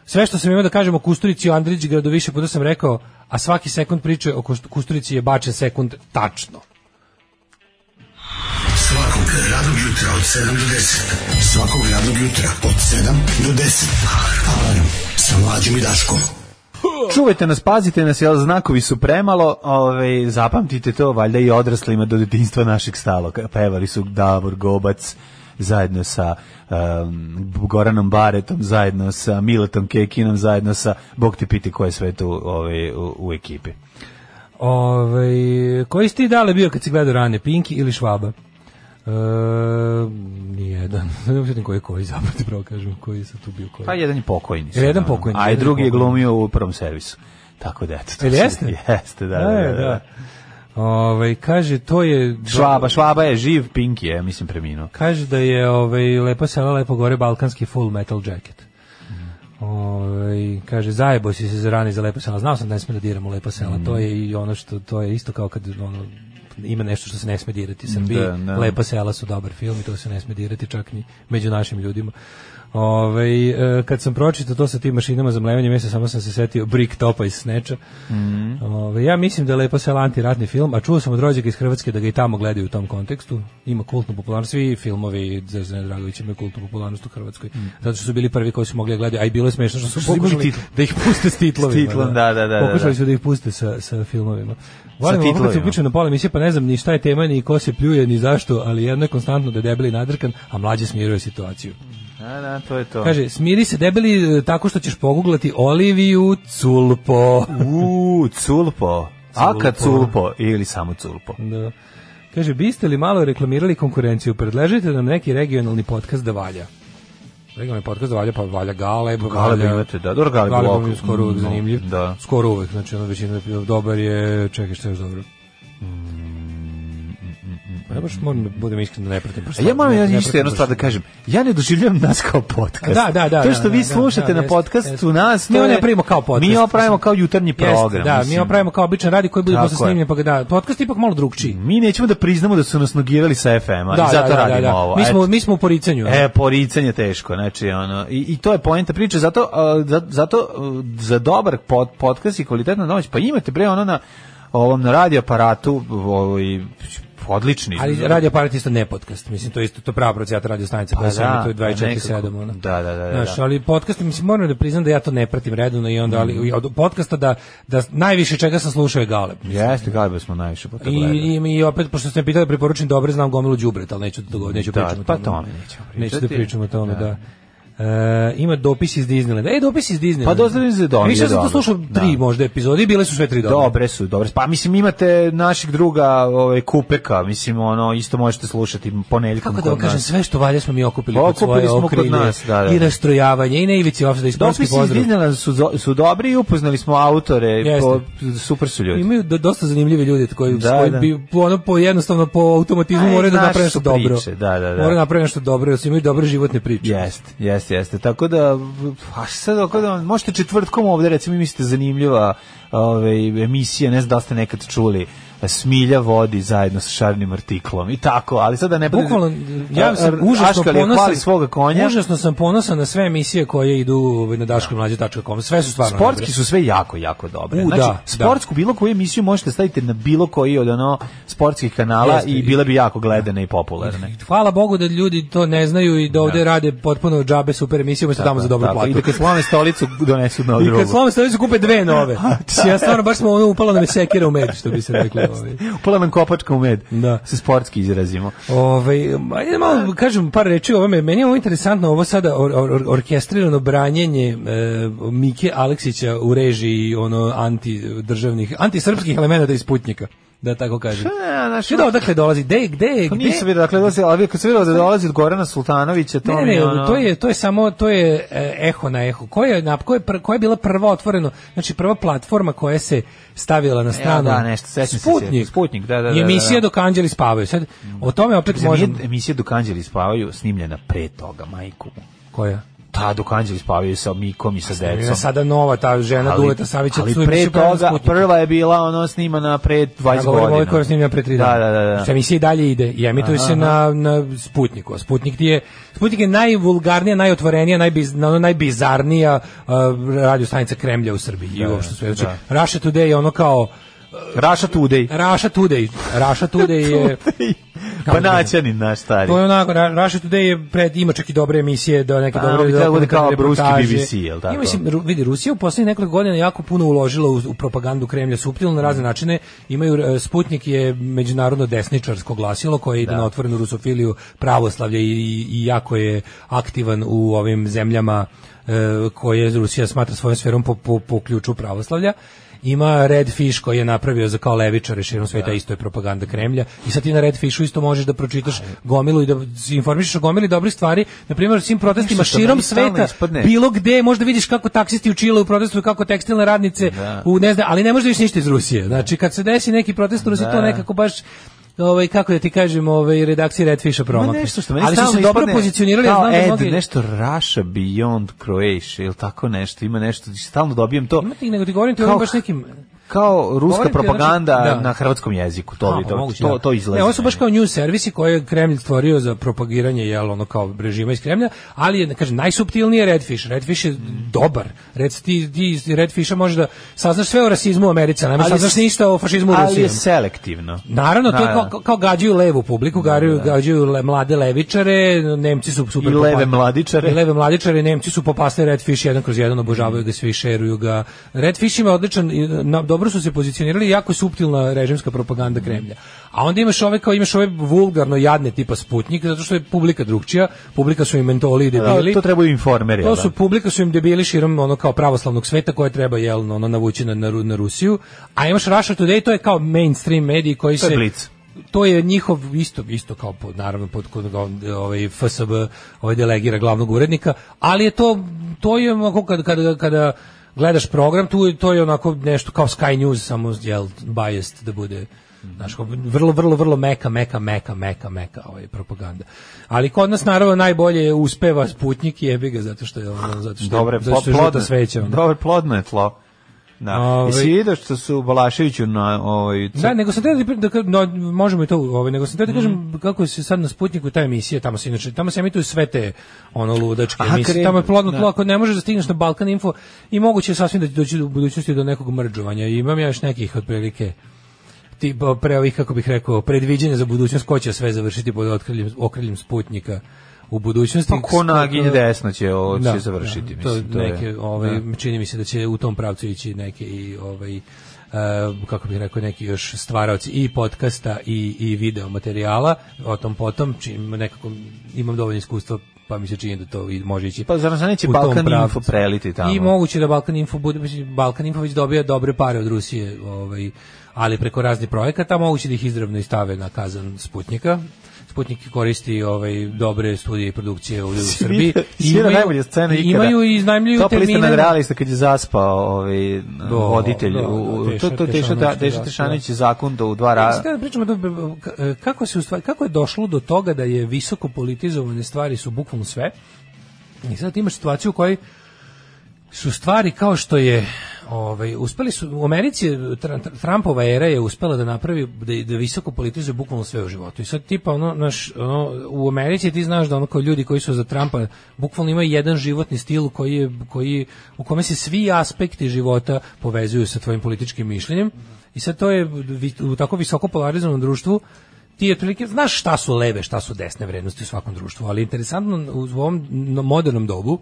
Sve što sam imao da kažem o Kusturici i Andrić gradu više puta sam rekao, a svaki sekund priče o Kust- Kusturici je bačen sekund tačno. Svakog radnog jutra od 7 do 10. Svakog radnog jutra od 7 do 10. Alarm sa mlađom i Daškom. Čuvajte nas, pazite nas, jel znakovi su premalo, ovaj, zapamtite to, valjda i odraslima do detinjstva našeg stalo. Ka- Pevali su Davor Gobac zajedno sa em, Goranom Baretom, zajedno sa Miletom Kekinom, zajedno sa, Bog ti piti ko je sve tu ovaj, u, u ekipi. Ovaj koji si ti dale bio kad si gledao rane, Pinki ili Švaba? E, nijedan. [LAUGHS] Ne znam koji je koji zapravo ti pravo kažem, koji je sad tu bio koji. E, Pa jedan je pokojni. Jer jedan sigurno. pokojni, A i jedan drugi je pokojni. glumio u prvom servisu. Tako da, eto. to Jel su- jeste? [LAUGHS] E, Jeste, da, da, da. da. Ovaj, kaže, to je... Švaba, švaba je živ, Pink je, mislim, preminuo. Kaže da je ovaj, lepo sela, lepo gore, balkanski full metal jacket. Ovaj, kaže, zajebo si se za rani za lepo sela. Znao sam da ne sme da diramo lepo sela. To je i ono što, to je isto kao kad ono, ima nešto što se ne sme dirati u Srbiji. Da, da. Lepa sela su dobar film i to se ne sme dirati čak ni među našim ljudima. Ovaj, e, kad sam pročitao to sa tim mašinama za mlevanje mesa, samo sam se setio Brick Topa iz Sneča. Mhm. Ove, ja mislim da je Lepo selo antiratni film, a čuo sam od rođaka iz Hrvatske da ga i tamo gledaju u tom kontekstu. Ima kultnu popularnost, svi filmovi Zvezdana Dragović imaju kultnu popularnost u Hrvatskoj. Zato što su bili prvi koji su mogli da gledaju, a i bilo je smešno što su Što Mhm. su imali pokušali titl. da ih puste s titlovima. S titlom, da, da, da, da, Pokušali da. su da ih puste sa, sa filmovima. Volim ovo kad se titlovima. uključujem na pola emisije, pa ne znam ni šta je tema, ni ko se pljuje, ni zašto, ali jedno je konstantno da je debeli nadrkan, a mlađe smiruje situaciju. Da, da, to je to. Kaže, smiri se debeli e, tako što ćeš poguglati Oliviju Culpo. Uuu, culpo. Aka culpo ili samo culpo. Da. Kaže, biste li malo reklamirali konkurenciju? Predlažite nam neki regionalni podcast da valja. Regionalni podcast da valja, pa valja Galeb. Galeb valja- imate, da, dobro, Galeb Galeb ovako, je skoro uvek mm, zanimljiv. da. Skoro uvek, znači ono većina dobar je, čekaj što je još dobro. Mm, Ja baš moram da budem iskren da ne pratim. baš A ja moram ne- ne ja pratim isto jednu baš. stvar da kažem. Ja ne doživljavam nas kao podcast. Da, da, da, To što da, vi da, da, slušate da, na jeste, podcastu jeste. nas, to Mi ovo ne je- pravimo kao podcast. Mi ovo pravimo kao jutarnji Jeste, program. da, mi mislim. ovo pravimo kao običan radi koji bude Tako posle je. snimljen, pa ga da. Podcast je ipak malo drugčiji. Mi nećemo da priznamo da su nas nogirali sa FM-a Da, i zato da, da, da, radimo da. ovo. Mi smo, Eto. mi smo u poricanju. E, poricanje teško, znači ono, i, i to je poenta priče, zato, a, za- zato a, za dobar pod, podcast i kvalitetna noć, pa imate bre ono na ovom na radio aparatu, ovaj, odlični. Ali radio aparat isto ne podcast, mislim to je isto to je prava procjata radio stanica koja Pa se emituje da, pa 24/7 nekako. ona. Da, da, da, da, ono. Znaš, da. ali podcast mislim moram da priznam da ja to ne pratim redovno i onda Mm. ali od podcasta da da najviše čega sam slušao je Galeb. Jeste, Galeba smo najviše puta I, gledali. i, I opet, pošto ste me pitali, preporučujem dobre, znam gomilu đubreta, ali neću da, to, neću Da, pričam o pa tome. tome nećemo Neću da pričati. pričam o tome, da. E, ima dopis iz Disneylanda. E, dopis iz Disneylanda. Pa dostavim se dom, Više je sam to dobro. slušao tri Da. možda epizode i bile su sve tri dobre. Dobre su, dobre. su. Pa mislim imate našeg druga ovaj Kupeka, mislim ono isto možete slušati ponedjeljkom Kako da vam kod nas. kažem, sve što valja smo mi okupili pod Okupili svoje smo kod okrilje. nas, da, da. I rastrojavanje, i na ivici ofsada, i sportski Dopisi iz pozdrav. Disneylanda su, zo- su dobri i upoznali smo autore, Jeste. po, super su ljudi. Imaju do- dosta zanimljive ljude koji Da, koji da. bi ono po jednostavno po automatizmu Aj, moraju da znaš naprave nešto što dobro. priče, da, da, da. Moraju da naprave nešto dobro, jer su imaju dobre životne priče. Jeste, jeste, jeste. Tako da, a sad ako da, ovaj, možete četvrtkom ovde, recimo, mislite zanimljiva ove, emisija, ne znam da li ste nekad čuli smilja vodi zajedno sa šarnim artiklom i tako, ali sada ne bude... Bukvalno, ja sam užasno Aškal je ponosan. hvali svoga konja. Užasno sam ponosan na sve emisije koje idu ovaj, na daškomlađe.com. Sve su stvarno Sportski dobre. su sve jako, jako dobre. U, znači, da, sportsku bilo koju emisiju možete staviti na bilo koji od ono sportskih kanala Jeste, i i- bile bi jako gledane i [LAUGHS] popularne. Hvala Bogu da ljudi to ne znaju i da ovde rade potpuno džabe super emisije, umjesto tamo za dobru Tako, platu. I da kad slome stolicu [LAUGHS] donesu na I drugu. kad slome stolicu kupe dve nove. Mislim, ja stvarno baš smo ono upala nam je sekira u med, što bi se reklo. Ovaj. Upala nam kopačka u med. Da. Se sportski izrazimo. Ovaj ajde malo kažem par reči o ovome. Meni je ovo interesantno ovo sada or, or- or- orkestrirano branjenje e, Mike Aleksića u režiji ono anti državnih antisrpskih elemenata iz Putnjika, da tako kažem. E, Znaš, ono, da odakle dolazi? Gde, gde, To gde? nisam vidio, dakle, da se, ali kad sam vidio da dolazi od Gorana Sultanovića, to Ne, ne, mi ne, je ono- to je to je samo to je e, eho na eho. Koja je na koja je, pr- koja je bila prva otvoreno, znači prva platforma koja se stavila na stranu. E, da, nešto, sećam se Sputnik. se, Sputnik, da, da, da, I emisija da, da. dok anđeli spavaju. Sad o tome opet Mislim, možemo nije emisija dok anđeli spavaju snimljena pre toga, majku. mu. koja Ta dok anđeli spavaju sa Mikom i sa Ima decom. sada nova ta žena Ali- Duleta Savića ali tu pre emisiju koja je na toga, Sputniku. prva je bila ono snimana pre 20 Ja govorim Pa godina. ovo koja je snimljena pre 3 Da, dana. da, da, da. Što emisija i dalje ide i emituje Aha, se na, na Sputniku. A Sputnik ti je, Sputnik je najvulgarnija, najotvorenija, najbiz, na- ono najbizarnija uh, radio stanica Kremlja u Srbiji i uopšte sve. Znači, Russia Today je ono kao Raša Tudej. Raša Today. Raša Today [LAUGHS] je... Kako da Banaćanin naš stari. To je onako, Ra- Russia Today je pred, ima čak i dobre emisije, da neke Pa, dobre ono bi trebalo da bude kao dokumentarne ruski reportaže. BBC, jel tako? I mislim, Ru- vidi, Rusija u poslednjih nekoliko godina jako puno uložila u, u propagandu Kremlja suptilno na Mm. razne načine. Imaju, e, Sputnik je međunarodno desničarsko glasilo koje ide na otvorenu rusofiliju pravoslavlje i, i- i jako je aktivan u ovim zemljama e, koje Rusija smatra svojom sferom po, po, po ključu pravoslavlja. Ima Red Fish koji je napravio za kao levičare širom sveta, isto je propaganda Kremlja. I sad ti na Red Fishu isto možeš da pročitaš gomilu i da se informišeš o gomili dobrih stvari. Na primjer, o svim protestima Nešto što širom meni stalno sveta ispadne. bilo gde, možda vidiš kako taksisti u Čileu protestuju, kako tekstilne radnice u ne znam, ali ne možeš ništa iz Rusije. Znači kad se desi neki protest u Rusiji, Da. to nekako baš ovaj kako da ti kažem, ovaj redakcija Redfisha Ima promakne. nešto što meni Ali su se stalno dobro ispadne pozicionirali, ja kao znam da Ed, mnogi nešto Russia Beyond Croatia ili tako nešto, ima nešto, stalno dobijem to. Ima ti, nego ti govorim ti o Kao- ovim baš nekim Kao ruska Govorim ti, znači, propaganda da. na hrvatskom jeziku, to, bi, A, to, moguće, to, da. to izlazi. Ne, ovo su baš kao news servisi koje je Kremlj stvorio za propagiranje jel, ono kao režima iz Kremlja, ali je, kažem, najsuptilniji je Redfish. Redfish je dobar. Red, ti, ti iz Redfisha možeš da saznaš sve o rasizmu u Americi, ali ne Ali saznaš s- ništa o fašizmu u Rusiji. Ali je selektivno. Naravno, to je Da, kao, kao gađaju levu publiku, gađaju, gađaju le- mlade levičare, Nemci su super I leve popasli- mladičare. I leve mladičare, Nemci su popasli Redfish jedan kroz jedan, obožavaju ga svi, šeruju ga. Redfish ima odličan, i, na- dobro su se pozicionirali, jako je suptilna režimska propaganda Kremlja. A onda imaš ove, kao imaš ove vulgarno jadne tipa Sputnik, zato što je publika drugčija, publika su im mentoli i Da, debili. to trebaju informeri. jel To da? su publika su im debili širom ono kao pravoslavnog sveta koje treba jel ono navući na, na, Ru- na Rusiju. A imaš Russia Today, to je kao mainstream mediji koji To je se Blitz. to je njihov isto isto kao pod, naravno pod kod ga- ovaj FSB ovaj delegira glavnog urednika, ali je to to je onako kada kada kada gledaš program tu je- to je onako nešto kao Sky News samo jel biased da bude Znaš, kao vrlo, vrlo, vrlo meka, meka, meka, meka, meka ovaj, propaganda. Ali kod nas naravno najbolje uspeva Sputnik i jebi ga zato što je ono, zato što, Dobre, zato što je plodno- žuta sveća. ono. Dobre, plodno je tlo. Da. Ovaj- Jesi vidio što su Balaševiću na ovaj, ovoj... Da, nego sam teo da, pri- da ka- no, možemo i to, ovaj, nego sam teo da Mhm. kažem kako se sad na Sputniku ta emisija, tamo se inače, tamo se emituju sve te ono ludačke Aha, emisije, krenu, tamo je plodno da. tlo, ako ne možeš da stigneš na Balkan Info i moguće je sasvim da će doći u budućnosti do nekog mrđovanja. I Imam ja još nekih otprilike tipa pre ovih, kako bih rekao, predviđanja za budućnost, ko će sve završiti pod otkriljem, okriljem Sputnika u budućnosti. Pa ko naginje desno će, ovo će Da, završiti. da, mislim, to, je- neke, [LAUGHS] ovaj, čini mi se da će u tom pravcu ići neke i ovaj e, kako bih rekao neki još stvaraoci i podcasta i i video materijala o tom potom čim nekako imam dovoljno iskustva pa mi se čini da to i može ići Pa zar nas neće u tom Balkan pravcu. Info preliti tamo? i moguće da Balkan Info bude mislim, Balkan Info već dobija dobre pare od Rusije ovaj ali preko raznih projekata moguće da ih izravno i stave na kazan Sputnika Sputnik koristi ovaj dobre studije i produkcije [LAUGHS] ovdje u Srbiji. I Svira najbolje scene i ikada. Imaju i iznajmljuju Top lista termine. nad realista kad je zaspao ovaj, voditelj. da, u- Teša to to Teša Tešanović, Teša da, Tešanović da. je zakon do u dva Ja ra... mislim da Pa, pričamo da, ka- e, kako se u stvari, kako je došlo do toga da je visoko politizovane stvari su bukvalno sve. I sad imaš situaciju u kojoj su stvari kao što je Ovaj uspeli su u Americi Tr- Tr- Trumpova era je uspela da napravi da, da visoko politizuje bukvalno sve u životu. I sad tipa ono naš ono, u Americi ti znaš da ono kao ljudi koji su za Trumpa bukvalno imaju jedan životni stil koji je koji u kome se svi aspekti života povezuju sa tvojim političkim mišljenjem. I sad to je vi- u tako visoko polarizovanom društvu ti otprilike znaš šta su leve, šta su desne vrednosti u svakom društvu, ali interesantno u ovom modernom dobu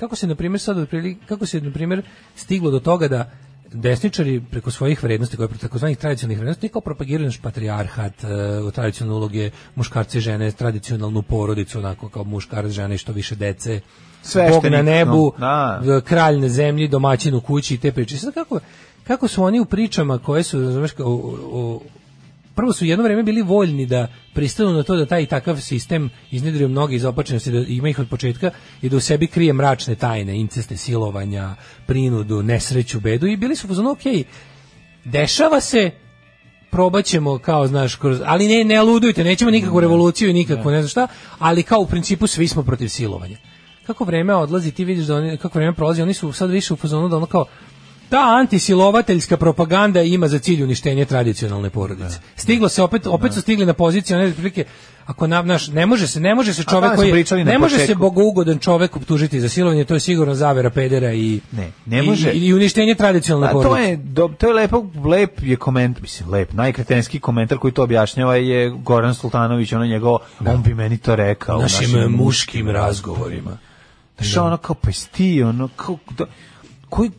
kako se na primjer sad otprilike kako se na primjer stiglo do toga da desničari preko svojih vrednosti, koje takozvanih tradicionalnih vrednosti, kao propagiraju naš patrijarhat, e, tradicionalne uloge muškarci i žene, tradicionalnu porodicu, onako kao muškarac, žene i što više dece, Sveštenik, Bog na nebu, no, da. kralj na zemlji, domaćin u kući i te priče. Sad kako, kako su oni u pričama koje su, razumeš, kao, o- o- prvo su jedno vrijeme bili voljni da pristanu na to da taj i takav sistem iznedrio mnoge izopačenosti, da ima ih od početka i da u sebi krije mračne tajne, inceste, silovanja, prinudu, nesreću, bedu i bili su pozvano, ok, dešava se, probat ćemo kao znaš kroz ali ne ne ludujte nećemo nikakvu revoluciju i nikakvu ne znam šta ali kao u principu svi smo protiv silovanja kako vreme odlazi ti vidiš da oni kako vreme prolazi oni su sad više u fazonu da ono kao ta antisilovateljska propaganda ima za cilj uništenje tradicionalne porodice. Stiglo se opet opet su stigli na poziciju one otprilike ako nam naš ne može se ne može se A čovjek tamo smo koji pričali je- na ne može se početku. bogougodan čovjek optužiti za silovanje, to je sigurno zavera pedera i Ne, ne i- može. i, i uništenje tradicionalne A porodice. to je do, to je lepo lep je koment mislim lep najkretenski komentar koji to objašnjava je Goran Sultanović ono njegovo on bi meni to rekao u Našim muškim razgovorima. Znaš, ono kao pa jesi ti, ono kao da- koji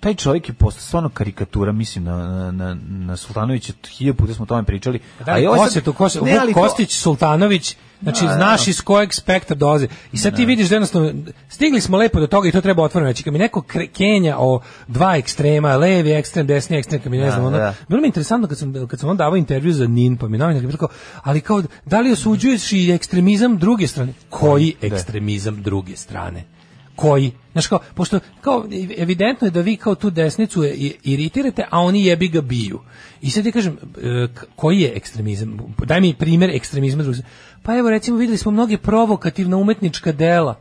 taj čovjek je postao stvarno karikatura, mislim, na, na, na, na Sultanovića, hiljadu puta smo o tome pričali. Da li i ovaj sad- Kostić, to Kostić, Ne, Vuk ali to- Kostić, Sultanović, znači Da, da. znaš iz kojeg spektra dolaze. I sad ti vidiš da jednostavno, stigli smo lepo do toga i to treba otvoreno reći. Kad mi neko kre- kenja o dva ekstrema, levi ekstrem, desni ekstrem, kad mi ne Da, znam, ono, da. bilo mi je interesantno kad sam, kad sam on davao intervju za NIN, pa mi novinar je rekao, ali kao, da li osuđuješ i ekstremizam druge strane? Koji Da. ekstremizam druge strane? Koji? Znaš kao, pošto kao, evidentno je da vi kao tu desnicu je- i- iritirate, a oni jebi ga biju. I sad ti kažem, e, k- koji je ekstremizam? Daj mi primjer ekstremizma druge strane. Pa evo recimo vidjeli smo mnoge provokativna umetnička dela.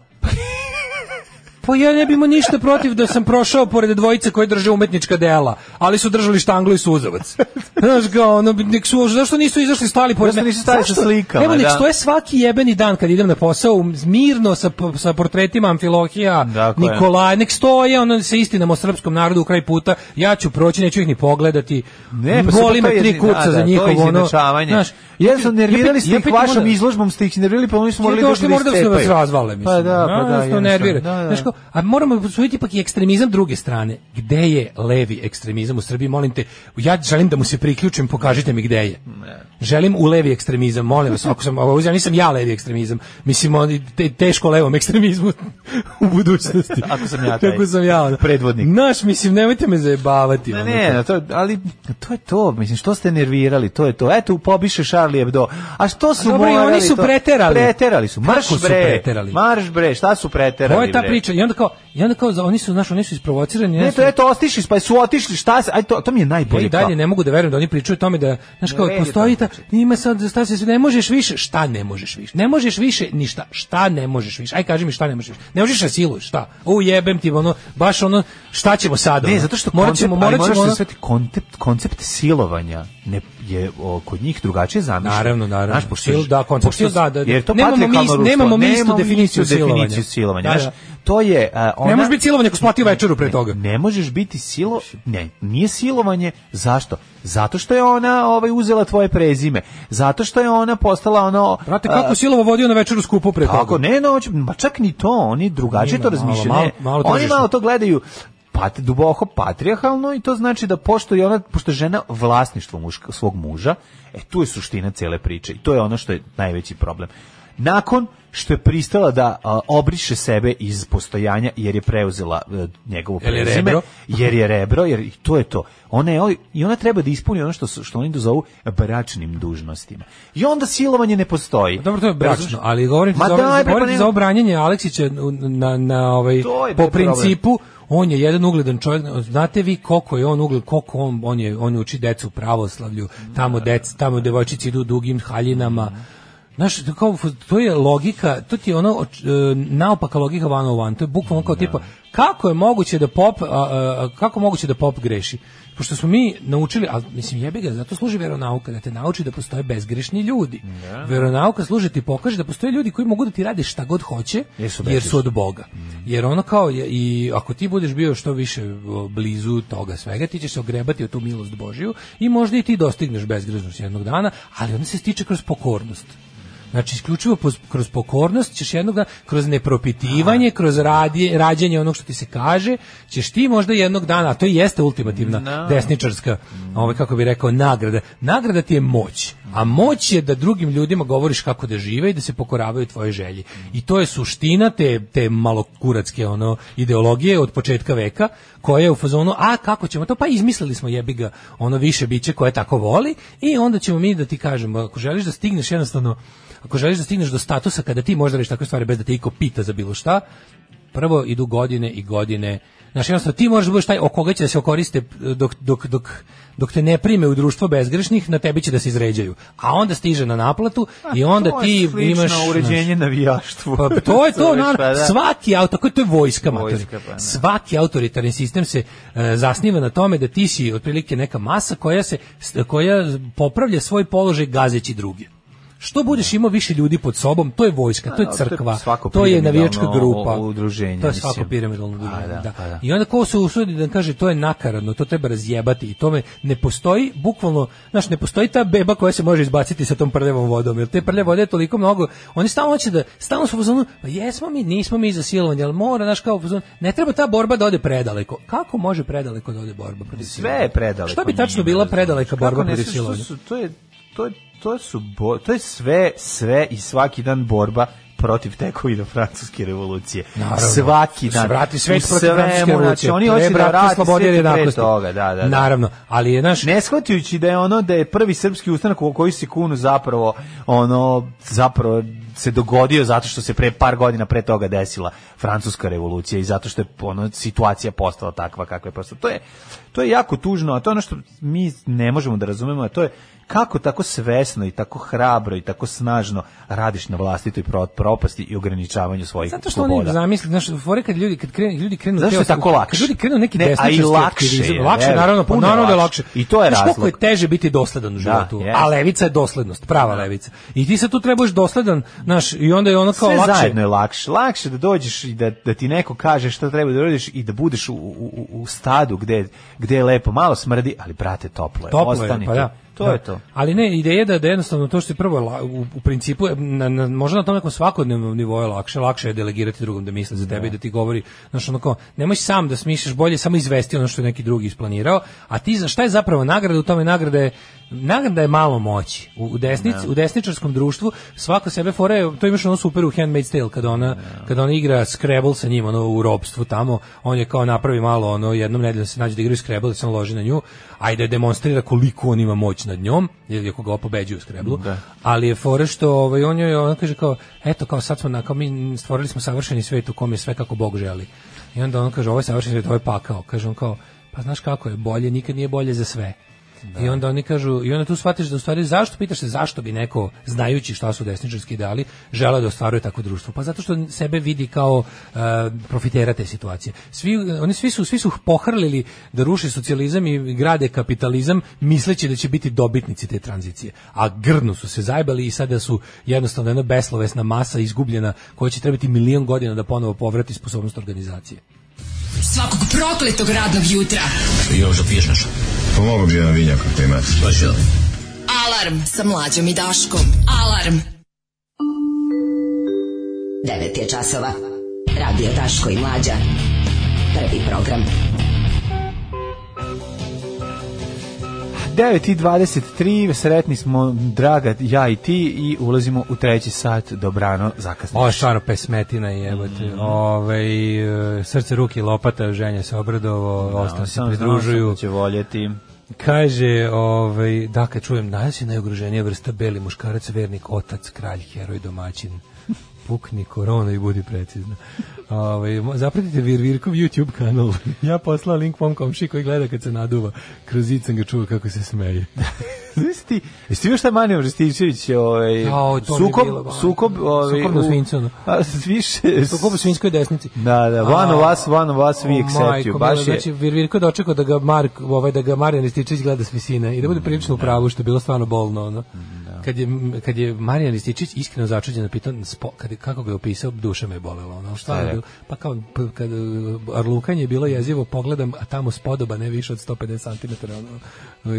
Pa ja ne bi imao ništa protiv da sam prošao pored dvojice koje drže umetnička dela, ali su držali štanglu i suzavac. Znaš ga, ono, nek su, zašto nisu izašli stali pored Zašto mene? nisu stali sa Zašto? slikama, Evo, nek da. stoje svaki jebeni dan kad idem na posao, mirno sa, sa portretima Amfilohija, Tako je. Nikolaja, nek stoje, ono, sa istinom o srpskom narodu u kraj puta, ja ću proći, neću ih ni pogledati, Ne, pa sad volim to me je- tri da, kuca za da, to je njihovo, ono, izjednačavanje. znaš, ja sam nervirali ste ja ih pitam ono- vašom onda- izložbom, ste ih nervirali, pa oni su morali Morali došli da možda da se vas iscepaju. razvale, mislim. Pa da, pa da, jednostavno jednostavno, nervira. da, da. Znaš kao, a moramo posuditi ipak i ekstremizam druge strane. Gde je levi ekstremizam u Srbiji? Molim te, ja želim da mu se priključim, pokažite mi gde je. Želim u levi ekstremizam, molim vas, ako sam, ako ja nisam ja levi ekstremizam, mislim, oni te, teško levom ekstremizmu [LAUGHS] u budućnosti. Ako sam ja taj Ako sam ja, ono. predvodnik. Naš, mislim, nemojte me zajebavati. Ne, ono. ne, na to, ali to je to, mislim, što ste nervirali, to je to. Eto, pobiše Charlie Hebdo. A što su A dobro, i morali oni su to? preterali. Preterali su, marš Kako su bre, preterali? marš bre, šta su preterali To je ta bre? priča. I onda kao, i onda kao, za- oni su, znaš, oni su isprovocirani. Ne, oni su- to eto, otišli, pa su otišli, šta se, aj to, to mi je Ja najbolje. Pa i kao. dalje ne mogu da verujem da oni pričaju o tome da znaš Ne kao vredi postoji ta znači. ima sad šta se ne možeš više, šta ne možeš više? Ne možeš više ništa. Šta ne možeš više? Aj kaži mi šta ne možeš više. Ne možeš da siluješ, šta? U jebem ti ono baš ono šta ćemo sad? Ne, ono? zato što morat ćemo, morat ćemo, ono- koncept, koncept, koncept silovanja ne, je o, kod njih drudrugačije zamišljen. Naravno, naravno. Znaš, pošto, Sil- da, koncept pošto- sil- da, da, da. Jer to Nemamo mi- patrijarhalno ruštvo, nemamo mi istu nemamo definiciju silovanja. definiciju silovanja. Da, Znaš, da. to je... a, ona, Ne možeš biti silovanje ako si platio večeru pre toga. Ne možeš biti silo... Ne, nije silovanje. Zašto? Zato što je ona ovaj, uzela tvoje prezime. Zato što je ona postala ono... Brate, a, kako silovo vodio na večeru skupu pre toga? Tako, Pa ne noć, ma čak ni to, oni drugačije Ima to malo, razmišljaju. malo- ne. malo oni tržišno. malo to gledaju pat, duboko patrijarhalno i to znači da pošto je ona, pošto je žena vlasništvo muška, svog muža, e tu je suština cele priče i to je ono što je najveći problem. Nakon što je pristala da a, obriše sebe iz postojanja jer je preuzela e, njegovo Jer je prezime, rebro. jer je rebro, jer i to je to. Ona je, oj- I ona treba da ispuni ono što, su- što oni zovu bračnim dužnostima. I onda silovanje ne postoji. Pa Dobro, to je bračno, Razumeš? ali govorim ti Ma za, daj, bre, pa govorim ti ne- za obranjanje Aleksića na, na, na ovaj, To je po bre problem. principu, on je jedan ugledan čovjek, znate vi koliko je on ugled, koliko on, on, je, on uči decu u pravoslavlju, tamo, dec, tamo devojčici idu u dugim haljinama, Znaš, to kao, to je logika, to ti je ono oč- e, naopaka logika van u van. To je bukvalno kao tipa kako je moguće da pop a, a, a, kako moguće da pop greši? Pošto smo mi naučili, a mislim jebi ga, zato služi veronauka da te nauči da postoje bezgrešni ljudi. Veronauka služi da ti pokaže da postoje ljudi koji mogu da ti rade šta god hoće Jesu jer su bezgrešni. od Boga. Jer ono kao je, i ako ti budeš bio što više o, blizu toga svega, ti ćeš se ogrebati o tu milost Božiju i možda i ti dostigneš bezgrešnost jednog dana, ali ona se stiče kroz pokornost. Znači, isključivo poz- kroz pokornost ćeš jednog dana, kroz nepropitivanje, kroz radje, rađenje onog što ti se kaže, ćeš ti možda jednog dana, a to i jeste ultimativna Da. desničarska, ovaj, kako bi rekao, nagrada. Nagrada ti je moć, a moć je da drugim ljudima govoriš kako da žive i da se pokoravaju tvoje želji. I to je suština te, te malokuratske ono, ideologije od početka veka, koja je u fazonu, a kako ćemo to, pa izmislili smo jebi ga ono više biće koje tako voli i onda ćemo mi da ti kažemo, ako želiš da stigneš jednostavno ako želiš da stigneš do statusa kada ti možda radiš takve stvari bez da te iko pita za bilo šta, prvo idu godine i godine. Znaš, jednostavno, ti možeš da budeš taj o koga će da se okoriste dok, dok, dok, dok te ne prime u društvo bezgrešnih, na tebi će da se izređaju. A onda stiže na naplatu i onda Pa, to je ti slično imaš... uređenje navijaštvu. Pa to je to, Razumeš, naravno. pa da. svaki auto, tako je to je vojska, mater. Vojska, pa da. Svaki autoritarni sistem se e, zasniva na tome da ti si otprilike neka masa koja se koja popravlja svoj položaj gazeći druge. Što budeš imao više ljudi pod sobom, to je vojska, to je A, Pa to je crkva, svako to je navijačka piramidalno grupa, udruženje, to je mislim. svako piramidalno udruženje. A, Pa da, da. a, da. I onda ko se usudi da kaže to je nakaradno, to treba razjebati i tome ne postoji bukvalno, znaš, ne postoji ta beba koja se može izbaciti sa tom prljavom vodom, jer te prljave vode je toliko mnogo, oni stalno hoće da, stalno su u fazonu, pa jesmo mi, nismo mi za silovanje, ali mora, znaš, kao u fazonu, ne treba ta borba da ode predaleko. Kako može predaleko da ode borba protiv Sve je predaleko. Šta bi tačno njima, bila razumeš? predaleka borba Kako ne protiv znaš što silovanja? su- To je, to, je- to su bo- to je sve, sve i svaki dan borba protiv tekovina francuske revolucije. Naravno. Svaki dan. Vrati svet U protiv svemu, francuske revolucije. Znači, oni hoće da Prebrate vrati slobode i svet i pre jednakosti. toga. Da, da, da. Naravno, ali je naš... Ne shvatajući da je ono da je prvi srpski ustanak u koji se kunu zapravo ono zapravo se dogodio zato što se pre par godina pre toga desila francuska revolucija i zato što je ono situacija postala takva kakva je postala. To je to je jako tužno, a to je ono što mi ne možemo da razumemo, a to je kako tako svesno i tako hrabro i tako snažno radiš na vlastitoj pro- propasti i ograničavanju svojih Zato što sloboda. oni zamisli, znaš, fore kad ljudi kad krenu, ljudi krenu Zašto te je ostale- tako lakše? Kad ljudi krenu neki Ne, a i desničarski lakše aktivizam, je, lakše veruj, naravno, pa puno naravno da je lakše. lakše. I to je Znaš koliko je razlog. teže biti dosledan u životu, jest. a levica je doslednost, prava levica. I ti sad tu trebaš dosledan, znaš, i onda je ono kao sve lakše. zajedno je lakše. Lakše da dođeš i da, da ti neko kaže šta treba da radiš i da budeš u, u, u- u stadu gde, gde je lepo, malo smrdi, ali brate, toplo je. Toplo je, Ostani pa tu. da. To Da. je to. Ali ne, ideja je da, da jednostavno to što je prvo la- u, u principu, je na, na, možda na tom nekom svakodnevnom nivou je lakše, lakše je delegirati drugom da misli za tebe i da ti govori, znaš ono kao, nemoj sam da smišljaš bolje, samo izvesti ono što je neki drugi isplanirao, a ti za šta je zapravo nagrada u tome nagrada je nagrada je malo moći. U, u, desnici, u desničarskom društvu svako sebe fore, to imaš ono super u Handmaid's Tale, kada ona, kada ona igra Scrabble sa njim, ono u robstvu tamo, on je kao napravi malo, ono jednom nedeljom se nađe da igraju Scrabble, da se on loži na nju, ajde demonstrira koliko on ima moć nad njom, jer je koga pobeđuje u Scrabble, ali je fore što ovaj, on joj on kaže kao, eto kao sad smo, na, kao mi stvorili smo savršeni svet u kom je sve kako Bog želi. I onda on kaže, ovo je savršeni svet, ovo je pakao. Kaže on kao, pa znaš kako je, bolje, nikad nije bolje za sve. I onda oni kažu, i onda tu shvatiš da u stvari zašto pitaš se zašto bi neko znajući šta su desničarski ideali želeo da ostvaruje takvo društvo? Pa zato što sebe vidi kao e, profitera te situacije. Svi e, oni svi su svi su pohrlili da ruše socijalizam i grade kapitalizam misleći da će biti dobitnici te tranzicije. A grdno su se zajbali i sada su jednostavno jedna beslovesna masa izgubljena koja će trebati milion godina da ponovo povrati sposobnost organizacije. Svakog prokletog radnog jutra. Još da piješ nešto? Pomogu bi jedan vinjak ako imate. Pa će da. Alarm sa mlađom i Daškom. Alarm. 9 je časova. Radio Daško i Mlađa. Prvi program. 9.23, sretni smo, draga, ja i ti, i ulazimo u treći sat, dobrano, zakasno. Ovo je stvarno pesmetina jebote. Mm. Ovaj, e, srce, ruke, i lopata, ženja se obradovo, ostali se samo pridružuju. znao sam da će voljeti. Kaže, ovaj, da, kad čujem, danas je najugroženija vrsta beli muškarac, vernik, otac, kralj, heroj, domaćin. Pukni korona i budi precizna. Ovaj zapratite Virvirkov YouTube kanal. [LAUGHS] ja poslao link mom komši koji gleda kad se naduva. Kroz zicam ga čuva kako se smeje. Znaš ti, jesi ti vidio šta je Manio Ristićević, ovaj, Jao, to mi je sukob, bilo, ba. sukob, ovaj, Sukob na u- svincu, ono. A, [LAUGHS] više, Sukob u svinjskoj desnici. Da, da, one A, of us, one of us, o, we accept majko you, baš mila, je. Znači, Virvirko je dočekao da ga, Mark, ovaj, da ga Marijan Rističević gleda s visine i da bude Mm, prilično u pravu, što je bilo stvarno bolno. Ono. Kad, je, kad je Marijan Rističić iskreno začuđen, pitao, spo, kad, je- kako ga je opisao, duša me je bolela. Ono. Stvarno, je je bilo- pa kao, p- kad uh, Arlukanje je bilo jezivo, pogledam, a tamo spodoba ne više od 150 cm ono,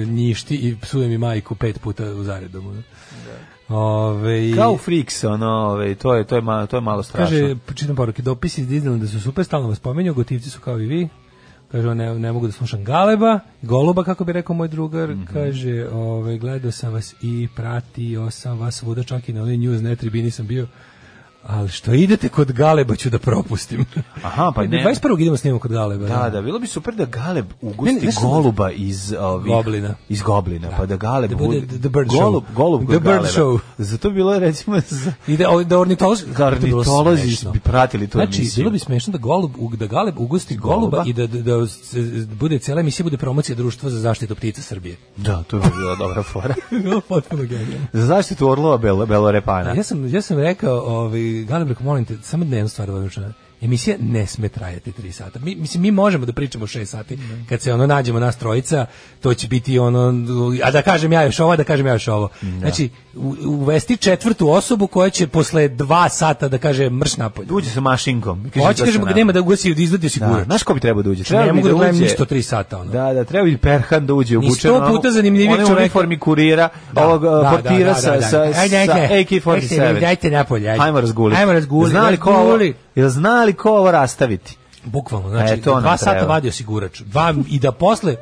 njišti i psuje mi majku pet puta u zaredom. Ono. Ove, Kao Freaks, ono, ovaj, to je, to je, malo, to je malo strašno. Kaže, čitam poruke, dopisi iz Disneylanda su super, stalno vas pominju, gotivci su kao i vi. Kaže, ne, ne mogu da slušam Galeba, Goluba, kako bi rekao moj drugar. Mhm. Kaže, ove, gledao sam vas i pratio sam vas svuda, čak i na onoj news, ne tribini sam bio. Ali što idete kod Galeba ću da propustim. Aha, [LAUGHS] pa ne. 21. idemo snimamo kod Galeba. Da, da, bilo bi super da Galeb ugusti Ne, ne, ne, goluba iz ovih, Goblina. Iz goblina, pa da Galeb Da bude the bird show. golub, golub The kod bird Galeba. show. Zato bi bilo recimo za I da, da ornitolozi, da to bi bilo ornitolozi smešno. bi pratili tu Znači, emisiju. bilo bi smešno da golub u- da galeb ugosti goluba, Goluba. i da, da, da se- bude cijela emisija bude promocija društva za zaštitu ptica Srbije. Da, to bi bila dobra fora. [LAUGHS] Bilo potpuno genijalno. [LAUGHS] za zaštitu orlova bel, belorepana. Ja sam ja sam rekao, ovaj Galeb rekao, molim te, samo da jednu stvar da vam kažem. Emisija ne sme trajati 3 sata. Mi, mislim, mi možemo da pričamo 6 sati. Kad se ono nađemo nas trojica, to će biti ono, a da kažem ja još ovo, a da kažem ja još ovo. Znači, u- uvesti četvrtu osobu koja će posle 2 sata da kaže mrš napolje. Uđe sa mašinkom. Hoće, kažemo, nema da ugasi, da izvadi Da, sigurno. Znači, znaš ko bi trebao da uđe? ne bi mogu da gledam uđe- ništa 3 sata. Ono. Da, da, treba bi Perhan da uđe ono, Ni sto obučen. puta zanimljivijeg čoveka. čoveka. uniformi kurira, ovog Da, da, da, portira da, da, sa, da. sa, Ajde, ajde. sa Ajde, AK-47. dajte napolje, ajde. Ajmo razguliti. Ajmo razguliti, Znali ko ovo, razguli. jel znali ko ovo rastaviti? Bukvalno, znači, E, to nam dva sata treba. vadio sigurač. Dva, I da posle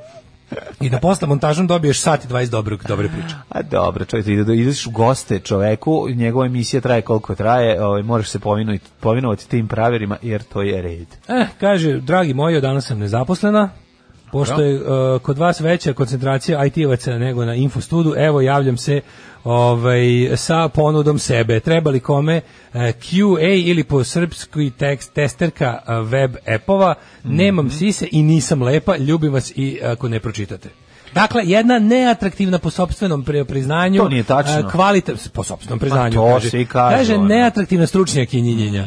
i da posle montažom dobiješ sat i 20 dobrog, dobre priče. A dobro, čovjek, ide, ideš u goste čoveku, njegova emisija traje koliko traje, ovaj, moraš se povinuti, povinovati tim pravilima, jer to je red. Eh, kaže, dragi moji, od danas sam nezaposlena, pošto je e, kod vas veća koncentracija IT-evaca nego na infostudu, evo javljam se ovaj, sa ponudom sebe. Treba li kome e, QA ili po srpskoj tekst testerka e, web epova, Mhm. nemam sise i nisam lepa, ljubim vas i eh, ako ne pročitate. Dakle, jedna neatraktivna po sopstvenom pri- priznanju, To nije tačno. Pa e, kvalite- po sopstvenom priznanju, to kaže, svi kažu, Kaže, ono. Mhm. neatraktivna stručnjak i njinjenja.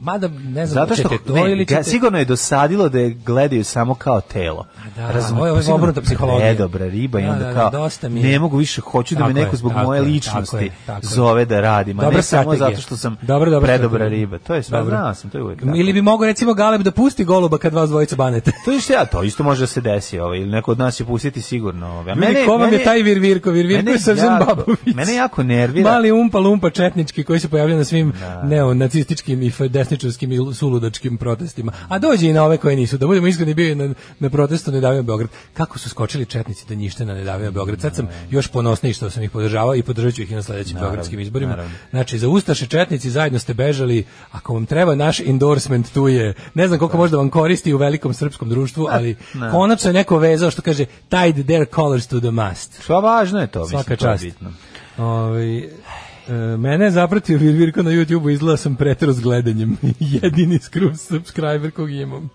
Mada ne znam Zato što hoćete to ne, ili ćete... ga- sigurno je dosadilo da je gledaju samo kao telo. da, ovo je- ovo je sigurno obrnuta psihologija. Predobra riba i Da, onda da, da, kao dosta mi je. ne mogu više, hoću da me Tako je, neko zbog tako moje je, tako ličnosti je, tako je. zove da radim, a Dobra ne samo strategija. zato što sam Dobra, dobra predobra strategija. riba. To je sve, Dobro. znao sam, to je uvijek. Ili bi mogao recimo Galeb da pusti goluba kad vas dvojica banete. To je što ja, to isto može da se desi, ovaj, ili neko od nas će pustiti sigurno. Ovaj. A Ljudi, ko vam je mene- taj Virvirko? Virvirko je Srđan jako- Babović. Mene jako nervira. Mali umpa lumpa četnički koji se pojavlja na svim neonacističkim i f- desničarskim i suludačkim protestima. A dođe i na ove koje nisu. Da budemo iskreni, bio je na, na protestu Ne davimo Beograd. Kako su skočili četnici da njište na Ne davimo Beograd? Sad sam još ponosniji što sam ih podržavao i podržat ću ih i na sledećim beogradskim izborima. naravno. Znači, za Ustaše četnici zajedno ste bežali. Ako vam treba naš endorsement, tu je. Ne znam koliko možda vam koristi u velikom srpskom društvu, ali ne. konačno je neko vezao što kaže tied their colors to the mast. Sva važno je to, Svaka Pa mislim, to je čast. bitno. Ovaj e, mene je zapratio Virvirko na YouTubeu, izgleda sam pretero s gledanjem. [LAUGHS] Jedini skruv subscriber kog [LAUGHS] imam.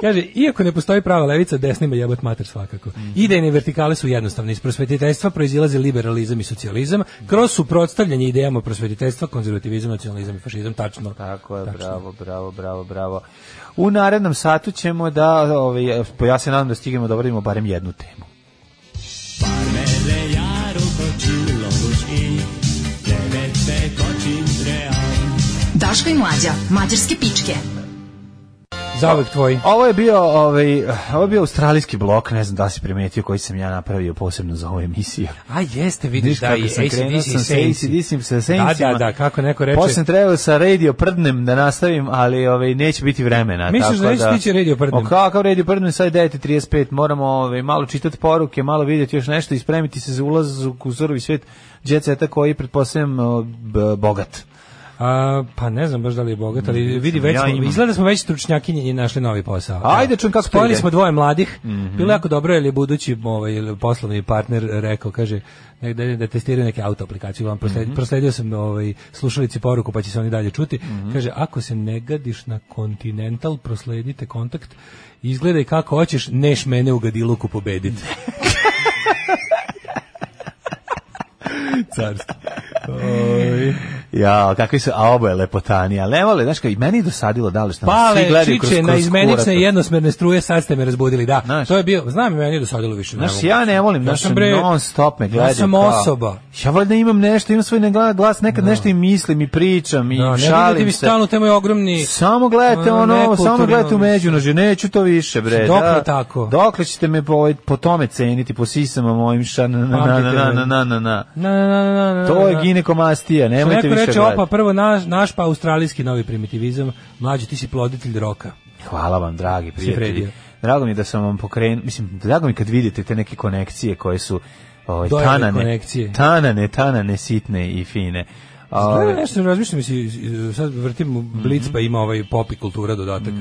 Kaže, iako ne postoji prava levica, desnima jebat mater svakako. Mhm. Idejne vertikale su jednostavne. Iz prosvetiteljstva proizilaze liberalizam i socijalizam, kroz suprotstavljanje idejama prosvetiteljstva, konzervativizam, nacionalizam i fašizam, tačno. Tako je, Tačno. bravo, bravo, bravo, bravo. U narednom satu ćemo da, ovaj, ja se nadam da stignemo da obradimo barem jednu temu. Daško i Mlađa, mađarske pičke. Zauvek tvoj. Ovo je bio, ovaj, ovo je bio australijski blok, ne znam da li si primetio koji sam ja napravio posebno za ovu emisiju. A jeste, vidiš Vidiš da kako i sam krenuo ACDC i sam sa Saints. AC/DC, sa Da, Saintsima. da, da, kako neko reče. Posle sam trebao sa radio prdnem da nastavim, ali ovaj, neće biti vremena. Misliš tako da neće stići Radio Prdnem? O, kakav radio prdnem, sad je 9.35, moramo ovaj, malo čitati poruke, malo vidjeti još nešto i spremiti se za ulaz u kuzurovi svijet djeceta koji, pretpostavljam, o, b- bogat. A, pa ne znam baš da li je bogat, ali vidi već ja smo, imam. izgleda da smo već stručnjakinje i našli novi posao. Ajde, čujem kako to Spojili ide. smo dvoje mladih. Mhm. Bilo je jako dobro jer je budući ovaj ili poslovni partner rekao, kaže negde da testiraju neke auto aplikaciju, vam prosled- Mhm. prosledio sam ovaj slušalici poruku pa će se oni dalje čuti. Kaže ako se ne gadiš na Continental, prosledite kontakt. Izgledaj kako hoćeš, neš mene u gadiluku [LAUGHS] pobediti. Carski. Oj. Ja, kakvi su, a oboje lepotani, ali ne vole, znaš kao, i meni je dosadilo da li šta, svi Pale, gledaju kroz, čiče, kroz na izmenične kurator. jednosmerne struje, sad ste me razbudili, da. to je bio, znam, meni je dosadilo više. Znaš, mogu. ja ne volim, Ja znaš, sam, bre, non stop me gledaju. Ja sam kao- osoba. Ja valjda imam nešto, imam svoj negla- glas, nekad nešto i mislim i pričam i Da, ne šalim gledajte vi se. stalno te moje ogromni... Samo gledajte A, ono, nekulturno. samo gledajte u međunožje, neću to više, bre. Dokle da. tako? Dokle ćete me po, ovaj- po tome ceniti, po sisama mojim ša, na, na, na, Pamtite na, me. na, na, na, na. Na, na, na, na, na, To je na. ginekomastija, Što nemojte neko više reče, gledati. opa, prvo naš, naš pa australijski novi primitivizam, mlađi, ti si ploditelj roka. Hvala vam, dragi prijatelji. Fredio. Drago mi je da sam vam pokrenuo, mislim, drago mi je kad vidite te neke konekcije koje su ovaj, Dojave tanane, konekcije. tanane, tanane, sitne i fine. Gledam Ovaj, nešto, razmišljam mi si, sad vrtim Mhm. Blitz pa ima ovaj pop i kultura dodatak.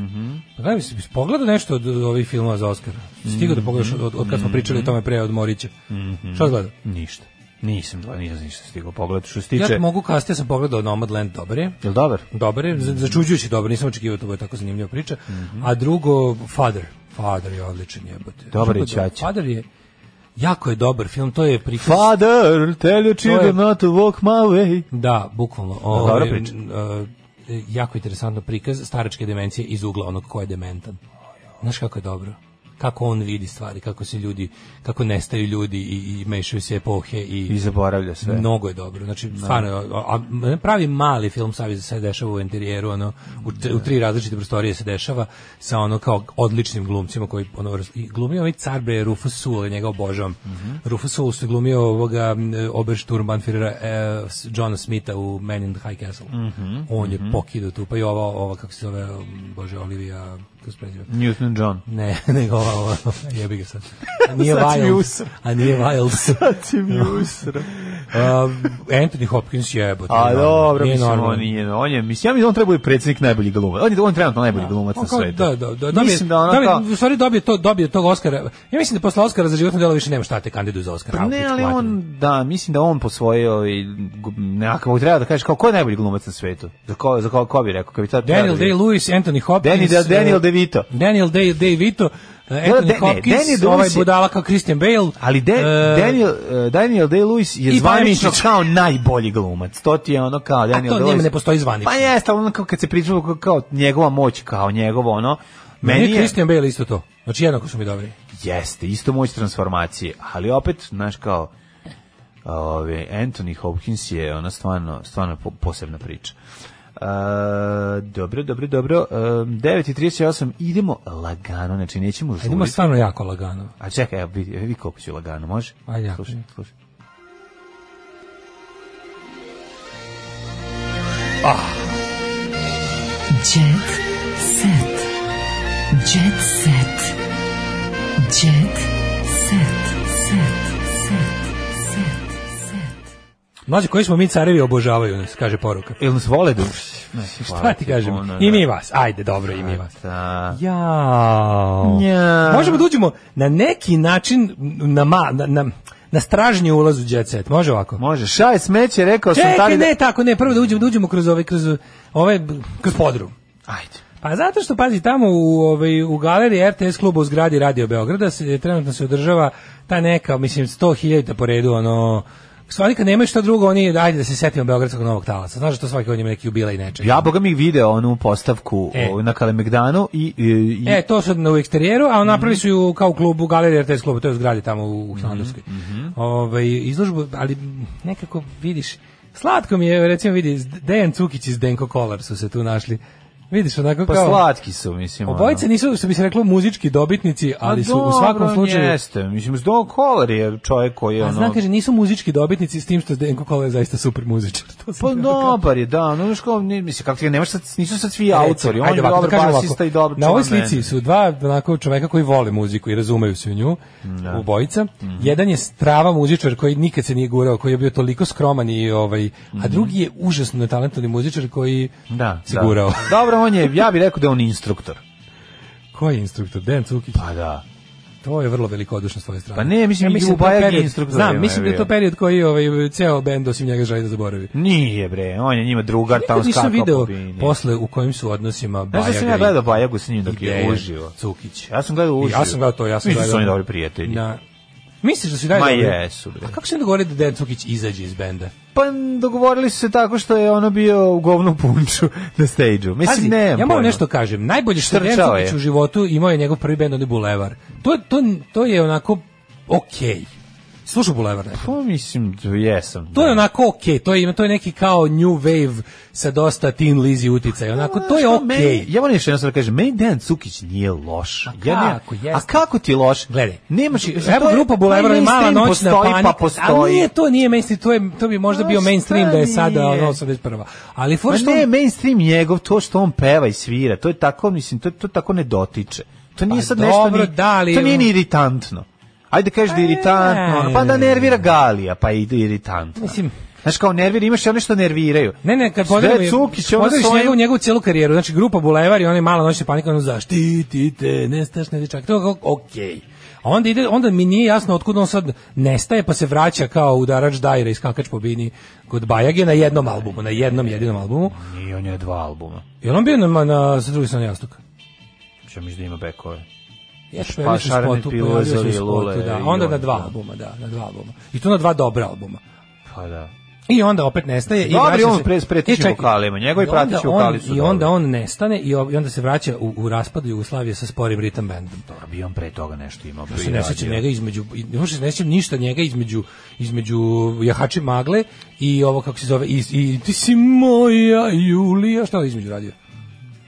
Pa Gledam si, pogledao nešto od ovih filmova za Oscar. Stigao da pogledaš od, od kad smo pričali o tome pre od Morića. Mhm. Šta gledao? Ništa. Nisam, gledao, nisam ništa stigao pogledati. Što se Ja tiče... ti mogu kasnije sam pogledao Nomadland, dobar je. Jel dobar? Dobar je, za- začuđujući dobar, nisam očekivao da bude tako zanimljiva priča. Mhm. A drugo, Father. Father je odličan jebote. Dobar je Drugo, Ćaća. Father je, jako je dobar film, to je prikaz... Father, tell your children je- not to walk my way. Da, bukvalno. Dobra Ovaj, priča. n- e, jako interesantno prikaz staračke demencije iz ugla onog ko je dementan. Znaš kako je dobro? Kako on vidi stvari, kako se ljudi, kako nestaju ljudi i, i mešaju se epohe i... I zaboravlja sve. Mnogo je dobro. Znači, stvarno, a, a pravi mali film savi se dešava u interijeru, ono, u, tr- u tri različite prostorije se dešava sa ono kao odličnim glumcima koji ono raz- i glumio je ovaj car bre Rufus Sewell, ja njega obožavam. Mhm. Rufus Sewell se glumio ovoga m, Obersturmbannführera e, s- Johna Smitha u Man in the High Castle. Mhm, On je mhm. pokidao tu, pa i ova, ova kako se zove, m, bože, Olivia, kako se preziva? Newton John. Ne, [LAUGHS] nego ova, ova, jebi ga sad. A nije Sad si mi Wiles. usra. A nije Wiles. [LAUGHS] Sad si mi usra. Uh, Anthony Hopkins je jebote. A normalno, dobro, nije mislim, normalno. on nije, on je, mislim, ja mislim da on treba biti predsjednik najbolji glumac. On je, on je trenutno najbolji glumac On na kao- svetu. Da, da, da, dobije, mislim da ono dobije, kao, u stvari dobije, to, dobije tog Oscara. Ja mislim da posle Oscara za životno delo više nema šta te kandiduju za Oscara. Pa ne, ali on, da, mislim da on po svojoj, nekako treba da kažeš kao ko je najbolji glumac na svetu? Za ko, za ko, ko bi rekao? Kad bi tad trebao Daniel da bi- Day-Lewis, Anthony Hopkins. Danny Da- Daniel eh, DeVito. Daniel Day- DeVito, eh, Da, Anthony da, ne, Hopkins, Daniel Day-Lewis ovaj je- budala kao Christian Bale. Ali De, eh, Daniel, eh, Daniel Day-Lewis je i zvanično Pajamišić. kao najbolji glumac. To ti je ono kao Daniel to Day-Lewis. njemu ne postoji zvanično. Pa jeste, ali ono kao kad se pričalo kao, kao njegova moć, kao njegovo ono, Meni meni je je, Christian Bale isto to. Znači jednako su mi dobri. jeste, isto moć transformacije, ali opet, znaš kao, ove, Anthony Hopkins je ona stvarno, stvarno po- posebna priča. E, dobro, dobro, dobro. E, 9.38, idemo lagano, znači nećemo žuriti. Idemo stvarno jako lagano. A čekaj, evo, vidi, vi koliko ću lagano, može? Ajde, jako. Slušaj, slušaj. Ah, Jet set. Jet set. Jet set. Set. Set. Set. Set. Mlađe, koji smo mi carevi obožavaju nas, kaže poruka. Ili nas vole duš? Pa, Šta ti kažem? I mi vas. Ajde, dobro, i mi vas. ono, Da. Jao. Njao. Možemo da uđemo na neki način na, ma, na, na, na stražnji ulaz u Jet Set. Može ovako? Može. Šaj smeće, rekao sam Čekaj, tali da... ne, tako, ne, prvo da uđemo, da uđemo kroz ovaj, kroz ovaj, kroz podrum. Ajde. Pa zato što, pazi, tamo u, ovaj, u galeriji RTS kluba u zgradi Radio Beograda se, trenutno se održava ta neka, mislim, 100.000 po redu, ono, stvari kad nemaju šta drugo, oni, ajde da se setimo Beogradskog novog talasa. Znaš da to svaki godin ima neki jubilej nečeg. Ja, boga mi video onu postavku E. o, na Kalemegdanu i... i, i E, to su na- u eksterijeru, a Mhm. napravili su ju kao u klubu, u galeriji RTS klubu, to je u zgradi tamo u Hilandarskoj. mhm. Ovaj, izložbu, ali nekako vidiš, slatko mi je, recimo vidi, Dejan Cukić i Zdenko Kolar su se tu našli. Vidiš, onako Pa kao... slatki su, mislim. ono. Obojice nisu, što bi se reklo, muzički dobitnici, ali Ma su u svakom dobro, slučaju... Jeste, mislim, Don Kolar je čovjek koji je A ono... znam, kaže, nisu muzički dobitnici s tim što Denko Kola je zaista super muzičar. [LAUGHS] To sam Pa htio da kažem. dobar je, da, no, znaš kao, ne, mislim, kako ti ga nemaš, sad, nisu sad svi Recimo, autori, on ajde je ovako, da dobar kažem basista ovako, i dobar Na ovoj član slici benda. su dva onako čoveka koji vole muziku i razumeju se u nju, Da. Mhm. obojica. Jedan je strava muzičar koji nikad se nije gurao, koji je bio toliko skroman i ovaj, a drugi je užasno netalentovani muzičar koji Mhm. Da, se da. gurao. [LAUGHS] Dobro, on je, ja bih rekao da je on instruktor. Koji je instruktor? Dejan Cukić? Pa da. To je vrlo velikodušno s tvoje strane. Pa ne, mislim, da je to Ljubajag je period- instruktor, ima je Znam, mislim da je to bio. period koji ovaj, ceo bend osim njega želi da zaboravi. Nije bre, on je njima drugar, Pa tamo Nikad skakao nisam video po bini. posle u kojim su odnosima Znaš da Bajaga sam ja i- gledao Bajagu s njim dok je Dejan uživo. Cukić. Ja sam gledao uživo. Ja sam gledao to, ja sam Mislim da su gledao. ono- oni dobri prijatelji. Na, misliš da su i dalje Ma dobri? jesu, bre. A kako se onda govori da Dejan Cukić izađe iz benda? Pa dogovorili su se tako što je ono bio u govnu punču [LAUGHS] na Pazi, stage-u. Mislim, ne, ja moram nešto kažem. Najbolje što je Dejan Štrčao Cukić je. u životu imao je njegov prvi bend, on je Bulevar. To, to, to je onako okej. Slušao Bulevar nekad? Pa mislim, jesam. To je onako okej, to je to je neki kao new wave sa dosta Tin Lizzy uticaja. Onako to je Znaš okej. šta, meni- Ja moram nešto jedno sad da kažem, meni Dejan Cukić nije loš. ja ne- kako, a jeste. kako ti loš? Gledaj, Nemaš, Evo grupa Bulevar i mala noćna panika. Pa postoji. A nije to, nije mainstream, to, je, to bi možda Ma, bio mainstream da je šta sada nije? ono 81. Ali Ma for što... Pa ne, mainstream njegov, to što on peva i svira, to je tako, mislim, to, to tako ne dotiče. To nije Pa sad nešto, dobro, ni, da, ali- to nije ni iritantno. Ajde kažeš da je iritantno, ono, pa da nervira Galija, pa i iritantno. Mislim, Znaš kao nervira, imaš i one što nerviraju. Ne, ne, kad Sve pogledamo je- Cukić, ono pogledaš svojim- njegovu, njegovu celu karijeru, znači grupa Bulevar i onaj mala noćna panika, ono zaštitite, nestašne dečak, to je kao, okej. A onda, ide, onda mi nije jasno otkud on sad nestaje, pa se vraća kao udarač dajra i skakač po bini kod Bajage na jednom albumu, na jednom jedinom albumu. I on je dva albuma. Je on bio na, na sa druge strane jastuka? Čem mislim da ima bekove. Ja što Pa, je više Šareni spotu, Pilozor pojavio se u i Lule spotu, da. i Onda on, na dva da. albuma, da, na dva albuma. I to na dva dobra albuma. Pa da. I onda opet nestaje i Dobri vraća on se- pre- s pretećim E, čekaj. vokalima, njegovi I onda prateći on- vokali su I onda dobri. on nestane i ob- i onda se vraća u, u raspadu Jugoslavije sa sporim ritam bandom. Dobro, bi on pre toga nešto imao. Ja bi se ne radio. sećam njega između i- ne možeš se ne sećam ništa njega između između Jahači magle i ovo kako se zove i, i ti si moja Julija šta je između radio.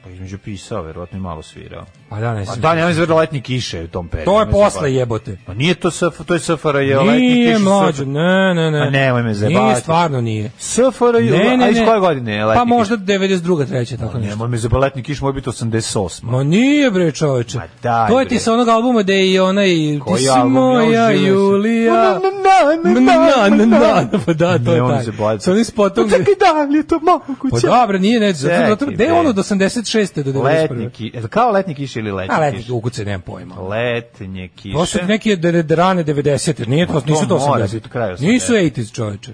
Pa između pisao, verovatno i malo svirao. Pa da ne A sećam. da, nema izvrlo letnji kiše u tom periodu. To je Ne znam, ovaj, pa- posle jebote. Pa nije to SF, to je SFRJ, letnji Nije kiše. mlađo, ne, ne, ne. Pa nemoj me zajebavati. Nije, stvarno nije. SFRJ, Ne, ne, a iz ne. koje godine je Pa letnji Pa možda 92. treće, tako kiš? nešto. Nemoj me zajebavati, letnji kiš moj biti 88. Ma nije bre čoveče. daj, to je ti bre. sa onog albuma da je i onaj Koji ti si album? Ja moja uživao sam. Julija. Na, na, na, na, Na, na, na, na, na. na, Pa da, to Ne, je oni taj. se baci. Sa onim spotom. gde- Pa da li je to moguće? Pa Pa dobro, nije ne, zato, Čekaj, zato, gde je bre. ono od 86. do 91. Letnji kiš, kao letnji kiš ili letnji A letnik kiš? ukuce, nemam pojma. Letnje kiše. To su neke de- de- rane 90. Nije to, To nisu to mora biti kraj 80. Nisu 80-ih. 80 čoveče.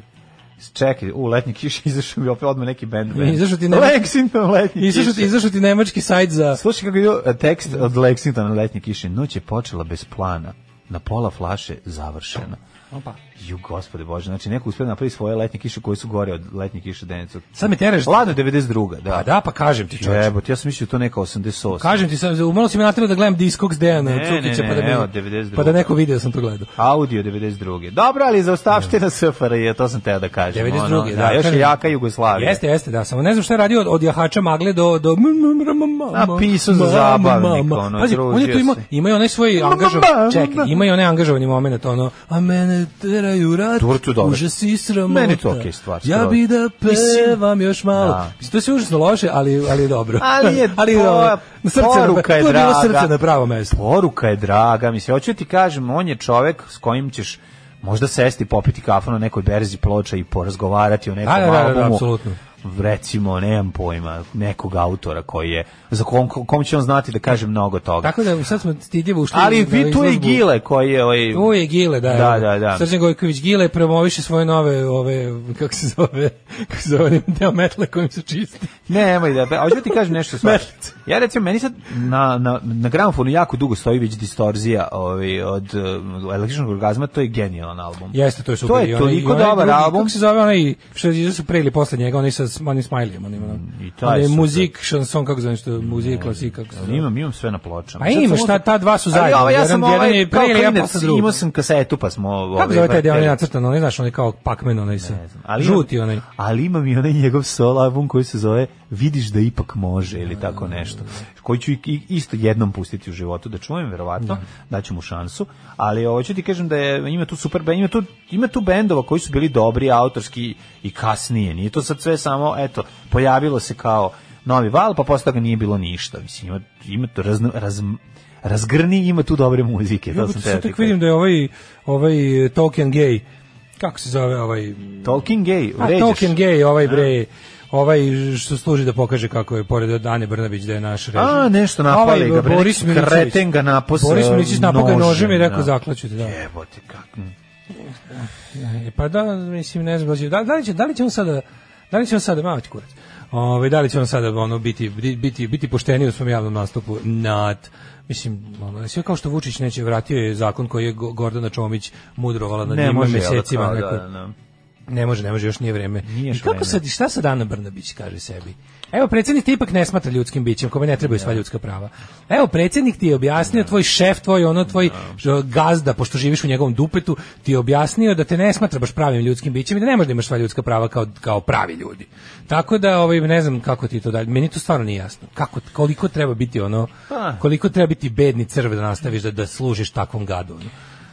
Čekaj, u letnji kiš [LAUGHS] izašao mi opet odmah neki band. band. Izašao ti nema- Lexington letnji Izašao ti, kiše. izašao ti nemački sajt za... Slušaj kako je bio, e, tekst od Lexingtona letnje kiše. Noć je počela bez plana. Na pola flaše završena. Opa. Ju, gospode bože, znači neko uspio da napravi svoje letnje kiše koje su gore od letnje kiše Denicu. Sad me teraš. Ladno 92. Da. Pa da, pa kažem ti čoveče. Jebote, ja sam mislio to neka 88. Kažem ti, sad, umalo si me natrao da gledam Discogs Dejana Ne, Cukića, ne, pa da, ne, me- evo, 92. pa da neko video da sam to gledao. Audio 92. Dobro, ali za ostavština SFRJ, to sam teo da kažem. 92. ono, da, da, još je kažem. jaka Jugoslavija. Jeste, jeste, da, samo ne znam šta je radio od, od jahača magle do... do Napisao za zabavnik, ono, Pazi, on je tu družio imao, se. imao je onaj svoj Ma, ma, angažovan, ma, čekaj, ma. ima i onaj angažovani moment, ono, a mene teraju rat, Dobro, to je dobro. užas i sramota. Meni je to okej stvar, Ja skroz. bi da pevam još malo. Da. Mislim, to je sve užasno loše, ali, ali je dobro. Ali [LAUGHS] je je Pa po- dobro. na srce, na- poruka je to je bilo draga. srce na pravo mesto. Poruka je draga, mislim, hoću ti kažem, on je čovek s kojim ćeš možda sesti, popiti kafu na nekoj berzi ploča i porazgovarati o nekom Da, da, da, da, albumu. apsolutno. recimo, nemam pojma, nekog autora koji je, za kom, kom će on znati da kaže mnogo toga. Tako da sad smo stidljivo ušli. Ali na vi tu je izložbu. Gile koji je... Ovaj, Tu je Gile, da. Da, evo. da, da. Srđan Gojković Gile promoviše svoje nove, ove, kako se zove, [LAUGHS] kako se zove, onaj deo metla kojim se čisti. Nemoj da, hoću da ti kažem [LAUGHS] nešto svašta. Merlica. Ja recimo, meni sad na, na, na gramofonu jako dugo stoji već distorzija ovaj, od uh, električnog orgazma, to je genijalan album. Jeste, to je super. To I je onaj- i toliko onaj dobar drugi, album. Kako se zove onaj, što je izašao pre ili posle njega, onaj sa onim smajlijom, onim, ono. Mm, I taj taj je je super. muzik, šanson, kako zovem što, muzik, klasik, kako se Ali zove. Imam, imam sve na A pločama. Pa ima, šta, ta dva su zajedno. Ali ovo, ja jedan- sam jedan ovaj, je kao pre ili ja klinac posle drugog. imao sam kasetu, pa smo... ovaj, Kako zove taj deo, vrteli. onaj nacrtan, onaj, znaš, onaj kao Pac-Man, onaj se, ali imam- žuti onaj. Ali imam i onaj njegov solo album koji se zove Vidiš da ipak može ili tako nešto. Koji ću i- i- isto jednom pustiti u životu da čujem verovatno, daću mu šansu, ali ovo ću ti kažem da je ima tu super bend, ima tu ima tu bendova koji su bili dobri autorski i kasnije. Nije to sad sve samo eto, pojavilo se kao novi val, pa posle toga nije bilo ništa. Mislim ima ima tu razno, raz, razgrni ima tu dobre muzike, to Jebote, sam sad teo ti tek vidim da je ovaj, ovaj eh, Tolkien gay, kako se zove ovaj... Talking gay, A, vređaš. Tolkien gay, ovaj bre, ovaj što služi da pokaže kako je, pored od Ane Brnabić, da je naš režim. A, nešto napali ovaj, ga, bre, Boris neki Milićević. kreten ga napos- Boris Milićević napao ga nožem i rekao, da. zaklaću te, da. Jebote, kako. E, Pa da, mislim, ne znam, da li će- da, da, li će, da li će on sada, da li će on sada, malo kurac, Ovaj, da li će on sada ono, biti, biti, biti pošteniji u svom javnom nastupu? Not. Mislim, ono, sve kao što Vučić neće, vratio je zakon koji je Go- Gordana Čomić mudrovala na Ne njima može, jel da, mesecima. kao, da, neko- da, da. Ne može, ne može, još nije vreme. Nije I još kako vreme. sad, šta sad Ana Brnabić kaže sebi? Evo, predsjednik te ipak ne smatra ljudskim bićem, kome ne trebaju sva ljudska prava. Evo, predsjednik ti je objasnio, tvoj šef, tvoj ono, tvoj ž- gazda, pošto živiš u njegovom dupetu, ti je objasnio da te ne smatra baš pravim ljudskim bićem i da ne možeš da imaš sva ljudska prava kao, kao pravi ljudi. Tako da, ovaj, ne znam kako ti to dalje, meni to stvarno nije jasno. Kako, koliko treba biti ono, Pa. koliko treba biti bedni crv da nastaviš da, da služiš takvom gadu. ono.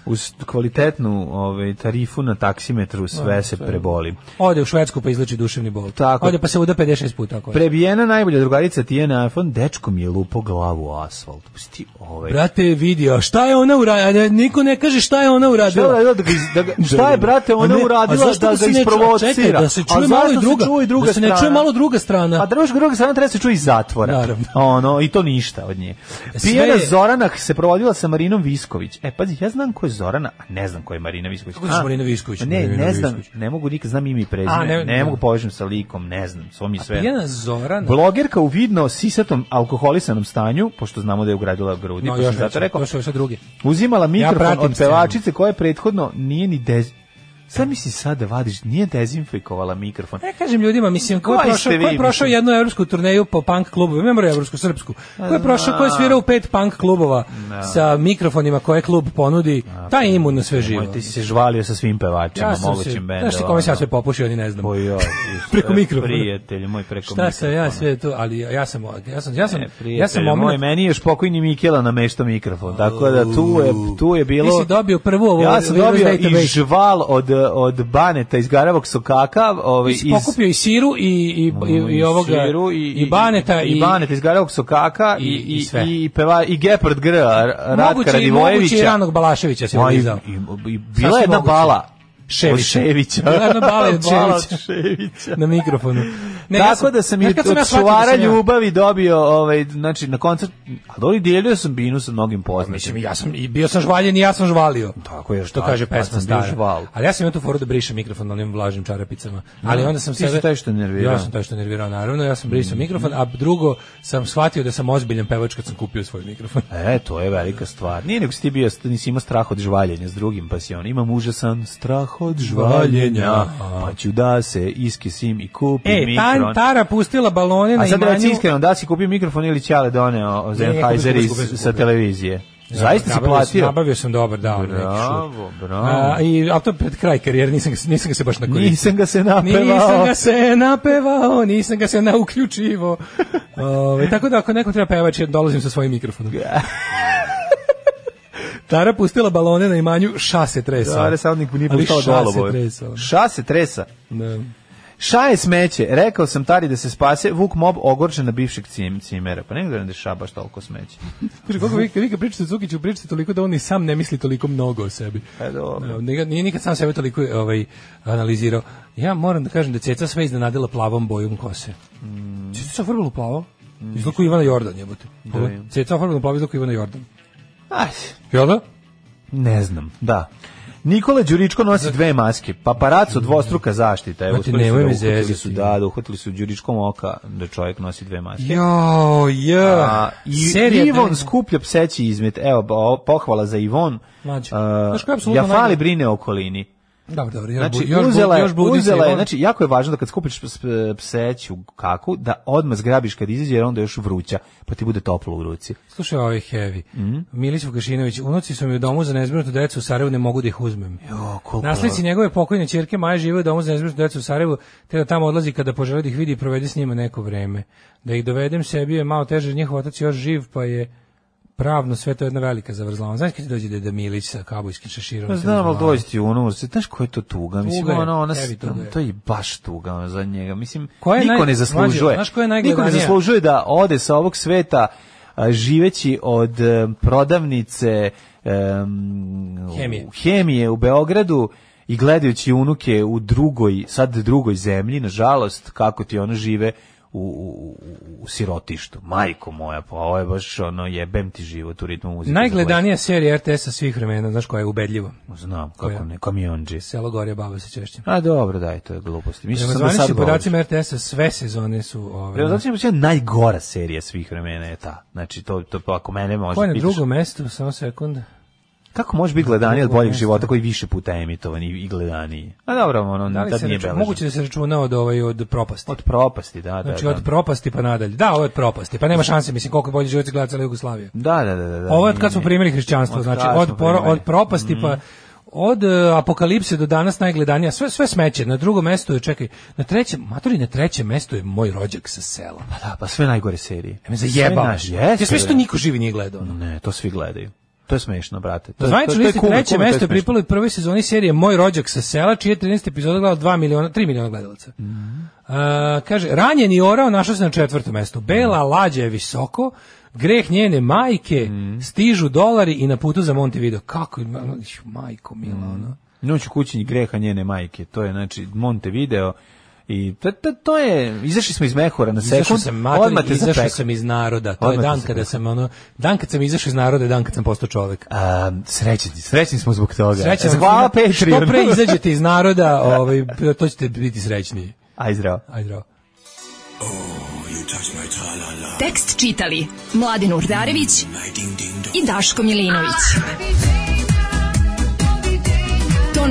Uz kvalitetnu ovaj, tarifu na taksimetru sve se preboli. Ode u Švedsku pa izleči duševni bol. Tako. Ode pa se uda 56 puta. ako je. Prebijena najbolja drugarica Tijena Afon, dečko mi je lupo glavu u asfalt. Pusti ovaj. Brate je vidio, šta je ona uradila? Niko ne kaže šta je ona Šta je, uradila. uradila da ga iz- da ga- šta je, brate, ona A ne, a uradila zašto da se ga ne čuje? isprovocira? Čekaj, da se A čuje malo zašto i druga, se čuje i druga da se ne čuje strana? malo druga strana. A Pa druga, druga strana treba se čuje iz zatvora. Naravno. E, Ono, i to ništa od nje. Sve- Pijena Zoranak se provodila sa Marinom Visković. E, pazi, ja znam ko je Zorana, a ne znam ko je Marina Visković. Kako znaš A, Marina Visković? Ne, Marina ne znam, Visković. ne mogu nikad, znam ime i prezime, A, ne, ne- ne. mogu povežem sa likom, ne znam, svo mi je sve. Pijena Zorana. Blogerka u vidno sisatom alkoholisanom stanju, pošto znamo da je ugradila grudi, No, pa sam još zato rekao, Još još drugi. uzimala mikrofon pratim od scenu. pevačice koja je prethodno nije ni dez... Sad misli sad da vadiš, nije dezinfekovala mikrofon. Ne E, kažem ljudima, mislim, ko je Koji prošao, ste vi, ko je prošao mislim? jednu evropsku turneju po punk klubovima, ne mora evropsku, srpsku. Ko je prošao, ko je znam. svirao u pet punk klubova sa mikrofonima koje klub ponudi, taj je imun na sve živo. Moj, pa ti si se žvalio sa svim pevačima, Ja ja sam se, mogućim bendom. znaš ti kome sam ja sve popušio, oni ne znam. Oj, [LAUGHS] oj, Preko mikrofona. Prijatelj, moj preko Šta sam ja mikrofona. sve to, ali ja sam, ja sam, ja sam, ono. E, prijatelj, ja sam moj, moment, meni je još pokojni Mikela nameštao mikrofon, tako da tu je, tu je bilo... Ti si dobio prvu ovo- Ja sam Windows dobio i database. žval od, od Baneta iz Garavog Sokaka, ovaj, Ti si pokupio i siru i, i, i, i ovoga, Mm, Siru i, baneta i, i Baneta iz Garavog Sokaka i i- i i sve. i, peva i Gepard Gr R- moguće, Ratka i moguće i Radivojevića. ranog Balaševića se Ma, i, [LAUGHS] odizao. i, i bila Sasvim je jedna moguće. bala Ševića. od Ševića. Bila je jedna bala od Bala Ševića. Ševića. na mikrofonu. Ne, ja Tako sam- da sam i znaš od kad sam ja shvatio da čuvara sam ja- ljubavi dobio, ovaj, znači, na koncert, a doli dijelio sam binu sa mnogim poznatim. Mislim, ja sam, i bio sam žvaljen i ja sam žvalio. Tako je, Što šta, kaže pa pesma sam bio stara. žval. Ali ja sam imao tu foru da brišem mikrofon na onim vlažnim čarapicama. Ali Ja. onda sam Ti si sebe- taj što je nervirao. Mm. Ja sam taj što je nervirao, naravno. Ja sam brisao mikrofon, a drugo sam shvatio da sam ozbiljan pevač kad sam kupio svoj mikrofon. E, to je velika stvar. Nije nego si ti bio, nisi imao strah od žvaljenja s drugim, pa si on, imam užasan strah od žvaljenja, pa ću da se iskisim i kupim E, mikron. ta, Tara pustila balone na A sad reci imanju. iskreno, da si kupio mikrofon ili Ćale doneo Sennheiser kupio, iz- kupio sam, sa kupio. televizije? Zaista si Nabavio sam- platio? Nabavio sam dobar, da, neki šut. Bravo, bravo. A, i, a to je pred kraj karijere, nisam, ga- nisam ga se baš nakoristio. Nisam ga se napevao. Nisam ga se napevao, nisam ga se nauključivo. Ove, tako da ako neko treba pevač, ja dolazim sa svojim [LAUGHS] mikrofonom. Tara pustila balone na imanju, ša se tresao. Dobar, sad nik nije Ali ša pustao se golubove. tresao. Ša se tresa. Da. Ša je smeće. Rekao sam Tari da se spase. Vuk Mob ogorčen na bivšeg cim, cimera. Pa ne gledam da je ša baš toliko smeće. Kaže, koliko vi, vi kad pričate o Cukiću, pričate toliko da on i sam ne misli toliko mnogo o sebi. E, dobro. Evo, Nije, nije nikad sam sebe toliko ovaj, analizirao. Ja moram da kažem da je Ceca sve iznenadila plavom bojom kose. Mm. Ceca se oformila u plavo? Izluku Ivana Jordan, jebote. Ovo, Mm. imam. Ceca oformila u plavo, izluku Ivana Jordan. Aj, Jel da? ne znam, da. Nikola Đuričko nosi dve maske. Paparaco dvostruka zaštita. Evo, Znate, uspeli su nemoj ga, me uhvatili zezati. su, da, da, uhvatili su Đuričkom oka da čovjek nosi dve maske. Jo, ja. A, i, Ivon skuplja pseći izmet. Evo, ba- o- pohvala za Ivon. Mlađe. A, Znaš ko je apsolutno ja fali najbolji? brine o okolini. Dobro, dobro. Još Znači, bu- još bu- uzela je, još budi se, uzela je, ono- znači, jako je važno da kad skupiš ps- pseću kaku, da odmah zgrabiš kad izađe, jer onda je još vruća, pa ti bude toplo u ruci. Slušaj, ovaj heavy. Milić Vukašinović, unuci su mi u domu za nezbrinutu decu u Sarajevu, ne mogu da ih uzmem. Jo, koliko... Naslednici njegove pokojne ćerke Maja žive u domu za nezbrinutu decu u Sarajevu, te da tamo odlazi kada poželi da ih vidi i provede s njima neko vreme. Da ih dovedem sebi je malo teže, jer njihov otac je još živ, pa je pravno sve to jedna velika zavrzlava. Znaš kad ti dođe deda Milić sa kabujskim šeširom? Pa te znam, ali uzmava? dođe ti u unurci, znaš koja je to tuga? Mislim, Tuga je, ono, ona, tebi tuga je. to je baš tuga ono, za njega. Mislim, Ko je niko naj- ne zaslužuje. Mlađe, znaš ko je niko ne najgledanija? zaslužuje da ode sa ovog sveta a, živeći od e, prodavnice em, Hemije. u- hemije u Beogradu i gledajući unuke u drugoj, sad drugoj zemlji, nažalost, kako ti ono žive u, u, u- u sirotištu. Majko moja, pa ovo je baš ono, jebem ti život u ritmu muzike. Najgledanija serija RTS-a svih vremena, znaš koja je ubedljiva. Znam, Koja? kako ne, kamionđe. Selo Gorje, baba se češće. A Pa dobro, daj, to je gluposti. Mislim Prema sam da sad znači, zvaničnim podacima, podacima RTS-a sve sezone su... ovaj, Ove, Prema zvaničnim podacima, najgora serija svih vremena je ta. Znači, to, to pa ako mene može Ko je na pitaš, drugom mestu, samo sekund. Kako može biti gledaniji od drugom boljeg mestu? života koji je više puta emitovan i, i gledaniji? A dobro, ono, Da li tad se nije računa- beležno. moguće da se računa od, ovaj, od propasti. Od propasti, da, da. Znači da. od propasti pa nadalje. Da, ovo je od propasti. Pa nema šanse, mislim, koliko je bolji život gledala cela Jugoslavija. Da, da, da, da, da. Ovo je od nije, kad smo nije. primili hrišćanstvo, Od znači kad od, smo poro- primili. od propasti pa Mhm. od e, apokalipse do danas najgledanija, sve sve smeće, na drugom mestu je, čekaj, na trećem, matori na trećem mestu je moj rođak sa sela. Pa da, pa sve najgore serije. Pa Ja me zajebavaš. Sve naš- jeste, Ja sam mislio bre. da niko živi nije gledao. ono. Ne, to svi gledaju. To je smešno, brate. To, Na zvaničnoj to- to je listi kume, treće kume, to mesto je smešno. pripalo u prvoj sezoni serije Moj rođak sa sela, čije je 13 epizoda gledalo 2 miliona, 3 miliona gledalaca. Mhm. A, kaže, ranjen i orao našao se na četvrtom mestu. Bela Mhm. lađa je visoko, greh njene majke, Mhm. stižu dolari i na putu za Montevideo. Kako, ima- ono, iš, majko mila, Mhm. ono. Noć u kućini greha njene majke, to je znači Montevideo i to, to, to je, izašli smo iz mehura na Izašao sekund, sam, mater, odmah te izašao zapeklo. sam iz naroda. To Odmah je te dan zapeklo. kada sam, ono, dan kad sam izašao iz naroda, je dan kad sam postao čovek. A, srećni, srećni smo zbog toga. Srećan vam Hvala svima. Patreon. Što pre izađete iz naroda, ovaj, to ćete biti srećniji. [LAUGHS] Aj zdravo. Aj zdravo. Tekst čitali Mladin Urdarević i Daško Milinović. Ton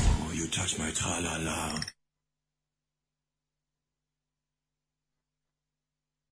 You touch my tra-la-la.